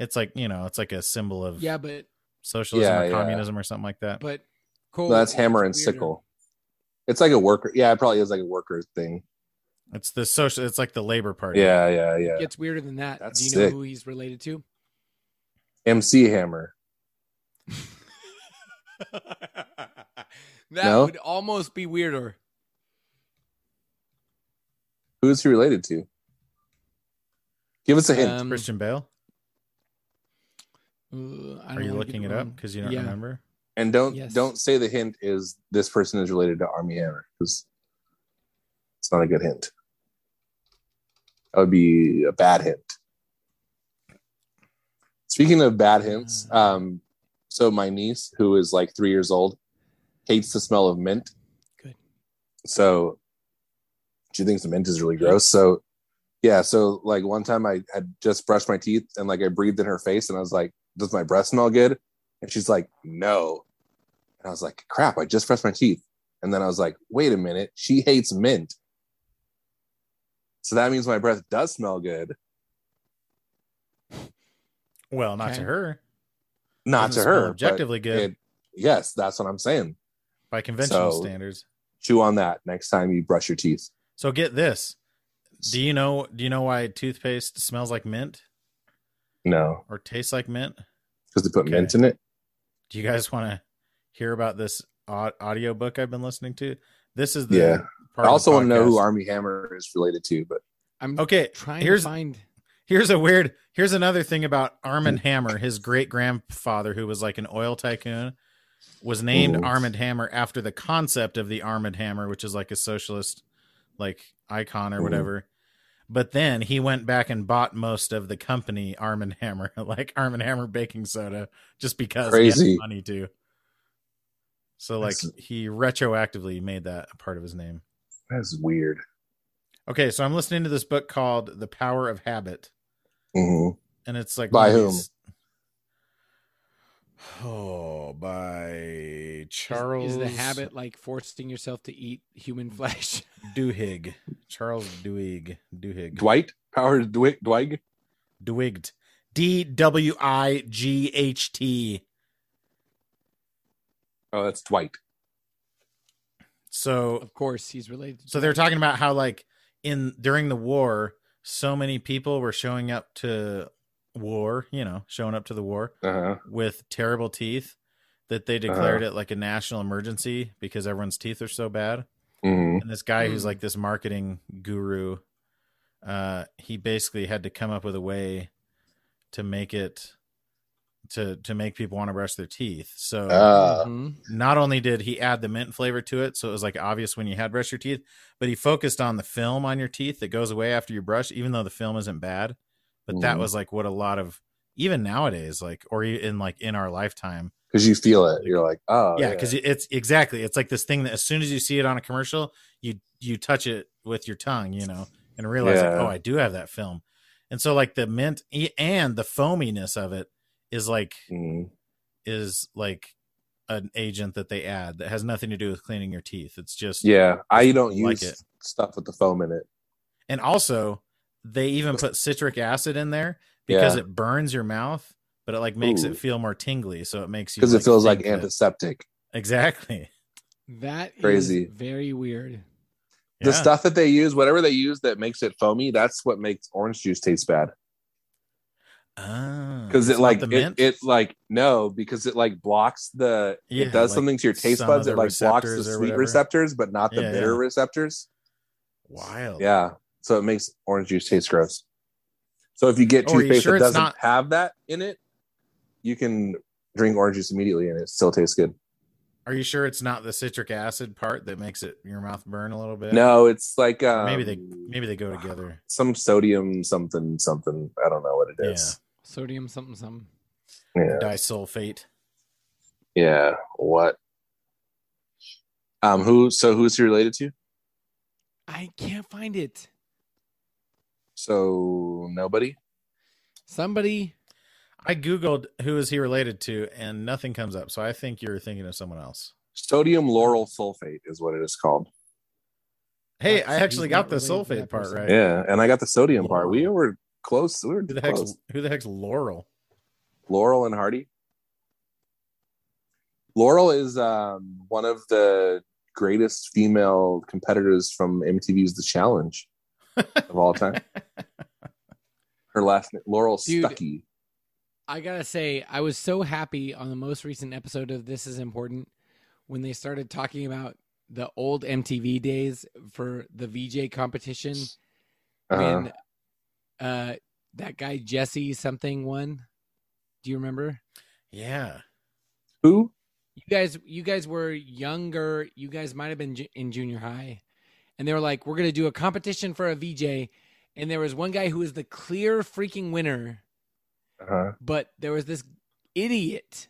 Speaker 3: it's like you know, it's like a symbol of
Speaker 2: Yeah, but
Speaker 3: socialism
Speaker 1: Yeah,
Speaker 3: or
Speaker 1: yeah.
Speaker 3: communism or something like that.
Speaker 2: but cool.
Speaker 1: No, that's Hammer and
Speaker 2: It's weirder.
Speaker 1: Sickle. It's like a worker. Yeah, it probably is like a worker thing.
Speaker 3: it's the social. It's like the Labor Party.
Speaker 1: Yeah, yeah, yeah.
Speaker 2: Gets weirder than that.
Speaker 1: That's
Speaker 2: Do you know
Speaker 1: sick.
Speaker 2: who he's related to?
Speaker 1: MC Hammer.
Speaker 2: that
Speaker 1: No?
Speaker 2: would almost be weirder.
Speaker 1: Who is he related to? Give us a hint.
Speaker 2: Um,
Speaker 3: Christian Bale.
Speaker 2: uh, I don't
Speaker 3: Are you
Speaker 2: wanna
Speaker 3: looking
Speaker 2: get
Speaker 3: it
Speaker 2: the
Speaker 3: up
Speaker 2: wrong-
Speaker 3: because you don't
Speaker 2: yeah.
Speaker 3: remember?
Speaker 1: and don't
Speaker 2: yes.
Speaker 1: don't say the hint is this person is related to Army Hammer because it's not a good hint. That would be a bad hint. Speaking of bad hints, um, so my niece, who is like three years old, hates the smell of mint.
Speaker 2: Good.
Speaker 1: So she thinks the mint is really gross. So yeah, so like one time I had just brushed my teeth and like I breathed in her face and I was like, "Does my breath smell good?" And she's like, "No." And I was like, "Crap! I just brushed my teeth." And then I was like, "Wait a minute, she hates mint." So that means my breath does smell good.
Speaker 3: Well, not
Speaker 2: Okay.
Speaker 3: to her.
Speaker 1: Not
Speaker 3: Doesn't
Speaker 1: to
Speaker 3: smell
Speaker 1: her, but
Speaker 3: Objectively good
Speaker 1: it- yes, that's what I'm saying.
Speaker 3: by conventional
Speaker 1: so-
Speaker 3: standards.
Speaker 1: Chew on that next time you brush your teeth.
Speaker 3: So get this. Do you know? Do you know why toothpaste smells like mint
Speaker 1: No,
Speaker 3: or tastes like mint?
Speaker 1: because they put
Speaker 3: Okay.
Speaker 1: mint in it.
Speaker 3: do you guys want to hear about this au- audio book I've been listening to? This is the
Speaker 1: Yeah.
Speaker 3: part
Speaker 1: I
Speaker 3: of
Speaker 1: also
Speaker 3: the
Speaker 1: want to know who
Speaker 3: podcast.
Speaker 1: Army Hammer is related to, but
Speaker 2: I'm
Speaker 3: Okay,
Speaker 2: trying
Speaker 3: here's
Speaker 2: to find.
Speaker 3: here's a weird here's another thing about Arm
Speaker 1: Hmm.
Speaker 3: and Hammer. His great grandfather, who was like an oil tycoon, was named
Speaker 1: Ooh.
Speaker 3: Arm and Hammer after the concept of the Arm and Hammer, which is like a socialist like icon or
Speaker 1: Ooh.
Speaker 3: whatever. But then he went back and bought most of the company Arm and Hammer, like Arm and Hammer baking soda, just because he
Speaker 1: Crazy.
Speaker 3: had money to. So like
Speaker 1: That's-
Speaker 3: he retroactively made that a part of his name.
Speaker 1: that's weird.
Speaker 3: Okay, so I'm listening to this book called The Power of Habit
Speaker 1: Mhm.
Speaker 3: and it's like
Speaker 1: By
Speaker 3: one of
Speaker 1: whom?
Speaker 3: these- Oh, by Charles Mm.
Speaker 2: Is, is the habit like forcing yourself to eat human flesh?
Speaker 3: Duhigg. Charles Duhigg. Duhigg.
Speaker 1: Dwight Howard Dwight Dwight.
Speaker 3: Dwigged. D W I G H T.
Speaker 1: Oh, that's Dwight.
Speaker 3: So
Speaker 2: of course, he's related. To
Speaker 3: so they're talking about how like in during the war, so many people were showing up to war, you know, showing up to the war
Speaker 1: Uh-huh.
Speaker 3: with terrible teeth that they declared it like a national emergency because everyone's teeth are so bad.
Speaker 1: Mhm.
Speaker 3: and this guy who's
Speaker 2: Hmm.
Speaker 3: like this marketing guru uh, he basically had to come up with a way to make it to to make people want to brush their teeth. So
Speaker 1: Uh,
Speaker 2: Mhm.
Speaker 3: not only did he add the mint flavor to it, so it was like obvious when you had brushed your teeth, but he focused on the film on your teeth that goes away after you brush, even though the film isn't bad. But that
Speaker 1: Mhm.
Speaker 3: was like what a lot of even nowadays, like or e- in like in our lifetime,
Speaker 1: because you feel it. You're like, oh,
Speaker 3: yeah, because it's exactly it's like this thing that as soon as you see it on a commercial, you you touch it with your tongue, you know, and realize like,
Speaker 1: Yeah.
Speaker 3: oh, I do have that film, and so like the mint e- and the foaminess of it is like
Speaker 1: Mm.
Speaker 3: is like an agent that they add that has nothing to do with cleaning your teeth. It's just
Speaker 1: yeah. I don't
Speaker 3: Like
Speaker 1: use
Speaker 3: it.
Speaker 1: stuff with the foam in it.
Speaker 3: and also they even put citric acid in there because
Speaker 1: Yeah.
Speaker 3: it burns your mouth, but it like makes
Speaker 1: Ooh.
Speaker 3: it feel more tingly, so it makes you
Speaker 1: because it feels like
Speaker 3: think that-
Speaker 1: antiseptic.
Speaker 3: exactly
Speaker 2: That is
Speaker 1: Crazy.
Speaker 2: very weird.
Speaker 1: The
Speaker 3: Yeah.
Speaker 1: stuff that they use, whatever they use that makes it foamy, that's what makes orange juice taste bad.
Speaker 3: Ah,
Speaker 1: Because
Speaker 3: it's
Speaker 1: it
Speaker 3: not
Speaker 1: like
Speaker 3: the
Speaker 1: it,
Speaker 3: mint?
Speaker 1: it like no, because it like blocks the
Speaker 3: Yeah,
Speaker 1: it does
Speaker 3: like
Speaker 1: something to your taste
Speaker 3: some
Speaker 1: buds.
Speaker 3: of
Speaker 1: It
Speaker 3: the
Speaker 1: like blocks the
Speaker 3: receptors or
Speaker 1: sweet
Speaker 3: whatever.
Speaker 1: receptors, but not the
Speaker 3: Yeah,
Speaker 1: bitter
Speaker 3: yeah.
Speaker 1: receptors.
Speaker 3: wild.
Speaker 1: Yeah, so it makes orange juice taste gross. So if you get
Speaker 3: Oh, are you
Speaker 1: toothpaste
Speaker 3: sure
Speaker 1: that
Speaker 3: it's
Speaker 1: doesn't
Speaker 3: not-
Speaker 1: have that in it, you can drink orange juice immediately and it still tastes good.
Speaker 3: Are you sure it's not the citric acid part that makes it your mouth burn a little bit?
Speaker 1: No, it's like um,
Speaker 3: Maybe they maybe they go together.
Speaker 1: some sodium something something. I don't know what it is.
Speaker 2: Sodium something something.
Speaker 1: yeah.
Speaker 3: Disulfate.
Speaker 1: Yeah. What? Um. Who? So who's he related to?
Speaker 2: I can't find it.
Speaker 1: So nobody.
Speaker 2: Somebody
Speaker 3: I googled who is he related to, and nothing comes up. So I think you're thinking of someone else.
Speaker 1: Sodium lauryl sulfate is what it is called.
Speaker 3: Hey,
Speaker 2: That's-
Speaker 3: I actually
Speaker 2: he's
Speaker 3: got
Speaker 2: not
Speaker 3: the
Speaker 2: related to
Speaker 3: sulfate
Speaker 2: that
Speaker 3: part
Speaker 2: person.
Speaker 3: right.
Speaker 1: Yeah, and I got the sodium part. We were close. We were
Speaker 3: Who the heck's
Speaker 1: close.
Speaker 3: who the heck's Laurel?
Speaker 1: Laurel and Hardy. Laurel is um, one of the greatest female competitors from MTV's The Challenge of all time. Her last name, Laurel
Speaker 2: Dude.
Speaker 1: Stuckey.
Speaker 2: I gotta say, I was so happy on the most recent episode of This Is Important when they started talking about the old MTV days for the VJ competition
Speaker 1: Uh,
Speaker 2: when uh, that guy Jesse something won. Do you remember?
Speaker 3: Yeah.
Speaker 1: who?
Speaker 2: You guys, you guys were younger. You guys might have been ju- in junior high, and they were like, "We're gonna do a competition for a VJ," and there was one guy who was the clear freaking winner.
Speaker 1: Uh-huh.
Speaker 2: but there was this idiot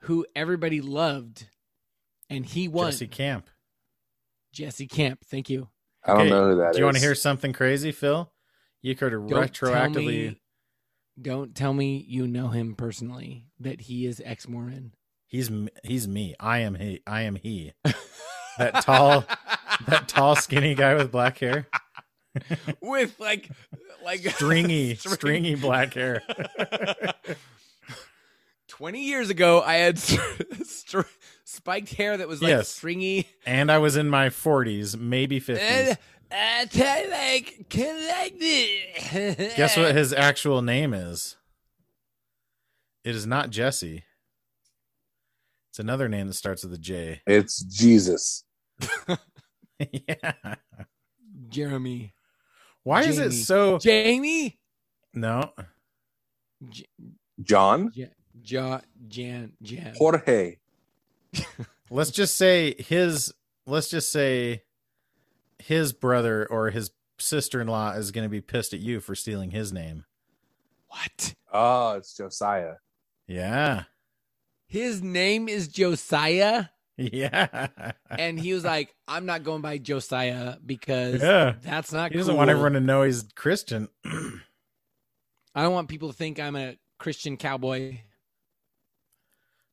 Speaker 2: who everybody loved, and he won.
Speaker 3: Jesse Camp.
Speaker 2: Jesse Camp. Thank you.
Speaker 1: I don't
Speaker 3: Okay,
Speaker 1: know who that is.
Speaker 3: Do you want to hear something crazy, Phil? You could
Speaker 2: Don't Tell
Speaker 3: retroactively
Speaker 2: me, don't tell me you know him personally. That he is ex Morin.
Speaker 3: he's m- he's me. I am he. I am he. That tall- That tall skinny guy with black hair.
Speaker 2: with like like
Speaker 3: Stringy,
Speaker 2: string-
Speaker 3: stringy black hair.
Speaker 2: Twenty years ago, I had str- spiked hair that was like
Speaker 3: Yes.
Speaker 2: stringy.
Speaker 3: and I was in my 40s, maybe 50s.
Speaker 2: And I tell you, like collected.
Speaker 3: Guess what his actual name is? It is not Jesse. It's another name that starts with a J.
Speaker 1: It's Jesus.
Speaker 3: yeah.
Speaker 2: Jeremy.
Speaker 3: Why is it
Speaker 2: Jamie.
Speaker 3: so?
Speaker 2: Jamie.
Speaker 3: no,
Speaker 2: J-
Speaker 1: John
Speaker 2: Ja, Jan, Jan.
Speaker 1: Jorge.
Speaker 3: let's just say his. Let's just say his brother or his sister-in-law is going to be pissed at you for stealing his name.
Speaker 2: What?
Speaker 1: Oh, it's Josiah.
Speaker 3: Yeah.
Speaker 2: His name is Josiah,
Speaker 3: Yeah.
Speaker 2: and he was like, "I'm not going by Josiah because
Speaker 3: yeah.
Speaker 2: that's not."
Speaker 3: He doesn't
Speaker 2: cool.
Speaker 3: want everyone to know he's Christian.
Speaker 2: I don't want people to think I'm a Christian cowboy.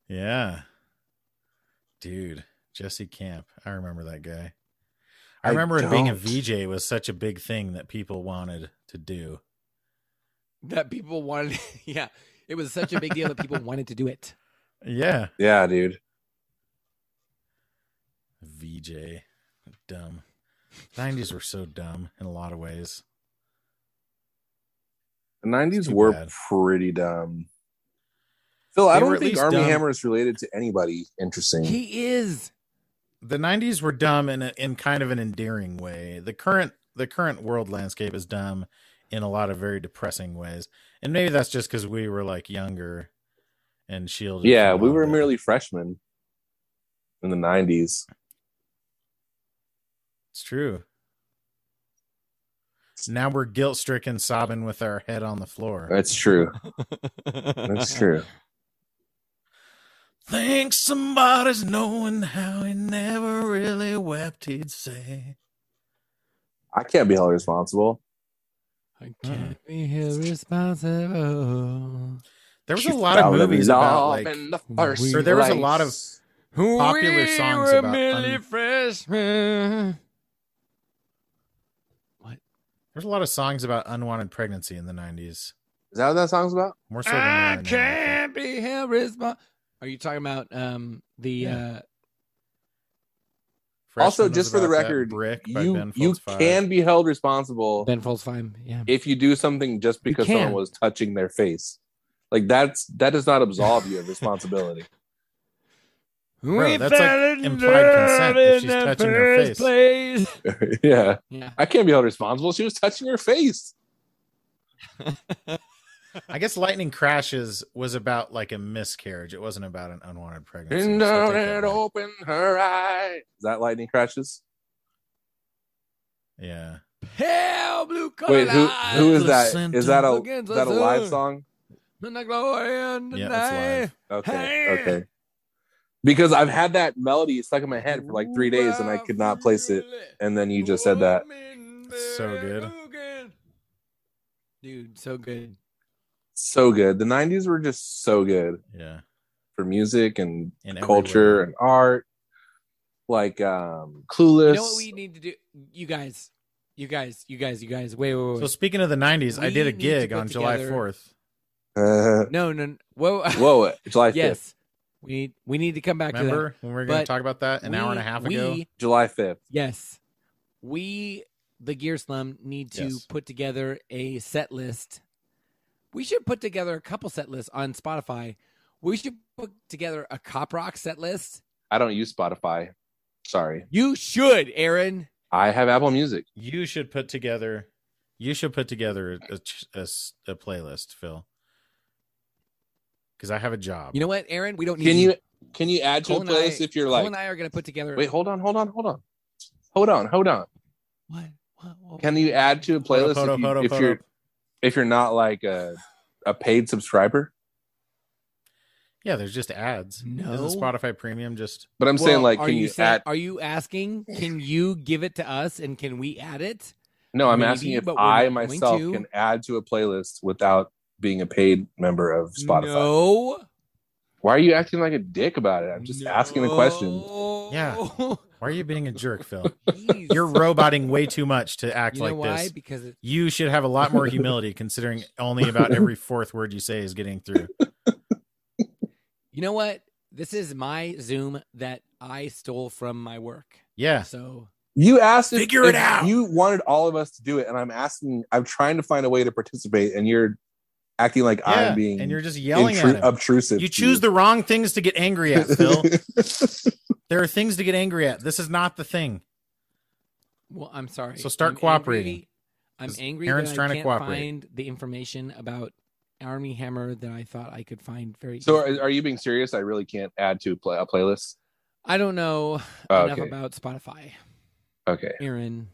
Speaker 3: Yeah. Dude, Jesse Camp. I remember that guy. I,
Speaker 1: I
Speaker 3: remember it being a
Speaker 1: don't.
Speaker 3: VJ was such a big thing that people wanted to do.
Speaker 2: That people wanted. yeah, it was such a big deal that people wanted to do it.
Speaker 3: Yeah.
Speaker 1: Yeah, dude.
Speaker 3: VJ. Dumb. 90s were so dumb in a lot of ways.
Speaker 1: The nineties
Speaker 3: Too
Speaker 1: were
Speaker 3: bad.
Speaker 1: pretty dumb. Phil, I
Speaker 3: They were
Speaker 1: don't
Speaker 3: at
Speaker 1: think
Speaker 3: least
Speaker 1: Army
Speaker 3: dumb.
Speaker 1: Hammer is related to anybody interesting.
Speaker 2: He is.
Speaker 3: The 90s were dumb in a, in kind of an endearing way. The current the current world landscape is dumb in a lot of very depressing ways, and maybe that's just because we were like younger and shielded.
Speaker 1: Yeah,
Speaker 3: from
Speaker 1: we
Speaker 3: all
Speaker 1: were
Speaker 3: the-
Speaker 1: merely freshmen in the '90s.
Speaker 3: It's true. Now we're guilt stricken, sobbing with our head on the floor.
Speaker 1: That's true. That's true.
Speaker 3: Think somebody's knowing how he never really wept, he'd say.
Speaker 1: I can't be held responsible.
Speaker 2: I can't be held responsible.
Speaker 3: There was a
Speaker 1: You
Speaker 3: lot of
Speaker 1: found the
Speaker 3: movies about
Speaker 1: love
Speaker 3: like
Speaker 1: in the
Speaker 2: we-
Speaker 1: first
Speaker 2: Or
Speaker 3: there was a lot
Speaker 1: place.
Speaker 3: Popular
Speaker 2: we
Speaker 3: songs
Speaker 2: were
Speaker 3: about
Speaker 2: merely
Speaker 3: un-
Speaker 2: freshmen.
Speaker 3: there's a lot of songs about unwanted pregnancy in the nineties.
Speaker 1: Is that what that song's about?
Speaker 3: More so than
Speaker 2: I
Speaker 3: there are now, I think.
Speaker 2: can't be held responsible. Are you talking about um the
Speaker 3: Yeah.
Speaker 2: uh
Speaker 3: Freshman
Speaker 1: also,
Speaker 3: was
Speaker 1: just for the
Speaker 3: about that
Speaker 1: record,
Speaker 3: brick by
Speaker 1: You
Speaker 3: Ben
Speaker 1: you
Speaker 3: Folds Five.
Speaker 1: can be held responsible
Speaker 2: Ben Folds Fine? Yeah.
Speaker 1: if you do something just because
Speaker 2: can.
Speaker 1: someone was touching their face. Like that's that does not absolve you of responsibility.
Speaker 3: Bro, that's like implied consent if she's touching her face.
Speaker 2: place.
Speaker 1: yeah,
Speaker 2: Yeah.
Speaker 1: I can't be held responsible. She was touching her face.
Speaker 3: I guess Lightning Crashes was about like a miscarriage. It wasn't about an unwanted pregnancy.
Speaker 1: And
Speaker 3: so I take
Speaker 1: down
Speaker 3: that
Speaker 1: and
Speaker 3: back.
Speaker 1: open her eyes. Is that lightning crashes?
Speaker 3: yeah.
Speaker 2: Hell, blue collar
Speaker 1: Wait, who who is that? Is that a
Speaker 2: Against
Speaker 1: is that a
Speaker 2: us
Speaker 1: live
Speaker 2: all.
Speaker 1: song?
Speaker 2: In the glory and the
Speaker 3: Yeah, it's
Speaker 2: night.
Speaker 3: live.
Speaker 1: Okay,
Speaker 2: Hey.
Speaker 1: okay. Because I've had that melody stuck in my head for like three days and I could not place it. And then you just said that.
Speaker 3: So good.
Speaker 2: Dude, so good.
Speaker 1: So good. The '90s were just so good
Speaker 3: Yeah.
Speaker 1: for music and
Speaker 3: In every
Speaker 1: culture
Speaker 3: way.
Speaker 1: and art, like um Clueless.
Speaker 2: You know what we need to do? You guys, you guys, you guys, you guys. Wait, wait, wait.
Speaker 3: So speaking of the nineties, I
Speaker 2: We
Speaker 3: did a
Speaker 2: need to
Speaker 3: gig
Speaker 2: put
Speaker 3: on July
Speaker 2: together-
Speaker 3: fourth.
Speaker 1: Uh,
Speaker 2: no, no, no. Whoa.
Speaker 1: whoa, July 5th,
Speaker 2: yes. We need, we need to come back to
Speaker 3: Remember when we were going to
Speaker 2: But
Speaker 3: talk about that
Speaker 2: that.
Speaker 3: an hour and a
Speaker 2: We-
Speaker 3: half
Speaker 2: we-
Speaker 3: ago?
Speaker 1: July 5th.
Speaker 2: Yes. We, the Gear Slum, need to
Speaker 3: Yes.
Speaker 2: put together a set list. We should put together a couple set lists on Spotify. We should put together a Cop Rock set list.
Speaker 1: I don't use Spotify. Sorry.
Speaker 2: You should, Aaron.
Speaker 1: I have Apple Music.
Speaker 3: You should put together. You should put together a, ch- a s- a playlist, Phil. Because I have a job.
Speaker 2: You know what, Aaron? We don't need
Speaker 1: Can you can you add to
Speaker 2: Cole
Speaker 1: a
Speaker 2: and I-
Speaker 1: playlist if you're
Speaker 2: Cole
Speaker 1: like
Speaker 2: and I are going to put together.
Speaker 1: Wait, hold on, hold on, hold on. Hold on, hold on.
Speaker 2: what? What? What?
Speaker 1: Can you add to a playlist
Speaker 3: Hold up,
Speaker 1: if, you,
Speaker 3: hold up,
Speaker 1: if
Speaker 3: hold
Speaker 1: you're
Speaker 3: up.
Speaker 1: if you're not like a a paid subscriber?
Speaker 3: yeah, there's just ads.
Speaker 2: No.
Speaker 3: Isn't Spotify Premium just
Speaker 1: But I'm
Speaker 2: Well,
Speaker 1: saying like
Speaker 2: are
Speaker 1: can you,
Speaker 2: saying-
Speaker 1: add
Speaker 2: Are you asking? Can you give it to us, and can we add it?
Speaker 1: No, I'm
Speaker 2: maybe,
Speaker 1: asking if
Speaker 2: but we're
Speaker 1: I
Speaker 2: not going
Speaker 1: myself
Speaker 2: to?
Speaker 1: can add to a playlist without being a paid member of Spotify.
Speaker 2: No.
Speaker 1: Why are you acting like a dick about it? I'm just asking a question.
Speaker 3: Yeah.
Speaker 2: Yeah.
Speaker 3: Why are you being a jerk, Phil? You're roboting way too much to act
Speaker 2: You know
Speaker 3: like
Speaker 2: why?
Speaker 3: this.
Speaker 2: Because it,
Speaker 3: You should have a lot more humility considering only about every fourth word you say is getting through.
Speaker 2: you know what? This is my Zoom that I stole from my work.
Speaker 3: Yeah.
Speaker 2: So
Speaker 1: You asked if,
Speaker 3: Figure it
Speaker 1: if
Speaker 3: out.
Speaker 1: you wanted all of us to do it, and I'm asking. I'm trying to find a way to participate, and you're acting like
Speaker 3: yeah.
Speaker 1: I'm being
Speaker 3: and you're just yelling
Speaker 1: intru-
Speaker 3: at him.
Speaker 1: obtrusive.
Speaker 3: You
Speaker 1: to
Speaker 3: choose the wrong things to get angry at, Phil.
Speaker 1: the
Speaker 3: there are things to get angry at. This is not the thing.
Speaker 2: Well, I'm sorry.
Speaker 3: So start
Speaker 2: I'm
Speaker 3: cooperating.
Speaker 2: Angry, I'm
Speaker 3: 'Cause
Speaker 2: angry
Speaker 3: Aaron's
Speaker 2: that
Speaker 3: trying to
Speaker 2: I can't
Speaker 3: cooperate.
Speaker 2: find the information about Army Hammer that I thought I could find very
Speaker 1: so,
Speaker 2: easily.
Speaker 1: are, are you being serious? I really can't add to a, play- a playlist.
Speaker 2: I don't know
Speaker 1: Oh,
Speaker 2: enough
Speaker 1: okay.
Speaker 2: about Spotify.
Speaker 1: Okay.
Speaker 2: Aaron,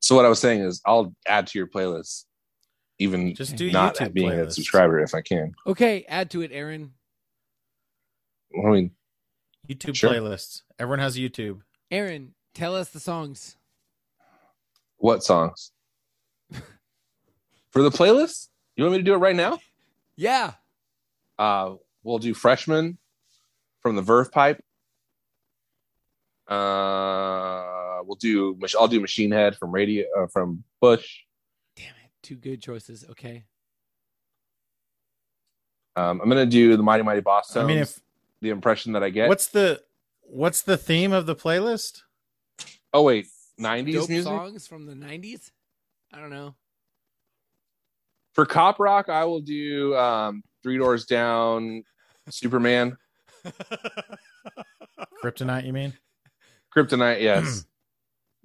Speaker 1: So, what I was saying is, I'll add to your playlist, even
Speaker 3: Just
Speaker 2: Okay.
Speaker 3: do
Speaker 1: not
Speaker 3: YouTube
Speaker 1: being
Speaker 3: playlists.
Speaker 1: a subscriber, if I can.
Speaker 2: okay, add to it, Aaron.
Speaker 1: I mean,
Speaker 3: YouTube
Speaker 1: Sure.
Speaker 3: playlists. Everyone has YouTube.
Speaker 2: Aaron, tell us the songs.
Speaker 1: what songs for the playlist? You want me to do it right now?
Speaker 2: Yeah,
Speaker 1: Uh, we'll do freshman from the Verve Pipe. Uh, we'll do. Mach- I'll do Machine Head from Radio uh, from Bush.
Speaker 2: damn it, two good choices. Okay,
Speaker 1: Um, I'm gonna do the Mighty Mighty Boss. Tones,
Speaker 3: I mean, if
Speaker 1: the impression that I get.
Speaker 3: what's the what's the theme of the playlist?
Speaker 1: oh wait, '90s
Speaker 2: dope
Speaker 1: music
Speaker 2: songs from the '90s. I don't know.
Speaker 1: for cop rock. I will do um, Three Doors Down, Superman,
Speaker 3: Kryptonite, you mean?
Speaker 1: Kryptonite. Yes,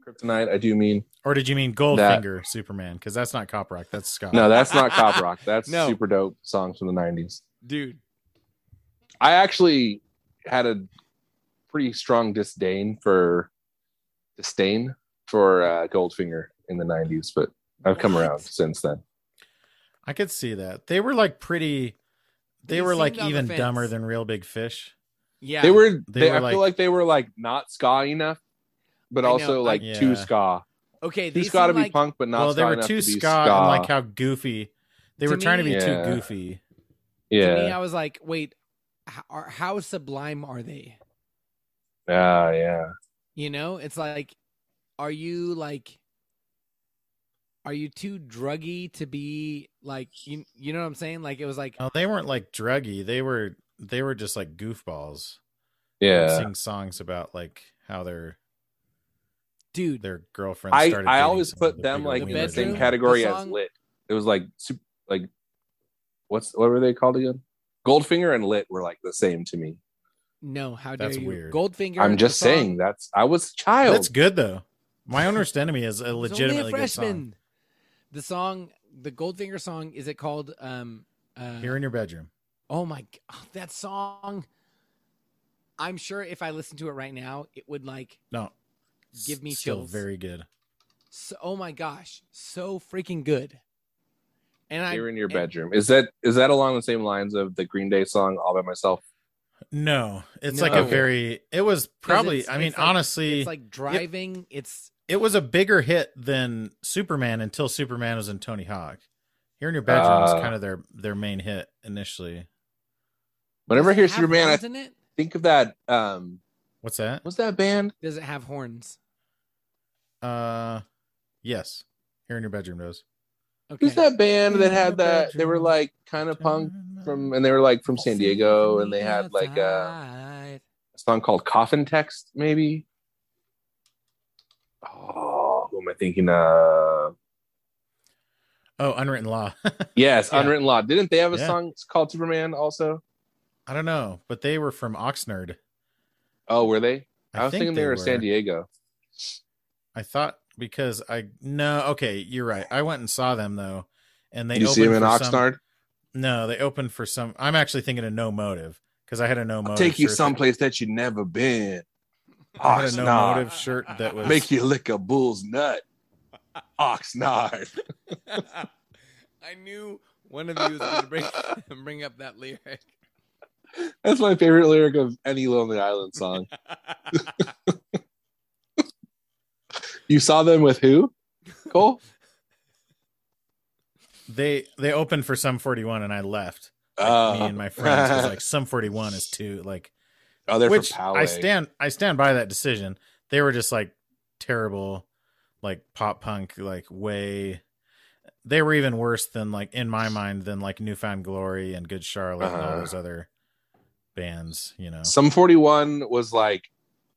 Speaker 3: Hmm.
Speaker 1: Kryptonite, I do mean
Speaker 3: Or did you mean Goldfinger Superman? Because that's not cop rock. That's Scott.
Speaker 1: no. That's not cop rock. That's
Speaker 2: No.
Speaker 1: super dope songs from the '90s.
Speaker 2: dude.
Speaker 1: I actually had a pretty strong disdain for disdain for uh, Goldfinger in the '90s, but I've come
Speaker 3: What?
Speaker 1: around since then.
Speaker 3: I could see that. They were like pretty. They,
Speaker 2: They
Speaker 3: were like
Speaker 2: seemed on the
Speaker 3: even
Speaker 2: fence.
Speaker 3: dumber than Real Big Fish.
Speaker 2: Yeah,
Speaker 1: They were.
Speaker 3: They
Speaker 1: They,
Speaker 3: were
Speaker 1: I
Speaker 3: like-
Speaker 1: feel like they were like not ska enough, but
Speaker 2: I know,
Speaker 1: also
Speaker 2: I-
Speaker 1: like
Speaker 3: Yeah.
Speaker 1: too ska.
Speaker 2: okay. They
Speaker 1: Too ska to
Speaker 2: seem
Speaker 1: be
Speaker 2: like,
Speaker 1: punk, but not.
Speaker 3: well,
Speaker 1: ska
Speaker 3: they were
Speaker 1: enough
Speaker 3: too
Speaker 1: to be
Speaker 3: ska, and like how goofy. They
Speaker 2: To
Speaker 3: were trying to be
Speaker 1: me- Yeah.
Speaker 3: too goofy.
Speaker 2: To me,
Speaker 1: yeah.
Speaker 2: I was like, wait, how, are, how sublime are they?
Speaker 1: Yeah. Yeah.
Speaker 2: You know, it's like, are you like, are you too druggy to be like, you, you know what I'm saying? Like, it was like,
Speaker 3: No, they weren't like druggy. They were they were just like goofballs.
Speaker 1: Yeah.
Speaker 3: Sing songs about like how their
Speaker 2: dude,
Speaker 3: their girlfriend.
Speaker 1: I,
Speaker 3: started
Speaker 1: I
Speaker 3: dating
Speaker 1: always
Speaker 3: someone
Speaker 1: put
Speaker 3: with
Speaker 1: them
Speaker 3: bigger
Speaker 1: like in the
Speaker 3: wheelers
Speaker 1: same
Speaker 3: than-
Speaker 1: category
Speaker 2: The
Speaker 1: as
Speaker 2: song-
Speaker 1: lit. It was like sup- like what's what were they called again? Goldfinger and lit were like the same to me.
Speaker 2: no, how dare
Speaker 3: That's
Speaker 2: you?
Speaker 3: weird.
Speaker 2: Goldfinger.
Speaker 1: I'm just
Speaker 2: the song,
Speaker 1: saying that's I was a child.
Speaker 3: That's good though. My Owners to Enemy is a
Speaker 2: It's only
Speaker 3: legitimately
Speaker 2: a
Speaker 3: good song.
Speaker 2: freshman. The song, the Goldfinger song, is it called? Um, uh,
Speaker 3: Here in your bedroom.
Speaker 2: Oh my god, that song! I'm sure if I listened to it right now, it would like.
Speaker 3: No.
Speaker 2: Give me
Speaker 3: Still
Speaker 2: chills.
Speaker 3: very good.
Speaker 2: So, oh my gosh, so freaking good. And I
Speaker 1: Here in your
Speaker 2: and-
Speaker 1: bedroom. Is that is that along the same lines of the Green Day song All by Myself?
Speaker 3: No, it's
Speaker 2: No.
Speaker 3: like a
Speaker 1: Okay.
Speaker 3: very. It was probably.
Speaker 2: it's-
Speaker 3: I mean,
Speaker 2: it's like-
Speaker 3: honestly,
Speaker 2: it's like driving. It's
Speaker 3: it was a bigger hit than Superman until Superman was in Tony Hawk. Here in your bedroom is
Speaker 1: Ah.
Speaker 3: kind of their their main hit initially.
Speaker 1: Whenever I
Speaker 2: does it
Speaker 1: hear
Speaker 2: have
Speaker 1: Superman, I
Speaker 2: horns in it?
Speaker 1: think of that um
Speaker 3: What's that?
Speaker 1: what's that band?
Speaker 2: Does it have horns?
Speaker 3: Uh, yes. Here in your bedroom does.
Speaker 2: Okay.
Speaker 1: Who's that band that
Speaker 3: In your
Speaker 1: had that they were
Speaker 3: bedroom.
Speaker 1: like kind of punk from and they were like from San Diego and they had like uh
Speaker 2: Outside.
Speaker 1: a song called Coffin Text, maybe. Oh, who am I thinking of?
Speaker 3: Oh, Unwritten Law.
Speaker 1: Yes,
Speaker 3: Yeah.
Speaker 1: Unwritten Law. Didn't they have a
Speaker 3: Yeah.
Speaker 1: song called Superman also?
Speaker 3: I don't know, but they were from Oxnard.
Speaker 1: Oh, were they? I,
Speaker 3: I,
Speaker 1: was
Speaker 3: think
Speaker 1: thinking they, were San Diego.
Speaker 3: I thought because I no. Okay, you're right. I went and saw them though, and they
Speaker 1: you see
Speaker 3: opened
Speaker 1: them in
Speaker 3: for some-
Speaker 1: Oxnard?
Speaker 3: No, they opened for some. I'm actually thinking of No Motive because I had a No Motive.
Speaker 1: Take you
Speaker 3: shirt
Speaker 1: someplace that you never been.
Speaker 3: That, I had a No
Speaker 1: Oxnard.
Speaker 3: Motive shirt that was.
Speaker 1: Make you lick a bull's nut. Oxnard.
Speaker 2: I knew one of you was going to bring bring up that lyric.
Speaker 1: That's my favorite lyric of any Lonely Island song. you saw them with who? Cole?
Speaker 3: they they opened for Sum 41 and I left. Like, me
Speaker 1: Oh.
Speaker 3: and my friends 'cause, like Sum 41 is too like
Speaker 1: oh, they're
Speaker 3: which
Speaker 1: from
Speaker 3: I
Speaker 1: Poway.
Speaker 3: stand I stand by that decision. They were just like terrible, like pop punk, like way. They were even worse than like in my mind than like Newfound Glory and Good Charlotte and all
Speaker 1: Uh-huh.
Speaker 3: those other bands. You know,
Speaker 1: Some 41 was like,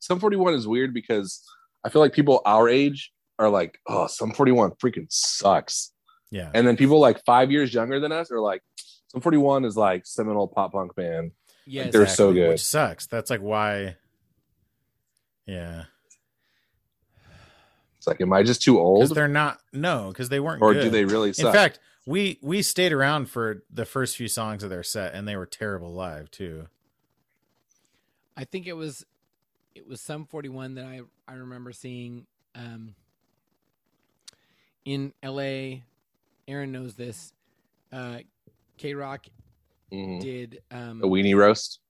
Speaker 1: Some 41 is weird because I feel like people our age are like, oh, Some 41 freaking sucks.
Speaker 3: yeah.
Speaker 1: And then people like five years younger than us are like, Some 41 is like seminal pop punk band.
Speaker 2: Yes,
Speaker 1: they're so good.
Speaker 3: Which sucks. That's like why. Yeah,
Speaker 1: It's like, am I just too
Speaker 3: because
Speaker 1: old?
Speaker 3: they're not no, because they weren't.
Speaker 1: Or
Speaker 3: good.
Speaker 1: do they really
Speaker 3: In
Speaker 1: suck?
Speaker 3: fact, we we stayed around for the first few songs of their set, and they were terrible live too.
Speaker 2: I think it was it was some 41 that I I remember seeing um in LA Aaron knows this uh K-Rock
Speaker 1: Mhm.
Speaker 2: did um
Speaker 1: a weenie roast?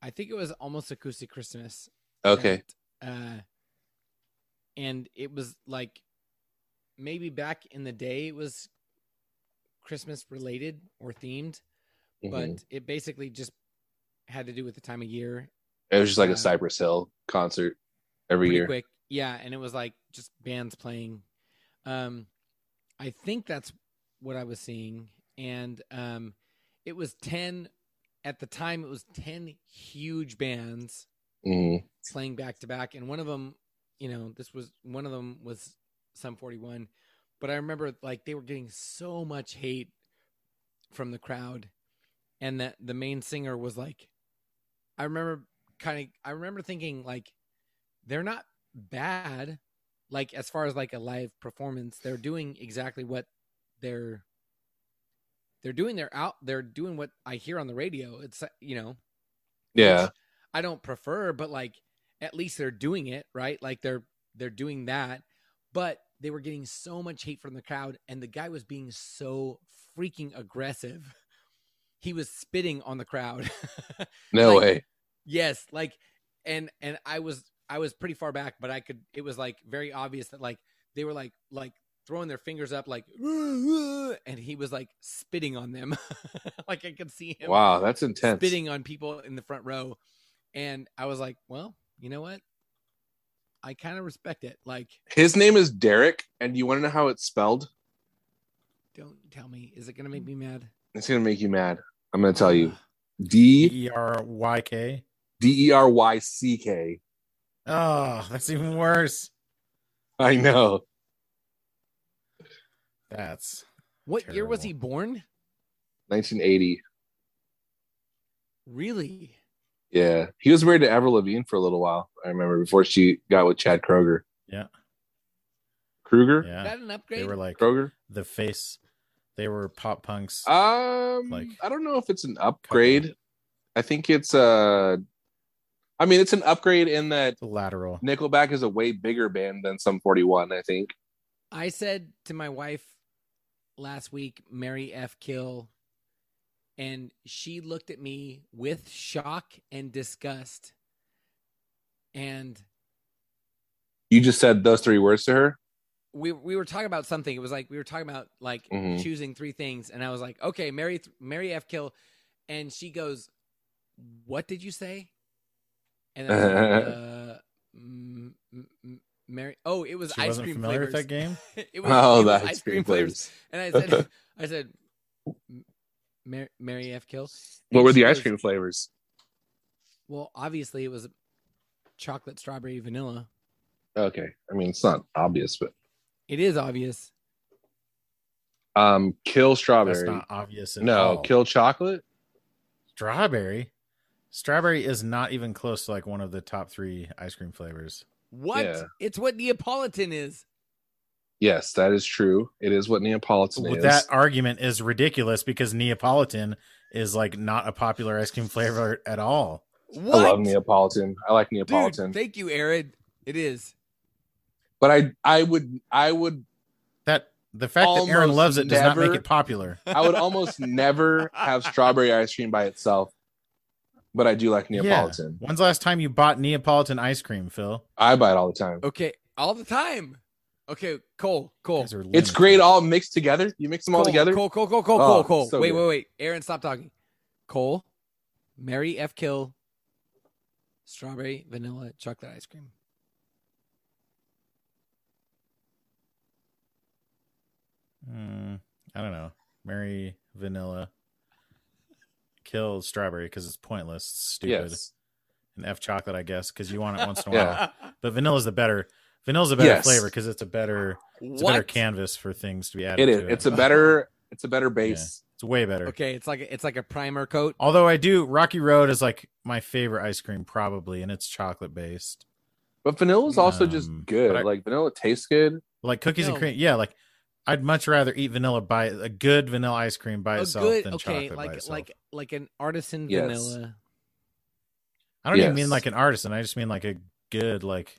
Speaker 2: I think it was almost acoustic Christmas
Speaker 1: Okay.
Speaker 2: and, uh and it was like maybe back in the day it was Christmas related or themed
Speaker 1: Mhm.
Speaker 2: but it basically just had to do with the time of year
Speaker 1: it was just like
Speaker 2: uh,
Speaker 1: a Cypress Hill concert every
Speaker 2: pretty
Speaker 1: year.
Speaker 2: quick. Yeah, and it was like just bands playing. Um, I think that's what I was seeing, and um, it was ten at the time. It was ten huge bands
Speaker 1: Mhm.
Speaker 2: playing back to back, and one of them, you know, this was one of them was some forty one, but I remember like they were getting so much hate from the crowd, and that the main singer was like, I remember kind of, I remember thinking like, they're not bad, like as far as like a live performance, they're doing exactly what they're they're doing. They're out. They're doing what I hear on the radio. It's uh, you know
Speaker 1: Yeah.
Speaker 2: I don't prefer, but like at least they're doing it right. Like they're they're doing that, but they were getting so much hate from the crowd, and the guy was being so freaking aggressive. He was spitting on the crowd.
Speaker 1: No
Speaker 2: Like,
Speaker 1: way.
Speaker 2: Yes, like and and I was I was pretty far back, but I could it was like very obvious that like they were like like throwing their fingers up like and he was like spitting on them. like I could see him
Speaker 1: Wow, that's intense.
Speaker 2: spitting on people in the front row. And I was like, well, you know what? I kind of respect it. Like,
Speaker 1: His name is Derek, and you want to know how it's spelled?
Speaker 2: don't tell me. Is it gonna make me mad?
Speaker 1: It's gonna make you mad. I'm gonna tell you. D
Speaker 3: E R Y K.
Speaker 1: D E R Y C K.
Speaker 3: Oh, that's even worse.
Speaker 1: I know.
Speaker 3: That's
Speaker 2: What year was he
Speaker 3: Terrible.
Speaker 2: born?
Speaker 1: 1980.
Speaker 2: Really?
Speaker 1: Yeah. He was married to Avril Lavigne for a little while. I remember before she got with Chad Kroger.
Speaker 3: Yeah.
Speaker 1: Kruger?
Speaker 2: Is
Speaker 3: yeah.
Speaker 2: that an
Speaker 3: They
Speaker 2: upgrade?
Speaker 3: were like
Speaker 1: Kroger?
Speaker 3: the face. They were pop punks.
Speaker 1: Um
Speaker 3: Like-
Speaker 1: I don't know if it's an upgrade. I think it's uh I mean it's an upgrade in that
Speaker 3: the lateral.
Speaker 1: Nickelback is a way bigger band than some 41, I think.
Speaker 2: I said to my wife last week, Mary F. Kill, and she looked at me with shock and disgust. And
Speaker 1: You just said those three words to her?
Speaker 2: we we were talking about something. It was like we were talking about like
Speaker 1: Mhm.
Speaker 2: choosing three things, and I was like, okay, Mary th- Mary F. Kill, and she goes, "What did you say?" And I was like, uh, mm, mm, mm, Mary, oh, it was
Speaker 3: She
Speaker 2: ice
Speaker 3: wasn't
Speaker 2: cream
Speaker 3: familiar
Speaker 2: flavors.
Speaker 3: with that game?
Speaker 2: it was,
Speaker 1: Oh,
Speaker 2: it was
Speaker 1: that
Speaker 2: ice cream flavors. And I said, I said, "M- Mary, Mary F. Kill.
Speaker 1: What
Speaker 2: And
Speaker 1: were
Speaker 2: she
Speaker 1: the ice
Speaker 2: goes,
Speaker 1: cream flavors?
Speaker 2: Well, obviously it was chocolate, strawberry, vanilla.
Speaker 1: Okay. I mean, it's not obvious, but
Speaker 2: It is obvious.
Speaker 1: um, kill
Speaker 3: That's
Speaker 1: strawberry.
Speaker 3: not obvious at
Speaker 1: no,
Speaker 3: all.
Speaker 1: kill chocolate.
Speaker 3: strawberry. Strawberry is not even close to like one of the top three ice cream flavors.
Speaker 2: What?
Speaker 1: Yeah.
Speaker 2: It's what Neapolitan is.
Speaker 1: Yes, that is true. It is what Neapolitan
Speaker 3: Well,
Speaker 1: is.
Speaker 3: that argument is ridiculous because Neapolitan is like not a popular ice cream flavor at all.
Speaker 1: I
Speaker 2: What?
Speaker 1: love Neapolitan. I like Neapolitan,
Speaker 2: Dude, thank you, Aaron. It is.
Speaker 1: but I I would I would
Speaker 3: That the fact that Aaron
Speaker 1: Almost
Speaker 3: loves it does not
Speaker 1: never-
Speaker 3: make it popular.
Speaker 1: I would almost never have strawberry ice cream by itself, but I do like Neapolitan.
Speaker 3: Yeah. When's the last time you bought Neapolitan ice cream, Phil?
Speaker 1: I buy it all the time.
Speaker 2: Okay, all the time. Okay, Cole,
Speaker 3: You
Speaker 2: Cole.
Speaker 3: guys are
Speaker 1: Oh, It's
Speaker 3: lunatics.
Speaker 1: great all mixed together. You mix them all
Speaker 2: Cole,
Speaker 1: together.
Speaker 2: Cole, Cole, Cole, Cole,
Speaker 1: Oh,
Speaker 2: Cole, Cole.
Speaker 1: so
Speaker 2: wait,
Speaker 1: good.
Speaker 2: wait, wait. Aaron, stop talking. Cole, Mary F. Kill, strawberry, vanilla, chocolate ice cream.
Speaker 3: Mm, I don't know. Mary vanilla. Kill strawberry because it's pointless, it's stupid,
Speaker 1: Yes.
Speaker 3: and F chocolate, I guess, because you want it once in a while.
Speaker 1: Yeah.
Speaker 3: But vanilla's the better. Vanilla's a better
Speaker 1: Yes.
Speaker 3: flavor because it's a better, it's a better canvas for things to be added.
Speaker 1: It is.
Speaker 3: to
Speaker 1: It's a better. It's a better base.
Speaker 3: It's way better.
Speaker 2: Okay, it's like a, it's like a primer coat.
Speaker 3: Although I do Rocky Road is like my favorite ice cream probably, and it's chocolate based.
Speaker 1: But vanilla is also just
Speaker 3: Um,
Speaker 1: good.
Speaker 3: but I-
Speaker 1: like vanilla tastes good.
Speaker 3: Like cookies and
Speaker 2: No.
Speaker 3: cream, yeah. Like I'd much rather eat vanilla by a good vanilla ice cream by
Speaker 2: A
Speaker 3: itself
Speaker 2: good
Speaker 3: than chocolate
Speaker 2: okay,
Speaker 3: by
Speaker 2: like
Speaker 3: itself.
Speaker 2: like like an artisan
Speaker 1: Yes.
Speaker 2: vanilla.
Speaker 3: I don't even mean
Speaker 1: Yes.
Speaker 3: like an artisan. I just mean like a good like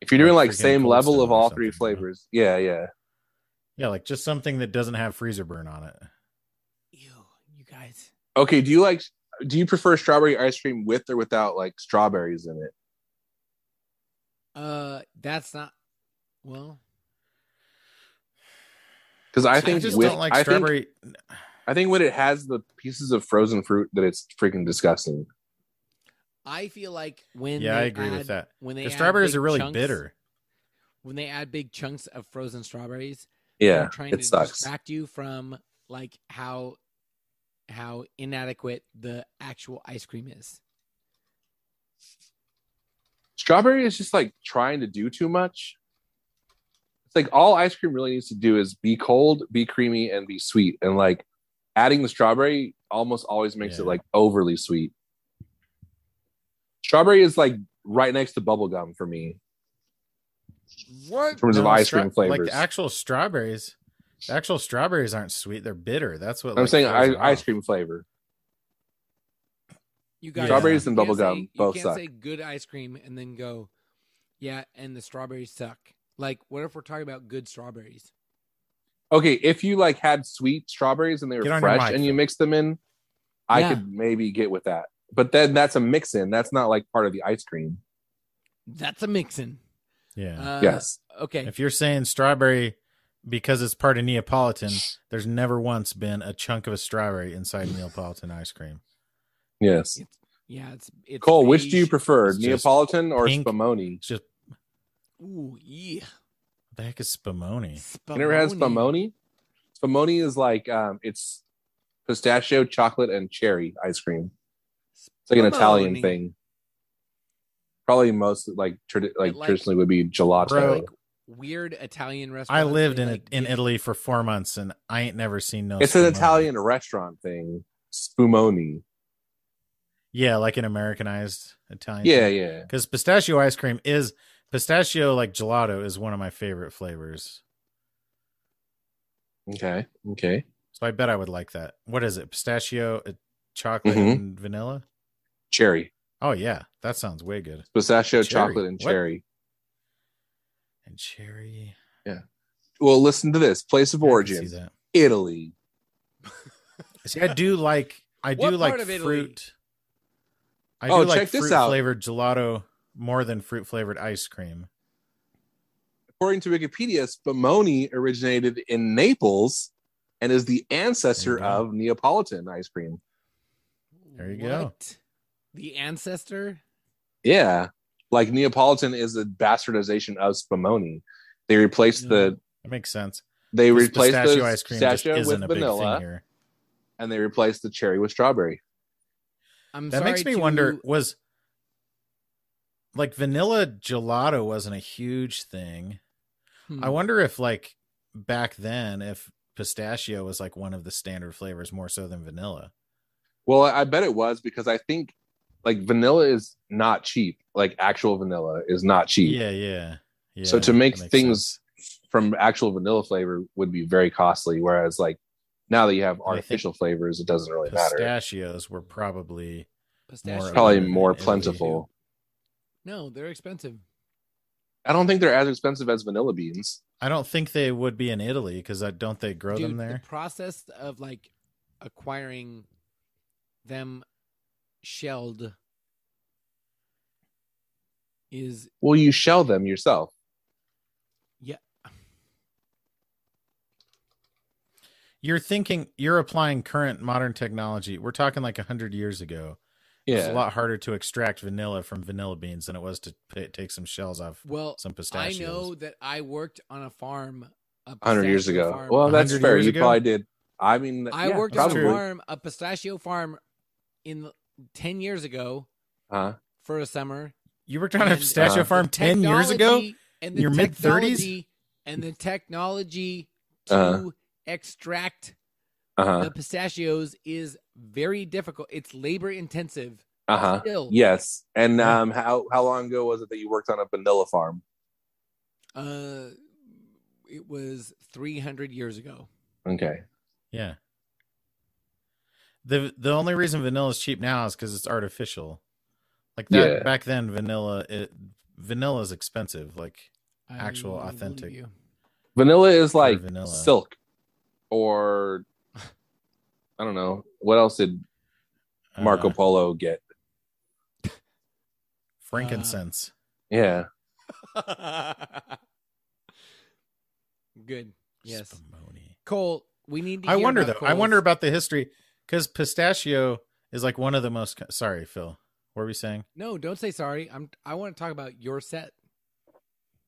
Speaker 1: If you're doing
Speaker 3: Like
Speaker 1: like
Speaker 3: freaking
Speaker 1: same
Speaker 3: Cold
Speaker 1: level
Speaker 3: Stone
Speaker 1: of
Speaker 3: or
Speaker 1: all three
Speaker 3: something, you know?
Speaker 1: flavors, yeah, yeah.
Speaker 3: yeah, like just something that doesn't have freezer burn on it.
Speaker 2: Ew, you guys.
Speaker 1: Okay, do you like? Do you prefer strawberry ice cream with or without like strawberries in it?
Speaker 2: Uh, that's not. Well,
Speaker 1: Because I think
Speaker 3: just
Speaker 1: with
Speaker 3: don't like
Speaker 1: I think
Speaker 3: strawberry.
Speaker 1: I think when it has the pieces of frozen fruit, that it's freaking disgusting.
Speaker 2: I feel like when
Speaker 3: yeah, I
Speaker 2: they
Speaker 3: agree
Speaker 2: add-
Speaker 3: with that.
Speaker 2: When they
Speaker 3: The
Speaker 2: add
Speaker 3: strawberries
Speaker 2: big
Speaker 3: are really
Speaker 2: chunks-
Speaker 3: bitter.
Speaker 2: When they add big chunks of frozen strawberries, they're
Speaker 1: Yeah,
Speaker 2: trying
Speaker 1: it
Speaker 2: to
Speaker 1: sucks.
Speaker 2: distract you from like how how inadequate the actual ice cream is.
Speaker 1: Strawberry is just like trying to do too much. It's like all ice cream really needs to do is be cold, be creamy, and be sweet. And like adding the strawberry almost always makes
Speaker 3: Yeah.
Speaker 1: it like overly sweet. Strawberry is like right next to bubblegum for me. in
Speaker 2: What?
Speaker 1: terms of
Speaker 3: No,
Speaker 1: ice
Speaker 3: stra-
Speaker 1: cream flavors.
Speaker 3: Like the actual strawberries. The actual strawberries aren't sweet. They're bitter. That's what
Speaker 1: I'm
Speaker 3: like,
Speaker 1: saying
Speaker 3: throws
Speaker 1: I,
Speaker 3: it
Speaker 1: ice
Speaker 3: off.
Speaker 1: cream flavor.
Speaker 2: You guys,
Speaker 3: Strawberries
Speaker 1: and
Speaker 2: you can't
Speaker 1: bubble gum
Speaker 2: say- you
Speaker 1: both
Speaker 2: can't
Speaker 1: suck.
Speaker 2: say good ice cream and then go, yeah, and the strawberries suck. Like, what if we're talking about good strawberries?
Speaker 1: Okay, if you like had sweet strawberries and they
Speaker 3: Get
Speaker 1: were
Speaker 3: on your
Speaker 1: fresh
Speaker 3: mic,
Speaker 1: and you
Speaker 3: though.
Speaker 1: mixed them in, I
Speaker 2: Yeah.
Speaker 1: could maybe get with that. But then that's a mix in. That's not like part of the ice cream.
Speaker 2: That's a mixin'.
Speaker 3: Yeah.
Speaker 2: Uh,
Speaker 1: yes.
Speaker 2: Okay.
Speaker 3: if you're saying strawberry because it's part of Neapolitan, there's never once been a chunk of a strawberry inside Neapolitan ice cream.
Speaker 1: Yes.
Speaker 2: Yeah. It's it's
Speaker 1: Cole, which do you
Speaker 2: beige.
Speaker 1: prefer,
Speaker 3: It's just
Speaker 1: Neapolitan or
Speaker 3: pink.
Speaker 1: Spumoni?
Speaker 3: It's just
Speaker 2: Ooh, yeah.
Speaker 3: what the heck is spumoni?
Speaker 1: You never had Spumoni? Spumoni is like um, it's pistachio, chocolate, and cherry ice cream. It's like an Italian
Speaker 2: Spumoni.
Speaker 1: thing. Probably most like tradi- like
Speaker 2: like-
Speaker 1: traditionally would be gelato.
Speaker 3: Bro,
Speaker 2: Like weird Italian restaurant.
Speaker 3: I lived in
Speaker 2: like,
Speaker 3: in
Speaker 2: dip-
Speaker 3: Italy for four months and I ain't never seen no.
Speaker 1: it's an
Speaker 3: spumoni.
Speaker 1: Italian restaurant thing. Spumoni.
Speaker 3: yeah, like an Americanized Italian.
Speaker 1: Yeah, yeah.
Speaker 3: because pistachio ice cream is pistachio like gelato is one of my favorite flavors.
Speaker 1: Okay. Okay.
Speaker 3: So I bet I would like that. What is it? Pistachio, uh, chocolate,
Speaker 1: Mhm.
Speaker 3: and vanilla.
Speaker 1: Cherry.
Speaker 3: Oh yeah, that sounds way good.
Speaker 1: Pistachio,
Speaker 3: Cherry.
Speaker 1: chocolate, and
Speaker 3: What?
Speaker 1: cherry.
Speaker 3: And cherry.
Speaker 1: Well, listen to this. Place of
Speaker 3: I can
Speaker 1: origin.
Speaker 3: see that.
Speaker 1: Italy.
Speaker 3: See, I do like I do
Speaker 2: What part
Speaker 3: like
Speaker 2: of Italy?
Speaker 3: fruit. I
Speaker 1: Oh,
Speaker 3: do like
Speaker 1: check this
Speaker 3: fruit
Speaker 1: out.
Speaker 3: flavored gelato more than fruit flavored ice cream.
Speaker 1: According to Wikipedia, Spumoni originated in Naples and is the ancestor
Speaker 3: There you go.
Speaker 1: of Neapolitan ice cream.
Speaker 3: There you go.
Speaker 2: What? The ancestor.
Speaker 1: Yeah. Like Neapolitan is a bastardization of Spumoni. They replaced the
Speaker 3: That makes sense.
Speaker 1: they
Speaker 3: 'Cause
Speaker 1: replaced
Speaker 3: pistachio
Speaker 1: the
Speaker 3: ice cream just
Speaker 1: pistachio
Speaker 3: isn't
Speaker 1: with
Speaker 3: a big thing
Speaker 1: vanilla
Speaker 3: here.
Speaker 1: and they replaced the cherry with strawberry.
Speaker 2: I'm
Speaker 3: That
Speaker 2: sorry
Speaker 3: makes me
Speaker 2: to-
Speaker 3: wonder was like vanilla gelato wasn't a huge thing.
Speaker 2: Hmm.
Speaker 3: I wonder if like back then if pistachio was like one of the standard flavors more so than vanilla.
Speaker 1: Well, I bet it was because I think like vanilla is not cheap. Like actual vanilla is not cheap.
Speaker 3: Yeah, yeah. Yeah.
Speaker 1: So to make
Speaker 3: that makes sense.
Speaker 1: things from actual vanilla flavor would be very costly. Whereas like now that you have
Speaker 3: I think
Speaker 1: artificial flavors, it doesn't really matter.
Speaker 3: pistachios were probably
Speaker 2: Pistachio.
Speaker 1: Probably
Speaker 3: than
Speaker 1: more
Speaker 3: Italy.
Speaker 1: plentiful.
Speaker 2: No, they're expensive.
Speaker 1: I don't think they're as expensive as vanilla beans.
Speaker 3: I don't think they would be in Italy because I don't they grow them
Speaker 2: Dude,
Speaker 3: there.
Speaker 2: The process of like acquiring them shelled is
Speaker 1: Well, you shell them yourself.
Speaker 3: You're thinking you're applying current modern technology. We're talking like hundred years ago. It's a
Speaker 1: Yeah.
Speaker 3: lot harder to extract vanilla from vanilla beans than it was to p- take some shells off
Speaker 2: well.
Speaker 3: some
Speaker 2: I
Speaker 3: pistachios.
Speaker 2: know that I worked on a farm. A
Speaker 1: Hundred years
Speaker 2: pistachio
Speaker 1: ago.
Speaker 2: farm.
Speaker 1: Well, that's
Speaker 3: 100
Speaker 1: fair.
Speaker 3: years
Speaker 1: You
Speaker 3: ago?
Speaker 1: probably did. I mean,
Speaker 2: I
Speaker 1: yeah,
Speaker 2: worked
Speaker 1: probably.
Speaker 2: on a farm, a pistachio farm, in ten years ago
Speaker 1: Huh?
Speaker 2: for a summer.
Speaker 3: You were trying to
Speaker 2: And,
Speaker 3: pistachio
Speaker 1: uh,
Speaker 3: farm ten years ago.
Speaker 2: Technology and
Speaker 3: Your mid-thirties?
Speaker 2: technology- and the technology to
Speaker 1: Uh-huh.
Speaker 2: extract
Speaker 1: Uh huh.
Speaker 2: the pistachios is very difficult. It's labor intensive.
Speaker 1: Uh huh.
Speaker 2: Still,
Speaker 1: Yes. And
Speaker 3: Yeah.
Speaker 1: um, how how long ago was it that you worked on a vanilla farm?
Speaker 2: uh, it was three hundred years ago.
Speaker 1: Okay.
Speaker 3: Yeah. the The only reason vanilla is cheap now is because it's artificial. Like that
Speaker 1: Yeah.
Speaker 3: back then, vanilla it, vanilla is expensive. Like
Speaker 2: I
Speaker 3: Actual
Speaker 2: believe
Speaker 3: authentic.
Speaker 2: you.
Speaker 1: Vanilla is like
Speaker 3: vanilla.
Speaker 1: silk, or I don't know what else did
Speaker 3: Uh-huh.
Speaker 1: Marco
Speaker 3: uh,
Speaker 1: Polo get?
Speaker 3: frankincense.
Speaker 1: Yeah,
Speaker 2: Good. Uh, Yes.
Speaker 3: Spumoni.
Speaker 2: Cole, we need to
Speaker 3: I
Speaker 2: hear
Speaker 3: wonder though.
Speaker 2: about
Speaker 3: I
Speaker 2: Cole's-
Speaker 3: wonder about the history because pistachio is like one of the most. Sorry, Phil. What were we saying?
Speaker 2: No, don't say sorry. I'm I want to talk about your set.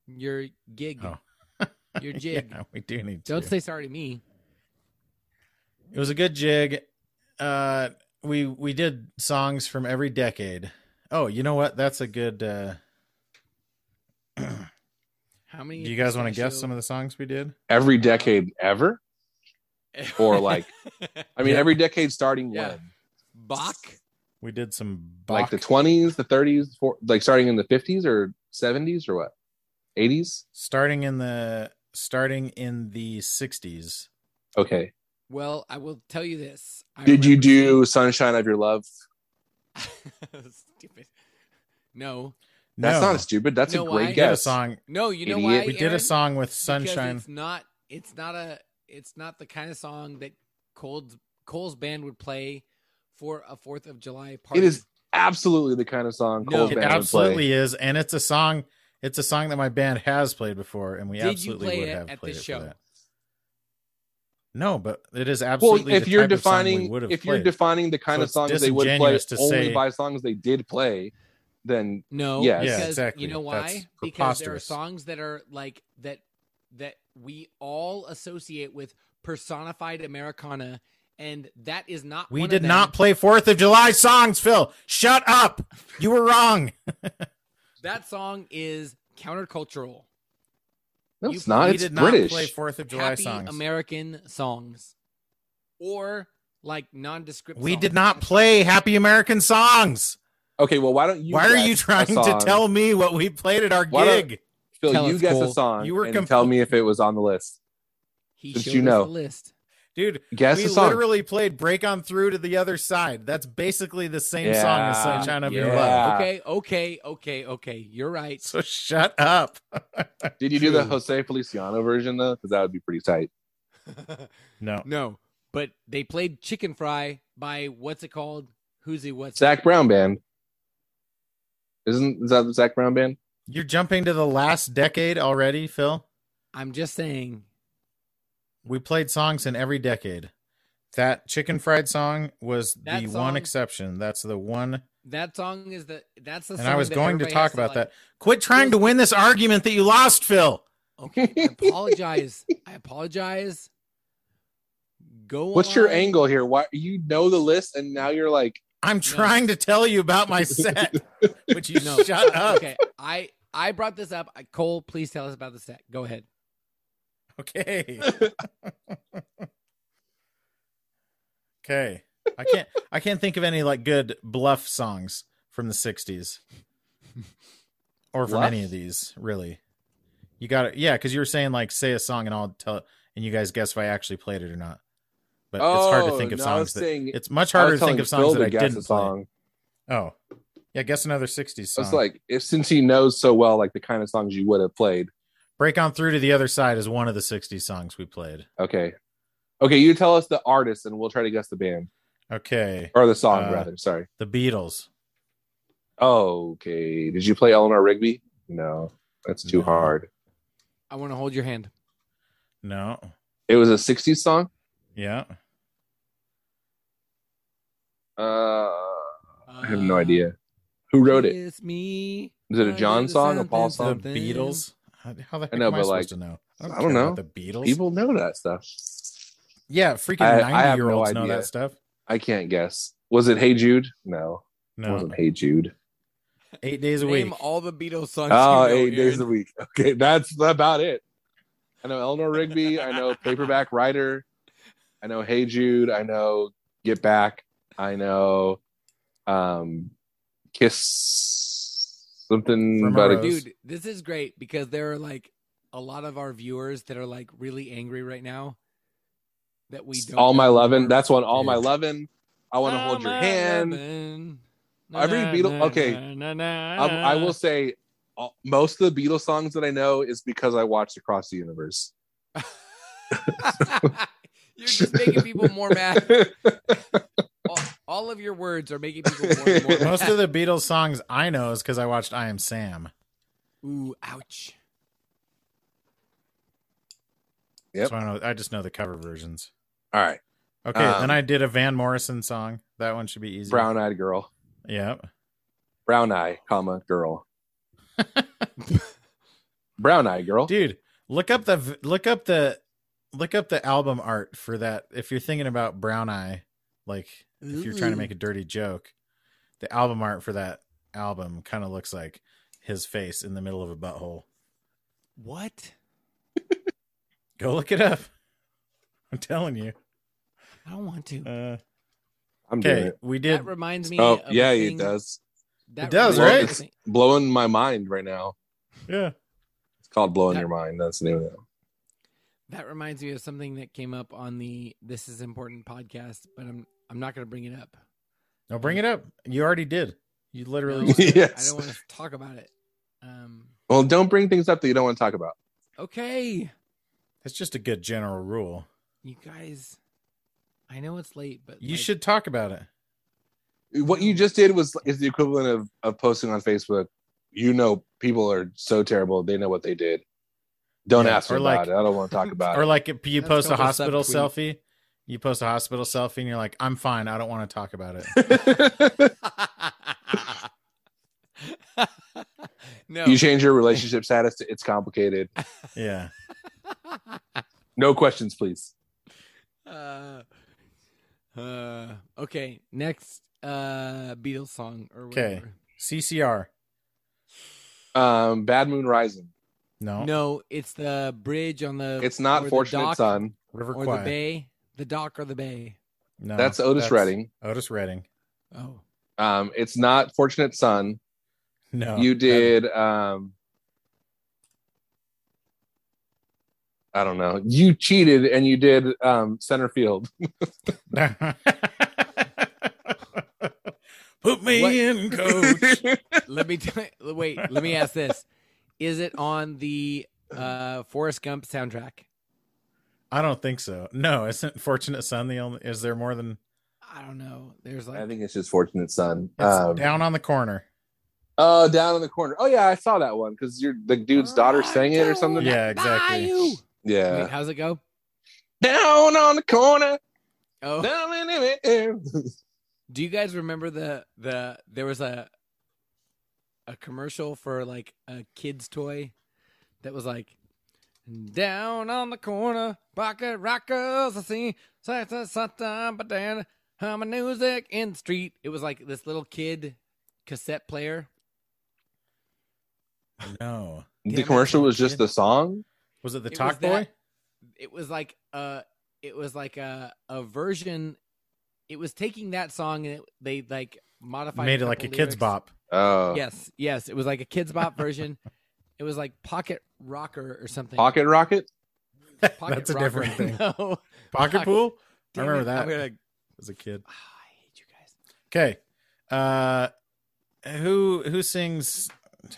Speaker 2: Your gig.
Speaker 3: Oh.
Speaker 2: Your jig.
Speaker 3: Yeah, we do need.
Speaker 2: Don't
Speaker 3: to.
Speaker 2: say sorry to me.
Speaker 3: it was a good jig. Uh, we we did songs from every decade. Oh, you know what? That's a good. Uh, do
Speaker 2: How many
Speaker 3: you guys want to guess some of the songs we did?
Speaker 1: every decade ever,
Speaker 2: the
Speaker 1: or like I mean,
Speaker 3: Yeah.
Speaker 1: every decade starting
Speaker 2: Yeah.
Speaker 1: when,
Speaker 2: Bach?
Speaker 3: We did some
Speaker 1: like
Speaker 3: Bach.
Speaker 1: the twenties, the thirties, like starting in the fifties or seventies or what? 80s?
Speaker 3: starting in the starting in the 60s
Speaker 1: Okay.
Speaker 2: Well, I will tell you this. I
Speaker 1: Did you
Speaker 2: remember
Speaker 1: do Sunshine of Your Love?
Speaker 2: seeing- Stupid. No,
Speaker 1: That's
Speaker 3: no,
Speaker 1: not stupid. That's
Speaker 2: No,
Speaker 1: a great
Speaker 2: I-
Speaker 3: we did a
Speaker 1: guess.
Speaker 3: song
Speaker 2: no. You know
Speaker 1: Idiot.
Speaker 2: why?
Speaker 1: Hey,
Speaker 3: we did a
Speaker 2: Aaron?
Speaker 3: song with
Speaker 2: Because
Speaker 3: sunshine
Speaker 2: It's not. It's not a. It's not the kind of song that Cole's Cole's band would play for a Fourth of July party.
Speaker 1: It is absolutely the kind of song
Speaker 2: No.
Speaker 1: Cole's
Speaker 3: it
Speaker 1: band would
Speaker 3: absolutely
Speaker 1: play.
Speaker 3: is and it's a song it's a song that my band has played before and we
Speaker 2: Did you
Speaker 3: absolutely
Speaker 2: play
Speaker 3: would
Speaker 2: it
Speaker 3: have
Speaker 2: at
Speaker 3: played
Speaker 2: this
Speaker 3: it for
Speaker 2: show?
Speaker 3: that. no but it is
Speaker 1: Well,
Speaker 3: absolutely
Speaker 1: if
Speaker 3: the
Speaker 1: you're
Speaker 3: type of song we
Speaker 1: defining
Speaker 3: would have
Speaker 1: if you're
Speaker 3: played.
Speaker 1: defining the kind
Speaker 3: So
Speaker 1: of
Speaker 3: it's
Speaker 1: songs they would play
Speaker 3: disingenuous to
Speaker 1: only
Speaker 3: say-
Speaker 1: by songs they did play, then
Speaker 2: No,
Speaker 1: Yes.
Speaker 2: because
Speaker 1: Yeah,
Speaker 3: exactly.
Speaker 2: you know
Speaker 3: That's
Speaker 2: why? Because there are
Speaker 3: preposterous.
Speaker 2: songs that are like that that we all associate with personified Americana, and that is not.
Speaker 3: we
Speaker 2: one of
Speaker 3: did
Speaker 2: them.
Speaker 3: not play fourth of july songs phil shut up you were wrong
Speaker 2: That song is countercultural.
Speaker 1: no,
Speaker 2: You-
Speaker 1: it's not.
Speaker 3: we
Speaker 1: It's
Speaker 3: did
Speaker 1: British.
Speaker 3: not play fourth of july
Speaker 2: happy
Speaker 3: songs
Speaker 2: American songs, or like nondescript.
Speaker 3: we
Speaker 2: songs.
Speaker 3: did not play happy american songs
Speaker 1: okay, well, why don't you?
Speaker 3: Why are
Speaker 1: guess
Speaker 3: you
Speaker 1: a
Speaker 3: trying to
Speaker 1: song?
Speaker 3: tell me what we played at our
Speaker 1: Why don't-
Speaker 3: gig?
Speaker 1: Phil,
Speaker 2: Tell
Speaker 1: you
Speaker 2: us,
Speaker 1: guess
Speaker 2: Cole.
Speaker 1: a song.
Speaker 3: You were
Speaker 1: and
Speaker 3: compl-
Speaker 1: tell me if it was on the list.
Speaker 2: He
Speaker 1: Did
Speaker 2: showed
Speaker 1: you
Speaker 2: us
Speaker 1: know?
Speaker 2: the list.
Speaker 3: Dude,
Speaker 1: Guess
Speaker 3: we
Speaker 1: a song.
Speaker 3: literally played Break On Through to the Other Side. That's basically the same
Speaker 1: Yeah.
Speaker 3: song as Sunshine of Your
Speaker 1: Yeah.
Speaker 3: Love.
Speaker 2: Okay, okay, okay, okay. You're right.
Speaker 3: So shut up.
Speaker 1: Did you do the
Speaker 3: Dude.
Speaker 1: Jose Feliciano version though? Because that would be pretty tight.
Speaker 3: No.
Speaker 2: no, but they played Chicken Fry by what's it called? Who's he? What's
Speaker 1: Zach Brown band. Isn't is that the Zach Brown band?
Speaker 3: You're jumping to the last decade already, Phil.
Speaker 2: I'm just saying.
Speaker 3: We played songs in every decade. That chicken fried song was
Speaker 2: Mm. That
Speaker 3: the
Speaker 2: song-
Speaker 3: one exception. That's the one.
Speaker 2: That song is the that's the.
Speaker 3: And
Speaker 2: song
Speaker 3: I was
Speaker 2: that
Speaker 3: going to
Speaker 2: everybody
Speaker 3: talk
Speaker 2: has
Speaker 3: about
Speaker 2: like-
Speaker 3: that. Quit trying to win this argument that you lost, Phil.
Speaker 2: Okay, I apologize. I apologize. Go.
Speaker 1: What's your
Speaker 2: on.
Speaker 1: angle here? Why you know the list and now you're like
Speaker 3: I'm trying to tell you about my set, but you
Speaker 2: No.
Speaker 3: shut up.
Speaker 2: Okay, I I brought this up. I- Cole, please tell us about the set. Go ahead.
Speaker 3: Okay. okay. I can't I can't think of any like good bluff songs from the 60s. Or from
Speaker 1: Bluff?
Speaker 3: any of these, really. You got it. Yeah, cuz you were saying like say a song and I'll tell it and you guys guess if I actually played it or not. But it's hard to
Speaker 1: "Oh,
Speaker 3: think of
Speaker 1: no, I was
Speaker 3: songs that
Speaker 1: saying-
Speaker 3: it's much
Speaker 1: I was
Speaker 3: harder to
Speaker 1: telling
Speaker 3: think of
Speaker 1: Phil
Speaker 3: songs that
Speaker 1: to
Speaker 3: I
Speaker 1: guess
Speaker 3: didn't
Speaker 1: a song.
Speaker 3: play. Oh. Yeah, guess another 60s
Speaker 1: I
Speaker 3: song.
Speaker 1: was like, if since he knows so well, like the kind of songs you would have played.
Speaker 3: Break on through to the other side is one of the 60s songs we played.
Speaker 1: Okay, okay, you tell us the artist and we'll try to guess the band
Speaker 3: Okay.
Speaker 1: or the song
Speaker 3: Uh,
Speaker 1: rather. Sorry.
Speaker 3: The Beatles.
Speaker 1: Okay, did you play Eleanor Rigby? No, that's too
Speaker 3: No.
Speaker 1: hard.
Speaker 2: I want to hold your hand.
Speaker 3: No.
Speaker 1: It was a '60s song.
Speaker 3: Yeah.
Speaker 1: Uh, I have no idea who wrote it.
Speaker 2: It's me.
Speaker 1: Is it a
Speaker 2: I
Speaker 1: John
Speaker 2: did
Speaker 1: song, a Paul song?
Speaker 2: something, something.
Speaker 3: The Beatles. How how the heck
Speaker 1: know,
Speaker 3: am I
Speaker 1: but,
Speaker 3: supposed
Speaker 1: like,
Speaker 3: to know?
Speaker 1: I don't
Speaker 3: care
Speaker 1: know.
Speaker 3: about The Beatles.
Speaker 1: People know that stuff.
Speaker 3: Yeah, freaking
Speaker 1: I- I have
Speaker 3: ninety year olds
Speaker 1: no
Speaker 3: know
Speaker 1: idea.
Speaker 3: that stuff.
Speaker 1: I can't guess. Was it Hey Jude? No, it
Speaker 3: No,
Speaker 1: wasn't Hey Jude.
Speaker 3: eight days a
Speaker 2: Name
Speaker 3: week.
Speaker 2: all the Beatles songs.
Speaker 1: Oh,
Speaker 2: you know,
Speaker 1: eight days a
Speaker 2: Aaron.
Speaker 1: week. Okay, that's about it. I know Eleanor Rigby. I know Paperback Writer. I know Hey Jude. I know Get Back. I know um, Kiss something
Speaker 3: From a
Speaker 1: about a
Speaker 3: Rose.
Speaker 2: Dude, this is great because there are like a lot of our viewers that are like really angry right now that we don't.
Speaker 1: All My
Speaker 2: know
Speaker 1: Lovin'.
Speaker 2: where-
Speaker 1: That's one. All
Speaker 3: Dude.
Speaker 1: My Lovin'. I want to
Speaker 2: All
Speaker 1: hold your
Speaker 2: my
Speaker 1: hand.
Speaker 2: lovin'.
Speaker 1: Every Beatle- okay.
Speaker 2: na, na,
Speaker 1: I, I
Speaker 2: na.
Speaker 1: will say uh, most of the Beatles songs that I know is because I watched Across the Universe.
Speaker 2: You're just making people more mad. All, all of your words are making people more and more mad.
Speaker 3: Most of the Beatles songs I know is because I watched I Am Sam.
Speaker 2: Ooh, ouch.
Speaker 1: Yep.
Speaker 3: So I know I just know the cover versions.
Speaker 1: All right,
Speaker 3: Okay,
Speaker 1: Um,
Speaker 3: then I did a Van Morrison song. That one should be easy.
Speaker 1: Brown Eyed Girl,
Speaker 3: Yep.
Speaker 1: Brown Eye, comma Girl, Brown Eye Girl.
Speaker 3: Dude, look up the v- look up the look up the album art for that. If you're thinking about Brown Eye, like if you're trying to make a dirty joke, the album art for that album kind of looks like his face in the middle of a butthole.
Speaker 2: what?
Speaker 3: Go look it up. I'm telling you.
Speaker 2: I don't want to.
Speaker 3: Uh,
Speaker 1: I'm doing
Speaker 3: okay,
Speaker 1: it.
Speaker 3: we did.
Speaker 2: that reminds me.
Speaker 1: Oh
Speaker 2: of a
Speaker 1: yeah,
Speaker 2: thing-
Speaker 1: it does.
Speaker 2: That
Speaker 3: It does,
Speaker 2: reminds me of
Speaker 1: right?
Speaker 2: a thing-
Speaker 1: Blowing my mind right now.
Speaker 3: yeah.
Speaker 1: called "Blowing Your Mind." That's the name of it.
Speaker 2: That reminds me of something that came up on the This Is Important podcast, but I'm I'm not going to bring it up.
Speaker 3: No, bring it up. You already did. You literally.
Speaker 2: No, I
Speaker 1: Yes.
Speaker 2: don't want to talk about it. Um,
Speaker 1: Well, don't bring things up that you don't want to talk about.
Speaker 2: okay,
Speaker 3: That's just a good general rule.
Speaker 2: you guys. I know it's late, but
Speaker 3: You
Speaker 2: like,
Speaker 3: should talk about it.
Speaker 1: What you just did was is the equivalent of of posting on Facebook. You know, people are so terrible. They know what they did. Don't
Speaker 3: Yeah,
Speaker 1: ask me
Speaker 3: or
Speaker 1: about
Speaker 3: like-
Speaker 1: it. I don't want to talk about
Speaker 3: Or
Speaker 1: it.
Speaker 3: like if you
Speaker 2: That's
Speaker 3: post a
Speaker 2: called a
Speaker 3: hospital
Speaker 2: subtweet.
Speaker 3: selfie, you post a hospital selfie and you're like, I'm fine. I don't want to talk about it.
Speaker 2: no.
Speaker 1: you change your relationship status to "It's complicated."
Speaker 3: yeah.
Speaker 1: No questions, please.
Speaker 2: uh, uh, okay, next uh, Beatles song or
Speaker 3: Okay.
Speaker 2: whatever.
Speaker 3: CCR.
Speaker 1: Um, Bad Moon Rising.
Speaker 3: No.
Speaker 2: No, it's the bridge on the.
Speaker 1: It's not
Speaker 2: or the
Speaker 1: Fortunate
Speaker 2: dock
Speaker 1: Son.
Speaker 3: River
Speaker 2: or the
Speaker 3: Quiet.
Speaker 2: bay, the dock or the bay.
Speaker 3: No.
Speaker 1: That's Otis Redding.
Speaker 3: Otis Redding.
Speaker 2: Oh,
Speaker 1: Um, it's not Fortunate Son.
Speaker 3: No.
Speaker 1: you
Speaker 3: That-
Speaker 1: did. Um, I don't know. You cheated and you did um, center field.
Speaker 3: Put me
Speaker 2: What?
Speaker 3: in, coach.
Speaker 2: let me tell you, wait. Let me ask this: Is it on the uh, Forrest Gump soundtrack?
Speaker 3: I don't think so. No, isn't Fortunate Son the only? Is there more than?
Speaker 2: I don't know. There's like
Speaker 1: I think it's just Fortunate Son.
Speaker 3: It's
Speaker 1: Um,
Speaker 3: down on the corner.
Speaker 1: Oh, down in the corner. Oh yeah, I saw that one because your the dude's daughter sang
Speaker 2: Ah,
Speaker 1: it or something.
Speaker 3: Yeah, exactly.
Speaker 2: Bayou. Wait,
Speaker 1: Yeah.
Speaker 2: how's it go?
Speaker 1: Down on the corner.
Speaker 2: Oh,
Speaker 1: Down in the air.
Speaker 2: do you guys remember the the there was a a commercial for like a kid's toy that was like down on the corner pocket rockers I see Santa Santa banana I'm a music in the street. It was like this little kid cassette player.
Speaker 3: No,
Speaker 1: The
Speaker 2: Damn it,
Speaker 1: commercial was
Speaker 2: kid.
Speaker 1: just the song.
Speaker 3: was it the
Speaker 2: It was
Speaker 3: Talk Boy?
Speaker 2: that- It was like a it was like a a version. It was taking that song and it, they like modified
Speaker 3: Made it
Speaker 2: couple
Speaker 3: like a
Speaker 2: lyrics.
Speaker 3: kids' bop.
Speaker 1: Oh,
Speaker 2: Yes, yes. It was like a kids bop version. It was like Pocket Rocker or something.
Speaker 1: Pocket Rocket.
Speaker 2: Pocket
Speaker 3: That's a
Speaker 2: Rocker.
Speaker 3: different thing.
Speaker 2: No. Ah,
Speaker 3: Pocket
Speaker 2: Pocket-
Speaker 3: pool. I
Speaker 2: Damn
Speaker 3: remember
Speaker 2: it.
Speaker 3: that
Speaker 2: I'm gonna-
Speaker 3: as a kid.
Speaker 2: Ah, I hate you guys.
Speaker 3: Okay, uh, who who sings?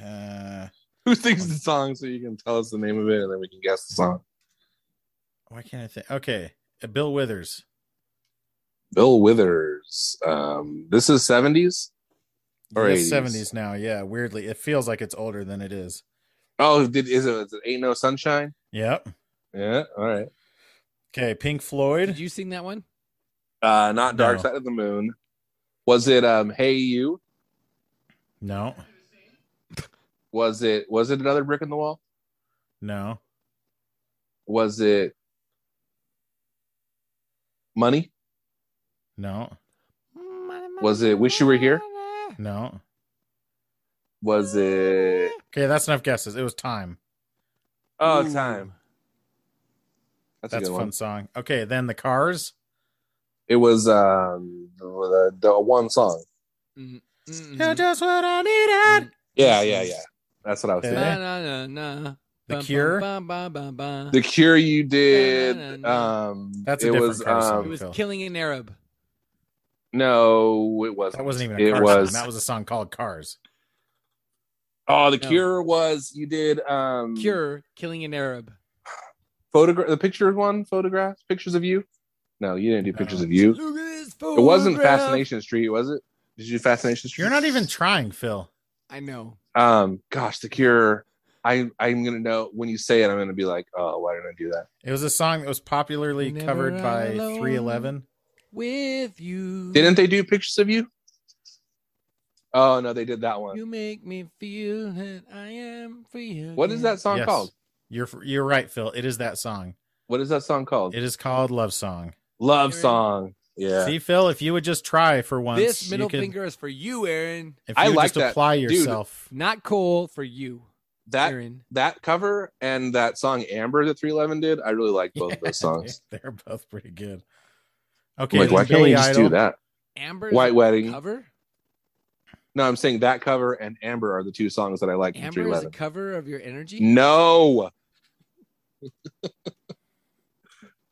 Speaker 3: Uh,
Speaker 1: Who sings the song so you can tell us the name of it and then we can guess the song?
Speaker 3: why can't I think? Okay, uh, Bill Withers.
Speaker 1: Bill Withers. Um, this is 70s. Or
Speaker 3: Yes,
Speaker 1: 80s.
Speaker 3: seventies now. Yeah, weirdly, it feels like it's older than it is.
Speaker 1: Oh, did is it, is it Ain't No Sunshine?
Speaker 3: Yep.
Speaker 1: Yeah, all right.
Speaker 3: Okay, Pink Floyd.
Speaker 2: Did you sing that one?
Speaker 1: Uh, not Dark
Speaker 3: No.
Speaker 1: Side of the Moon. Was it um Hey You?
Speaker 3: no,
Speaker 1: Was it was it another brick in the wall?
Speaker 3: no,
Speaker 1: Was it Money?
Speaker 3: no,
Speaker 1: Was it Wish You Were Here?
Speaker 3: no.
Speaker 1: Was it
Speaker 3: Okay, that's enough guesses. It was time.
Speaker 1: Oh
Speaker 2: Ooh.
Speaker 1: Time? That's,
Speaker 3: That's
Speaker 1: a
Speaker 3: a
Speaker 1: good
Speaker 3: fun
Speaker 1: one.
Speaker 3: song. Okay, then the Cars.
Speaker 1: It was um the, the one song.
Speaker 2: Mm-mm.
Speaker 3: You're just what I
Speaker 2: Mm.
Speaker 3: needed.
Speaker 1: Yeah, yeah, yeah. That's what I was
Speaker 3: Yeah.
Speaker 1: thinking.
Speaker 2: Na, na, na, na.
Speaker 3: Eh? The
Speaker 2: Bum,
Speaker 3: Cure?
Speaker 2: bum, bum, bum, bum, bum.
Speaker 1: The Cure you
Speaker 2: No, no,
Speaker 1: did.
Speaker 2: no, no.
Speaker 1: Um,
Speaker 3: That's a
Speaker 1: it
Speaker 3: different
Speaker 1: was
Speaker 3: Cars song.
Speaker 2: It
Speaker 1: um,
Speaker 2: was
Speaker 3: Phil.
Speaker 2: killing an Arab.
Speaker 1: no, it wasn't.
Speaker 3: That wasn't even a
Speaker 1: It
Speaker 3: car
Speaker 1: was.
Speaker 3: song. That was a song called Cars.
Speaker 1: Oh, the
Speaker 2: No.
Speaker 1: Cure was you did um
Speaker 2: Cure, killing an Arab.
Speaker 1: photograph the picture one photograph pictures of you. No, you didn't do pictures
Speaker 3: No.
Speaker 1: of you.
Speaker 2: Look at this
Speaker 1: It wasn't
Speaker 2: photograph.
Speaker 1: Fascination Street, was it? Did you do Fascination Street?
Speaker 3: You're not even trying, Phil.
Speaker 2: I know.
Speaker 1: Um, gosh, the Cure. I I'm gonna know when you say it. I'm gonna be like, oh, why did I do that?
Speaker 3: It was a song that was popularly
Speaker 2: Never
Speaker 3: covered by
Speaker 2: alone.
Speaker 3: 311.
Speaker 2: With you.
Speaker 1: Didn't they do pictures of you? Oh no, they did that one.
Speaker 2: You make me feel that I am free.
Speaker 1: What is
Speaker 2: again.
Speaker 1: that song
Speaker 3: Yes.
Speaker 1: called?
Speaker 3: You're you're right, Phil. It is that song.
Speaker 1: What is that song called?
Speaker 3: It is called Love Song.
Speaker 1: Love
Speaker 2: Aaron.
Speaker 1: song. Yeah.
Speaker 3: See, Phil, if you would just try for once,
Speaker 2: This middle
Speaker 3: you could,
Speaker 2: finger is for you, Aaron.
Speaker 3: If you
Speaker 1: I
Speaker 3: would
Speaker 1: like
Speaker 3: just
Speaker 1: that.
Speaker 3: apply
Speaker 1: Dude.
Speaker 3: yourself.
Speaker 2: Not Cole, for you,
Speaker 1: that
Speaker 2: Aaron.
Speaker 1: that cover and that song Amber that 311 did, I really like both of those songs.
Speaker 3: They're both pretty good. Okay,
Speaker 1: I'm like,
Speaker 3: then
Speaker 1: why can't
Speaker 3: Billy
Speaker 1: you just
Speaker 3: Idol.
Speaker 1: do that?
Speaker 2: Amber
Speaker 1: White Wedding.
Speaker 2: cover.
Speaker 1: No, I'm saying that cover and Amber are the two songs that I like from
Speaker 2: Amber is a
Speaker 1: 311.
Speaker 2: cover of your energy.
Speaker 1: No.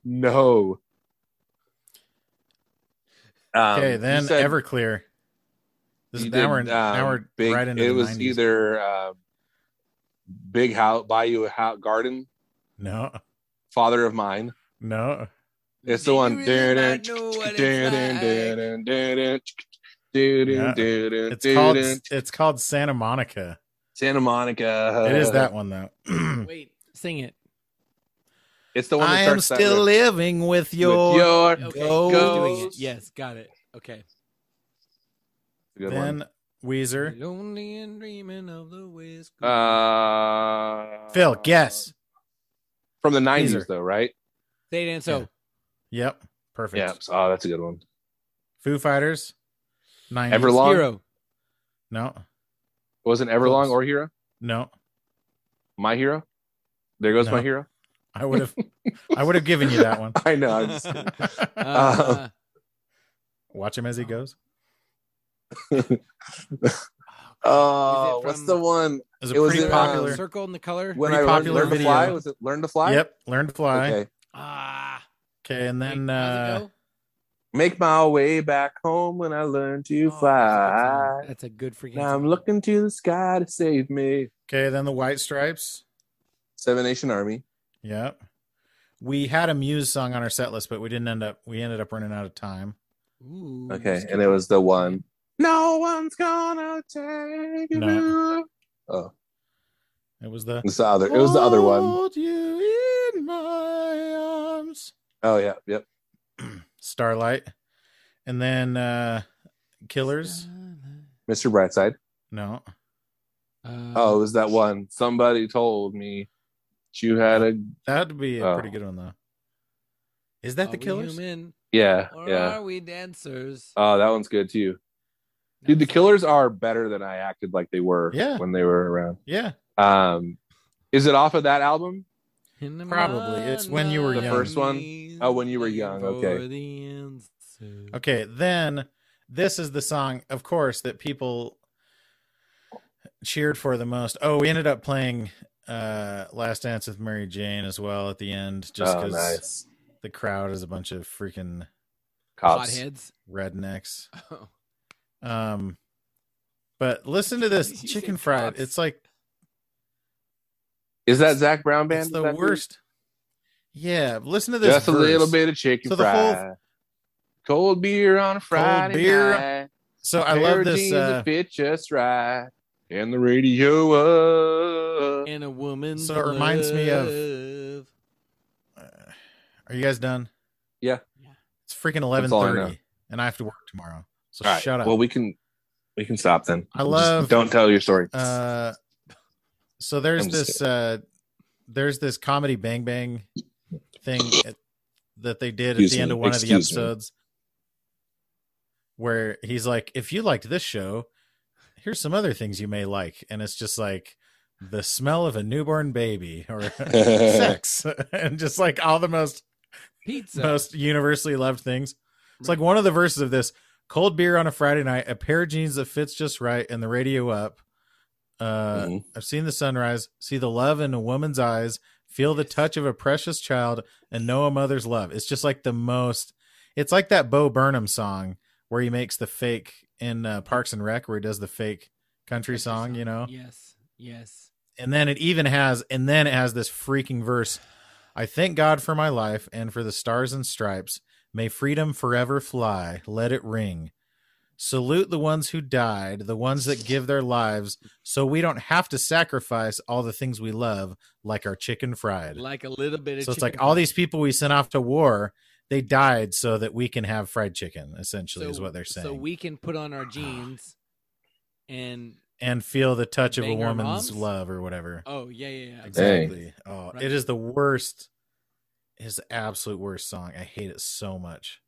Speaker 1: no. Um,
Speaker 3: Okay,
Speaker 1: you
Speaker 3: then
Speaker 1: said
Speaker 3: Everclear. This
Speaker 1: you
Speaker 3: is now we're,
Speaker 1: did,
Speaker 3: now
Speaker 1: um,
Speaker 3: we're
Speaker 1: big,
Speaker 3: right into
Speaker 1: It
Speaker 3: the
Speaker 1: was
Speaker 3: 90s.
Speaker 1: either um Big House, Bayou House, Garden,
Speaker 3: no,
Speaker 1: Father of Mine.
Speaker 3: no.
Speaker 1: It's
Speaker 2: Do
Speaker 1: the
Speaker 2: you
Speaker 1: one. Dun, dun,
Speaker 2: really not know what it's
Speaker 1: dun, dun,
Speaker 2: like?
Speaker 1: dun, dun, dun, dun, dun, dun,
Speaker 3: Yeah.
Speaker 1: dun,
Speaker 3: It's
Speaker 1: dun,
Speaker 3: called
Speaker 1: dun.
Speaker 3: it's called Santa Monica.
Speaker 1: Santa Monica.
Speaker 3: It is that one though.
Speaker 2: Wait, sing it.
Speaker 1: It's the one that
Speaker 3: I am
Speaker 1: starts that
Speaker 3: still
Speaker 1: with-
Speaker 3: living with
Speaker 1: with
Speaker 3: your.
Speaker 1: your
Speaker 2: Okay,
Speaker 3: Go.
Speaker 2: he's doing it. Yes, got it. Okay.
Speaker 1: Good one.
Speaker 3: then Weezer.
Speaker 2: Lonely and dreaming of the whiskey.
Speaker 1: Uh,
Speaker 3: Phil, guess.
Speaker 1: from the nineties,
Speaker 3: Weezer.
Speaker 1: though, right?
Speaker 2: Say it, and so
Speaker 3: Yeah. Yep. Perfect.
Speaker 1: Yeah. Oh, that's a good one.
Speaker 3: Foo Fighters. Nine.
Speaker 1: Everlong. Long.
Speaker 2: hero.
Speaker 3: No.
Speaker 1: Wasn't Everlong
Speaker 3: Close.
Speaker 1: or Hero?
Speaker 3: No.
Speaker 1: My Hero. There goes
Speaker 3: No.
Speaker 1: my hero.
Speaker 3: I would have. I would have given you that one.
Speaker 1: I know. I'm just kidding.
Speaker 2: Uh,
Speaker 3: Watch him as he goes.
Speaker 1: oh,
Speaker 2: Is it
Speaker 1: what's
Speaker 2: from-
Speaker 1: the one
Speaker 3: It was a
Speaker 1: It was
Speaker 3: pretty
Speaker 1: in, um,
Speaker 3: popular.
Speaker 2: Circle in the color.
Speaker 1: when I
Speaker 3: Pretty
Speaker 1: learned,
Speaker 3: popular
Speaker 1: learned to
Speaker 3: video.
Speaker 1: fly? Was it Learn to Fly?
Speaker 3: Yep. Learn to fly.
Speaker 1: Okay.
Speaker 2: Ah.
Speaker 3: Okay, and
Speaker 2: wait,
Speaker 3: then
Speaker 2: how's it
Speaker 3: uh,
Speaker 2: go?
Speaker 1: Make my way back home when I learn to
Speaker 2: Oh,
Speaker 1: fly.
Speaker 2: That's a good freaking.
Speaker 1: Now I'm
Speaker 2: song.
Speaker 1: looking to the sky to save me.
Speaker 3: okay, then the White Stripes.
Speaker 1: Seven Nation Army.
Speaker 3: Yep. We had a Muse song on our set list, but we didn't end up. We ended up running out of time.
Speaker 2: Ooh,
Speaker 1: Okay,
Speaker 2: skip
Speaker 1: and it was the one. No one's gonna take
Speaker 3: No.
Speaker 1: you.
Speaker 3: It was the.
Speaker 1: It's the other. It was the other one.
Speaker 3: Hold you in my arms.
Speaker 1: Oh yeah, yep.
Speaker 3: Starlight, and then uh Killers.
Speaker 2: Starlight.
Speaker 1: Mr. Brightside.
Speaker 3: No,
Speaker 2: Uh,
Speaker 1: Oh, it was that one. Somebody told me that you had a
Speaker 3: that'd be a
Speaker 1: Oh.
Speaker 3: pretty good one though. Is that
Speaker 2: are
Speaker 3: the
Speaker 2: we
Speaker 3: Killers?
Speaker 2: Human,
Speaker 1: yeah,
Speaker 2: or
Speaker 1: yeah.
Speaker 2: are we dancers?
Speaker 1: Oh, that one's good too. Dude, the Killers are better than I acted like they were
Speaker 3: Yeah.
Speaker 1: when they were around.
Speaker 3: Yeah,
Speaker 1: Um, is it off of that album?
Speaker 2: In the
Speaker 3: Probably. It's when you were
Speaker 2: morning
Speaker 3: The
Speaker 1: first one? Oh, when you were young,
Speaker 2: for
Speaker 1: okay.
Speaker 2: the answer.
Speaker 3: Okay, then this is the song, of course, that people cheered for the most. Oh, we ended up playing uh Last Dance with Mary Jane as well at the end, just
Speaker 1: oh,
Speaker 3: because
Speaker 1: nice.
Speaker 3: the crowd is a bunch of freaking
Speaker 1: Cops.
Speaker 2: Hotheads.
Speaker 3: rednecks.
Speaker 2: Oh.
Speaker 3: Um but listen to
Speaker 2: You
Speaker 3: this
Speaker 2: say
Speaker 3: chicken fried.
Speaker 2: cops.
Speaker 3: It's like
Speaker 1: Is that Zach Brown band?
Speaker 3: it's the
Speaker 1: that dude?
Speaker 3: worst. Yeah, listen to this.
Speaker 1: Just a
Speaker 3: verse.
Speaker 1: little bit of chicken
Speaker 3: So the whole-
Speaker 1: fry. Cold beer on a Friday
Speaker 3: beer-
Speaker 1: night.
Speaker 3: So I
Speaker 1: Pair
Speaker 3: love
Speaker 1: of
Speaker 3: this.
Speaker 1: jeans
Speaker 3: Uh,
Speaker 1: that fit just right. And the radio up.
Speaker 2: And a woman.
Speaker 3: So it reminds me of-
Speaker 2: love.
Speaker 3: are you guys done?
Speaker 1: Yeah.
Speaker 2: Yeah.
Speaker 3: It's freaking eleven
Speaker 1: That's all I know.
Speaker 3: thirty, and I have to work tomorrow. So
Speaker 1: All right.
Speaker 3: shut up.
Speaker 1: Well, we can we can stop then.
Speaker 3: I
Speaker 1: Just
Speaker 3: love-
Speaker 1: don't tell your story.
Speaker 3: Uh, so there's
Speaker 1: I'm just
Speaker 3: this uh, there's this comedy bang bang thing at, that they did at
Speaker 1: Excuse
Speaker 3: the end
Speaker 1: me.
Speaker 3: of one of the
Speaker 1: Excuse me.
Speaker 3: episodes where he's like, "If you liked this show, here's some other things you may like," and it's just like the smell of a newborn baby or sex, and just like all the most
Speaker 2: Pizza.
Speaker 3: most universally loved things. It's like one of the verses of this cold beer on a Friday night, a pair of jeans that fits just right, and the radio up. Uh,
Speaker 1: Mhm.
Speaker 3: I've seen the sunrise, see the love in a woman's eyes, feel the touch of a precious child, and know a mother's love. It's just like the most. It's like that Bo Burnham song where he makes the fake in uh, Parks and Rec, where he does the fake country song, you know?
Speaker 2: Yes. Yes.
Speaker 3: and then it even has and then it has this freaking verse i thank god for my life and for the stars and stripes may freedom forever fly let it ring salute the ones who died the ones that give their lives so we don't have to sacrifice all the things we love like our chicken fried
Speaker 2: Like a little bit of.
Speaker 3: so it's
Speaker 2: chicken
Speaker 3: like all
Speaker 2: fried.
Speaker 3: these people we sent off to war they died so that we can have fried chicken essentially
Speaker 2: So-
Speaker 3: is what they're saying
Speaker 2: So we can put on our jeans, and
Speaker 3: and feel the touch of a
Speaker 2: Bang our moms?
Speaker 3: woman's love or whatever
Speaker 2: oh yeah, yeah, yeah.
Speaker 3: Exactly. Oh,
Speaker 2: Right.
Speaker 3: it is the worst. His absolute worst song. I hate it so much.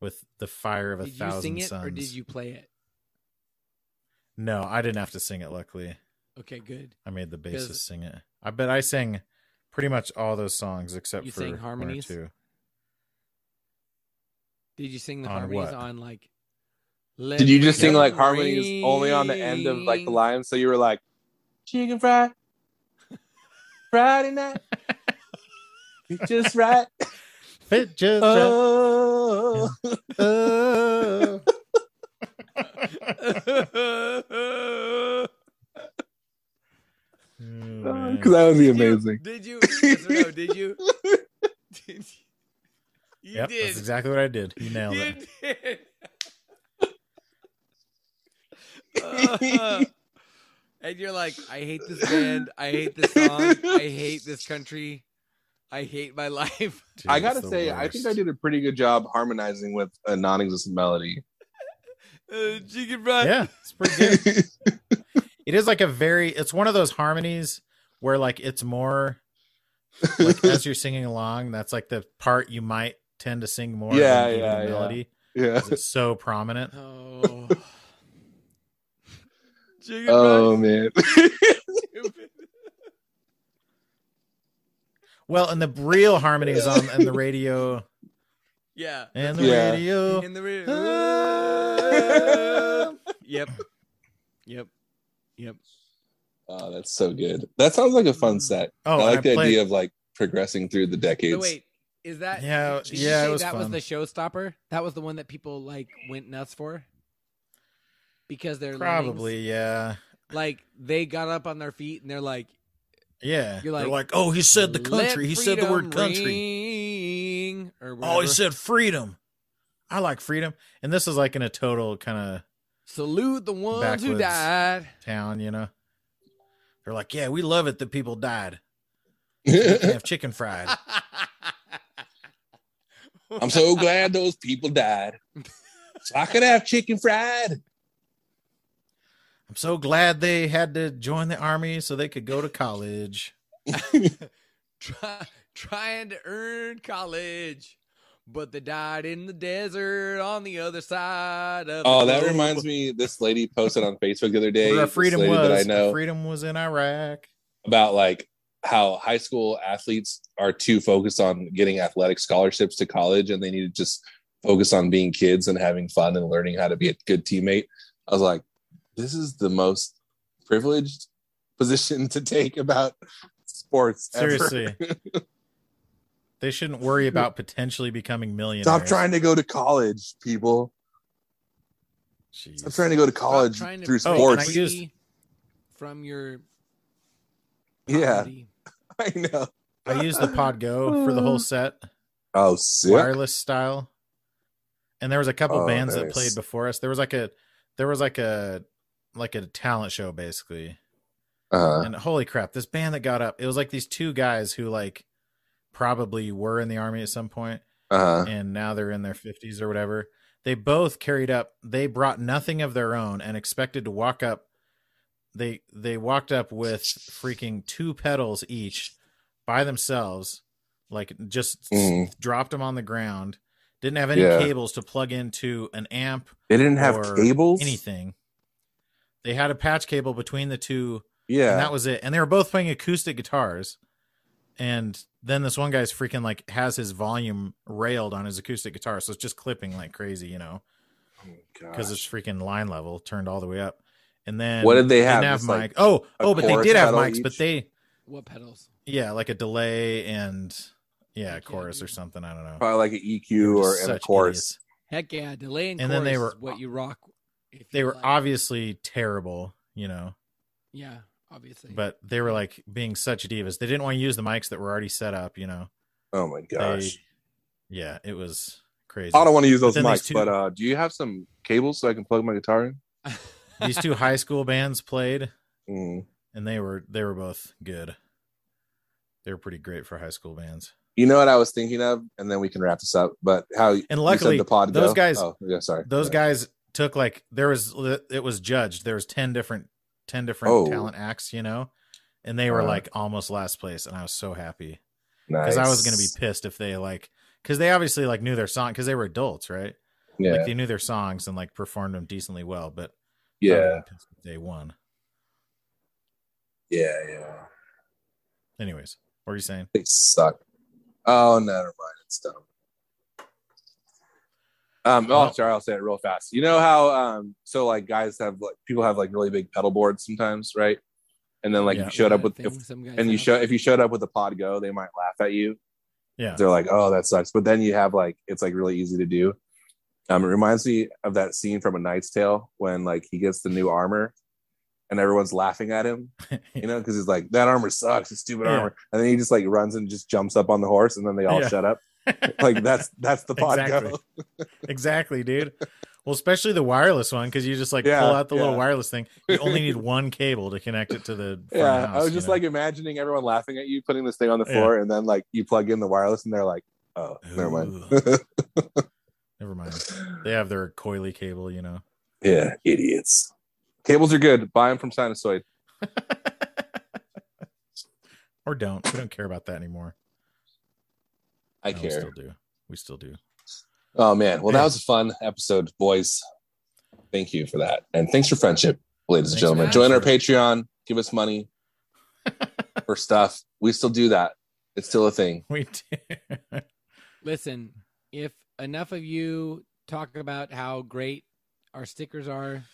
Speaker 3: With the fire of a
Speaker 2: Did you
Speaker 3: thousand
Speaker 2: sing it
Speaker 3: suns.
Speaker 2: or did you play it?
Speaker 3: No, I didn't have to sing it. Luckily,
Speaker 2: Okay, good.
Speaker 3: I made the bassist
Speaker 2: 'Cause-
Speaker 3: sing it. I bet I sang pretty much all those songs except
Speaker 2: You
Speaker 3: for
Speaker 2: sang
Speaker 3: one or
Speaker 2: harmonies?
Speaker 3: two.
Speaker 2: Did you sing the
Speaker 3: On
Speaker 2: harmonies
Speaker 3: what?
Speaker 2: on like
Speaker 1: Did you just sing like harmonies only on the end of like the
Speaker 2: line?
Speaker 1: line? So you were like, chicken fry, Friday night, it's just right.
Speaker 3: Fit just right.
Speaker 1: Oh,
Speaker 3: Oh. man.
Speaker 1: because that would be
Speaker 2: Did you-
Speaker 1: amazing.
Speaker 2: Did you? yes or no, did you? Did you? You
Speaker 3: Yep,
Speaker 2: did.
Speaker 3: that's exactly what I did. You nailed
Speaker 2: you
Speaker 3: it.
Speaker 2: did. Uh, and you're like, I hate this band. I hate this song. I hate this country. I hate my life.
Speaker 3: Dude,
Speaker 1: I
Speaker 3: it's
Speaker 1: gotta
Speaker 3: the
Speaker 1: say, I think I
Speaker 3: worst.
Speaker 1: did a pretty good job harmonizing with a non-existent melody.
Speaker 2: Uh, chicken fried.
Speaker 3: Yeah, it's pretty good. it is like a very. It's one of those harmonies where like it's more like as you're singing along. That's like the part you might tend to sing more.
Speaker 1: Yeah,
Speaker 3: than even
Speaker 1: yeah,
Speaker 3: the
Speaker 1: yeah.
Speaker 3: melody.
Speaker 1: yeah.
Speaker 3: 'cause It's so prominent.
Speaker 2: Oh. Chicken
Speaker 1: Oh man.
Speaker 2: fried.
Speaker 3: Well, and the real harmony is on and the radio
Speaker 2: Yeah.
Speaker 3: and the
Speaker 1: Yeah.
Speaker 3: radio.
Speaker 2: In the rear. yep. Yep. Yep.
Speaker 1: oh, that's so good. That sounds like a fun set.
Speaker 3: Oh,
Speaker 1: I
Speaker 3: and
Speaker 1: like the
Speaker 3: played-
Speaker 1: idea of like progressing through the decades.
Speaker 2: So wait, is that
Speaker 3: Yeah,
Speaker 2: did you
Speaker 3: yeah, it
Speaker 2: say
Speaker 3: was
Speaker 2: that was
Speaker 3: fun.
Speaker 2: the showstopper? That was the one that people like went nuts for? Because they're
Speaker 3: Probably, yeah.
Speaker 2: like they got up on their feet and they're like
Speaker 3: Yeah.
Speaker 2: You're
Speaker 3: They're
Speaker 2: like,
Speaker 3: like, oh, he said the country.
Speaker 2: "Let
Speaker 3: He said the word
Speaker 2: freedom
Speaker 3: country.
Speaker 2: ring," or
Speaker 3: Oh, he
Speaker 2: whatever.
Speaker 3: said freedom. I like freedom. And this is like in a total kind
Speaker 2: salute the ones who
Speaker 3: Backwards.
Speaker 2: died.
Speaker 3: of town, you know? They're like, yeah, we love it that people died. We can have chicken fried.
Speaker 1: I'm so glad those people died. So I could have chicken fried.
Speaker 3: I'm so glad they had to join the army so they could go to college.
Speaker 2: Try, trying to earn college, but they died in the desert on the other side of.
Speaker 1: Oh,
Speaker 2: the
Speaker 1: that
Speaker 2: globe.
Speaker 1: reminds me. This lady posted on Facebook the other day.
Speaker 3: Where our
Speaker 1: this
Speaker 3: freedom
Speaker 1: lady
Speaker 3: was.
Speaker 1: that I
Speaker 3: our
Speaker 1: know
Speaker 3: freedom was in Iraq.
Speaker 1: about like how high school athletes are too focused on getting athletic scholarships to college, and they need to just focus on being kids and having fun and learning how to be a good teammate. I was like, this is the most privileged position to take about sports. ever.
Speaker 3: Seriously. they shouldn't worry about potentially becoming millionaires.
Speaker 1: Stop trying to go to college, people.
Speaker 3: Jeez.
Speaker 1: Stop trying to go to college
Speaker 2: Trying to
Speaker 1: through
Speaker 2: break
Speaker 3: Oh, and I
Speaker 1: sports.
Speaker 2: free
Speaker 3: used-
Speaker 2: from your
Speaker 1: yeah,
Speaker 2: poverty.
Speaker 1: I know.
Speaker 3: I used the Pod Go for the whole set,
Speaker 1: Oh, sick.
Speaker 3: wireless style. And there was a couple
Speaker 1: Oh,
Speaker 3: bands that
Speaker 1: nice.
Speaker 3: played before us. There was like a, there was like a, like a talent show basically.
Speaker 1: Uh,
Speaker 3: And holy crap, this band that got up, it was like these two guys who like probably were in the army at some point,
Speaker 1: uh,
Speaker 3: and now they're in their fifties or whatever. They both carried up. They brought nothing of their own and expected to walk up. They they walked up with freaking two pedals each by themselves, like just
Speaker 1: Mm.
Speaker 3: dropped them on the ground. Didn't have any
Speaker 1: Yeah.
Speaker 3: cables to plug into an amp,
Speaker 1: they didn't have
Speaker 3: or
Speaker 1: cables.
Speaker 3: anything. They had a patch cable between the two, and
Speaker 1: Yeah.
Speaker 3: that was it. And they were both playing acoustic guitars. And then this one guy's freaking like has his volume railed on his acoustic guitar, so it's just clipping like crazy, you know,
Speaker 1: Oh
Speaker 3: because it's freaking line level turned all the way up. And then
Speaker 1: What did they have?
Speaker 3: Didn't have
Speaker 1: Just,
Speaker 3: mic.
Speaker 1: like,
Speaker 3: oh,
Speaker 1: a
Speaker 3: oh, but they
Speaker 1: chorus
Speaker 3: did have
Speaker 1: pedal
Speaker 3: mics, but
Speaker 1: each?
Speaker 3: they
Speaker 2: What pedals?
Speaker 3: yeah, like a delay and yeah,
Speaker 2: Yeah,
Speaker 3: chorus or
Speaker 2: dude.
Speaker 3: something. I don't know.
Speaker 1: probably like an
Speaker 3: They
Speaker 1: EQ
Speaker 3: were
Speaker 1: or
Speaker 3: just
Speaker 1: and a
Speaker 3: such
Speaker 1: chorus.
Speaker 3: idiots.
Speaker 2: Heck yeah, delay and,
Speaker 3: And then they
Speaker 2: chorus
Speaker 3: were-
Speaker 2: is what you rock. If
Speaker 3: They
Speaker 2: you
Speaker 3: were
Speaker 2: like.
Speaker 3: obviously terrible, you know.
Speaker 2: Yeah, obviously.
Speaker 3: but they were like being such divas. They didn't want to use the mics that were already set up, you know.
Speaker 1: Oh my
Speaker 3: They-
Speaker 1: gosh.
Speaker 3: yeah, it was crazy.
Speaker 1: I don't want to use those
Speaker 3: then these
Speaker 1: mics,
Speaker 3: two-
Speaker 1: but uh, do you have some cables so I can plug my guitar in?
Speaker 3: These two high school bands played
Speaker 1: Mm.
Speaker 3: and they were they were both good. They were pretty great for high school bands.
Speaker 1: You know what I was thinking of, and then we can wrap this up. But how you
Speaker 3: And
Speaker 1: said
Speaker 3: luckily
Speaker 1: the pod
Speaker 3: those
Speaker 1: go?
Speaker 3: guys
Speaker 1: Oh, yeah, sorry.
Speaker 3: those
Speaker 1: Yeah.
Speaker 3: guys took like there was it was judged. There was 10 different 10 different
Speaker 1: Oh.
Speaker 3: talent acts, you know. And they were
Speaker 1: Uh.
Speaker 3: like almost last place and I was so happy
Speaker 1: nice.
Speaker 3: cuz I was going to be pissed if they like cuz they obviously like knew their song cuz they were adults, right?
Speaker 1: yeah,
Speaker 3: Like they knew their songs and like performed them decently well, but I would've
Speaker 1: yeah,
Speaker 3: been pissed if They won.
Speaker 1: yeah, yeah.
Speaker 3: Anyways, what are you saying?
Speaker 1: They suck. Oh, never mind. It's dumb. Um, oh, sorry, I'll say it real fast. You know how um, so like guys have like people have like really big pedal boards sometimes, right? And then like
Speaker 3: Yeah.
Speaker 1: you showed up with
Speaker 2: Thing
Speaker 1: if,
Speaker 2: some guys
Speaker 1: and you
Speaker 2: have.
Speaker 1: show if you showed up with a pod go, they might laugh at you.
Speaker 3: Yeah.
Speaker 1: They're like, oh, that sucks. But then you have like it's like really easy to do. Um, it reminds me of that scene from A Knight's Tale when like he gets the new armor, and everyone's laughing at him, you know, because he's like that armor sucks, it's stupid
Speaker 3: Yeah.
Speaker 1: armor, and then he just like runs and just jumps up on the horse, and then they all
Speaker 3: Yeah.
Speaker 1: shut up. Like that's that's the pod
Speaker 3: exactly.
Speaker 1: go.
Speaker 3: exactly, dude. Well, especially the wireless one because you just like
Speaker 1: Yeah,
Speaker 3: pull out the little
Speaker 1: yeah.
Speaker 3: wireless thing. You only need one cable to connect it to the. Front
Speaker 1: Yeah,
Speaker 3: house,
Speaker 1: I was
Speaker 3: you
Speaker 1: just
Speaker 3: know?
Speaker 1: like imagining everyone laughing at you, putting this thing on the
Speaker 3: Yeah.
Speaker 1: floor, and then like you plug in the wireless, and they're like, "Oh, never mind."
Speaker 3: never mind. They have their coily cable, you know.
Speaker 1: yeah, idiots. Cables are good. Buy them from Sinusoid.
Speaker 3: Or don't. We don't care about that anymore.
Speaker 1: I
Speaker 3: No, We
Speaker 1: care.
Speaker 3: still do. We still do.
Speaker 1: Oh man, well that
Speaker 3: Yeah.
Speaker 1: was a fun episode, boys. Thank you for that, and thanks for friendship, ladies and
Speaker 3: Thanks,
Speaker 1: gentlemen.
Speaker 2: man.
Speaker 1: Join our Patreon. Give us money for stuff. We still do that. It's still a thing.
Speaker 3: We do.
Speaker 2: Listen, if enough of you talk about how great our stickers are,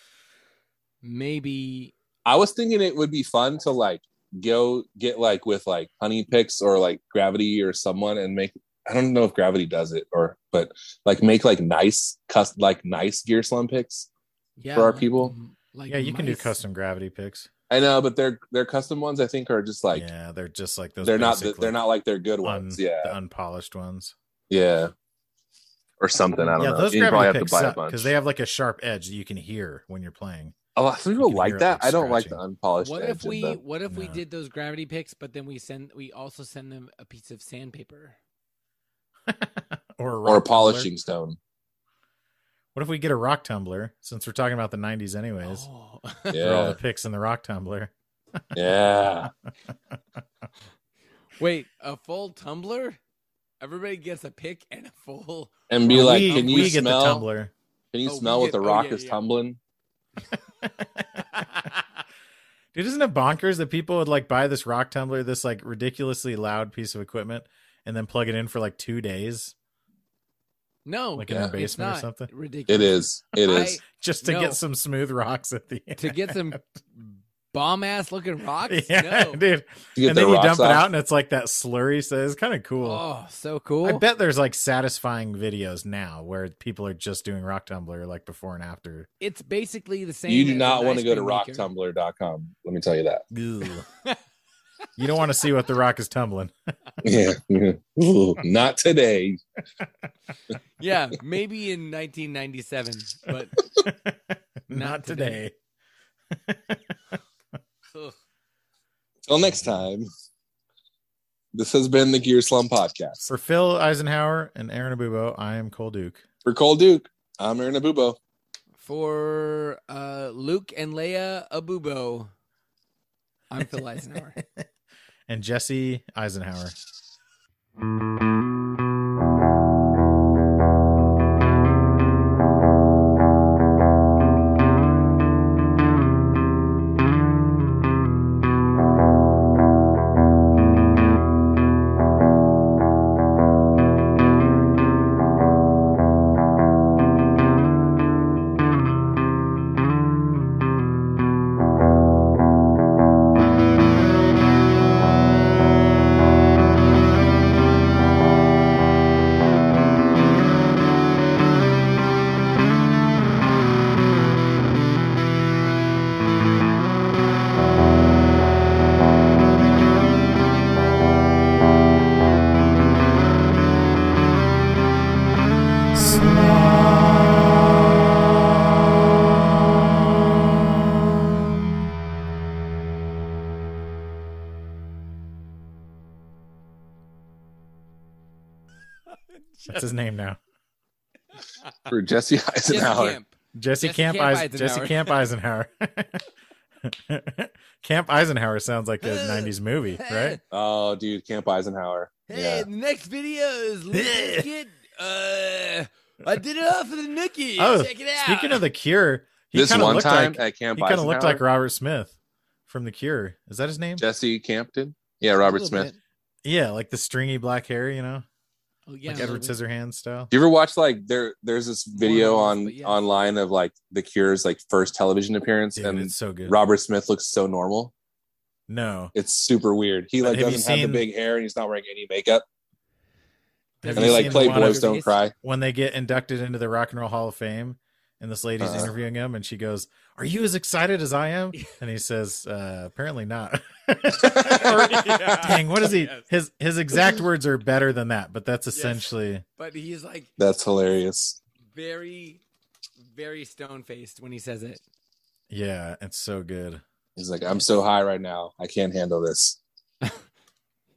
Speaker 2: maybe
Speaker 1: I was thinking it would be fun to like go get like with like honey picks or like gravity or someone and make I don't know if gravity does it or but like make like nice cus like nice gear slum picks.
Speaker 2: yeah,
Speaker 1: For our
Speaker 2: like-
Speaker 1: people?
Speaker 2: Like
Speaker 3: yeah, you can do
Speaker 2: mice.
Speaker 3: custom gravity picks.
Speaker 1: I know, but their their custom ones I think are just like
Speaker 3: yeah, they're just like those.
Speaker 1: they're not
Speaker 3: basic,
Speaker 1: the, they're not like their good
Speaker 3: like,
Speaker 1: ones.
Speaker 3: un-
Speaker 1: yeah.
Speaker 3: the unpolished ones.
Speaker 1: Yeah. Or something. I don't
Speaker 3: yeah,
Speaker 1: know.
Speaker 3: those
Speaker 1: you probably
Speaker 3: gravity
Speaker 1: have to
Speaker 3: picks
Speaker 1: buy a
Speaker 3: suck
Speaker 1: bunch.
Speaker 3: because they have like a sharp edge that you can hear when you're playing.
Speaker 1: a lot of
Speaker 3: you
Speaker 1: Oh, people
Speaker 3: can hear
Speaker 1: like
Speaker 3: it,
Speaker 1: that.
Speaker 3: like,
Speaker 1: I don't like the
Speaker 3: scratching.
Speaker 1: unpolished.
Speaker 2: What if
Speaker 1: edge of
Speaker 2: we
Speaker 1: the-
Speaker 2: what if we
Speaker 3: No.
Speaker 2: did those gravity picks, but then we send we also send them a piece of sandpaper?
Speaker 3: or
Speaker 1: or
Speaker 3: a
Speaker 1: a
Speaker 3: rock tumbler.
Speaker 1: polishing stone?
Speaker 3: What if we get a rock tumbler? Since we're talking about the '90s, anyways,
Speaker 2: Oh.
Speaker 3: for all the
Speaker 1: Yeah.
Speaker 3: picks in the rock tumbler.
Speaker 1: yeah.
Speaker 2: Wait, a full tumbler? Everybody gets a pick and a full.
Speaker 1: And be
Speaker 2: Well,
Speaker 1: like,
Speaker 3: we,
Speaker 1: can you
Speaker 3: we get the
Speaker 1: smell?
Speaker 3: tumbler?
Speaker 1: Can you
Speaker 2: Oh, we
Speaker 1: smell what
Speaker 2: get-
Speaker 1: the
Speaker 2: oh,
Speaker 1: rock
Speaker 2: yeah,
Speaker 1: is
Speaker 2: yeah.
Speaker 1: tumbling?
Speaker 3: Dude, isn't it bonkers that people would like buy this rock tumbler, this like ridiculously loud piece of equipment, and then plug it in for like two days,
Speaker 2: No,
Speaker 3: like in their
Speaker 1: Yeah.
Speaker 2: it's
Speaker 3: basement
Speaker 2: not
Speaker 3: or something,
Speaker 1: It
Speaker 2: ridiculous.
Speaker 1: is. It is.
Speaker 3: just to
Speaker 2: No.
Speaker 3: get some smooth rocks at the end.
Speaker 2: to get some bomb ass looking rocks.
Speaker 3: yeah,
Speaker 2: no.
Speaker 3: dude.
Speaker 1: You get
Speaker 3: and
Speaker 1: the
Speaker 3: then you
Speaker 1: rocks
Speaker 3: dump
Speaker 1: off.
Speaker 3: it out, and it's like that slurry. So it's kind of cool.
Speaker 2: Oh, so cool.
Speaker 3: I bet there's like satisfying videos now where people are just doing rock tumbler like before and after.
Speaker 2: it's basically the same.
Speaker 1: You do
Speaker 2: as
Speaker 1: not
Speaker 2: an
Speaker 1: want to
Speaker 2: ice
Speaker 1: go to
Speaker 2: cream maker.
Speaker 1: rocktumbler.com. Let me tell you that.
Speaker 3: You don't want to see what the rock is tumbling.
Speaker 1: Yeah. Ooh, not today.
Speaker 2: Yeah, maybe in 1997, but
Speaker 3: Not,
Speaker 2: Not
Speaker 3: today.
Speaker 2: today. ugh.
Speaker 1: Till next time. This has been the Gear Slum Podcast.
Speaker 3: For Phil Eisenhower and Aaron Abubo, I am Cole Duke.
Speaker 1: For Cole Duke, I'm Aaron Abubo.
Speaker 2: for uh, Luke and Leia Abubo, I'm Phil Eisenhower.
Speaker 3: and Jesse Eisenhower. That's his name now.
Speaker 1: For Jesse
Speaker 2: Jesse
Speaker 1: Eisenhower.
Speaker 2: Camp.
Speaker 3: Jesse,
Speaker 2: Jesse
Speaker 3: Camp,
Speaker 2: Camp
Speaker 3: Eis-
Speaker 2: Eisenhower.
Speaker 3: Jesse Camp Eisenhower. Camp Eisenhower sounds like a '90s movie, right?
Speaker 1: Oh, dude, Camp Eisenhower.
Speaker 2: Hey,
Speaker 1: Yeah.
Speaker 2: the next video is Luke Biscuit. Uh, I did it all for the nookie.
Speaker 3: Oh,
Speaker 2: Check it out.
Speaker 3: Speaking of the Cure, he
Speaker 1: This
Speaker 3: kinda
Speaker 1: one
Speaker 3: looked
Speaker 1: time
Speaker 3: like-
Speaker 1: at Camp
Speaker 3: he kind of looked
Speaker 1: Eisenhower,
Speaker 3: like Robert Smith from The Cure. Is that his name?
Speaker 1: Jesse Campton. Yeah, Robert
Speaker 2: Little
Speaker 1: Smith.
Speaker 2: bit.
Speaker 3: yeah, like the stringy black hair, you know.
Speaker 2: Oh, yeah,
Speaker 3: like Edward Scissorhands style.
Speaker 1: Do you ever watch like there? There's this video
Speaker 2: More or less,
Speaker 1: on
Speaker 2: but yeah.
Speaker 1: online of like The Cure's like first television appearance,
Speaker 3: Dude,
Speaker 1: and
Speaker 3: it's so good.
Speaker 1: Robert Smith looks so normal.
Speaker 3: no,
Speaker 1: It's super weird. He
Speaker 3: But
Speaker 1: like
Speaker 3: have you
Speaker 1: doesn't have
Speaker 3: seen-
Speaker 1: the big hair, and he's not wearing any makeup.
Speaker 3: Have
Speaker 1: and
Speaker 3: you
Speaker 1: they like
Speaker 3: seen
Speaker 1: play
Speaker 3: the one
Speaker 1: Boys
Speaker 3: of-
Speaker 1: Don't Cry.
Speaker 3: when they get inducted into the Rock and Roll Hall of Fame, and this lady's
Speaker 1: Uh-huh.
Speaker 3: interviewing him, and she goes, "Are you as excited as I am?" And he says, uh, "Apparently not." Dang, what is he?
Speaker 2: Yes.
Speaker 3: His his exact words are better than that, but that's
Speaker 2: Yes.
Speaker 3: essentially
Speaker 2: But he's like
Speaker 1: That's hilarious.
Speaker 2: very, very stone faced when he says it.
Speaker 3: yeah, it's so good.
Speaker 1: He's like, I'm so high right now, I can't handle this.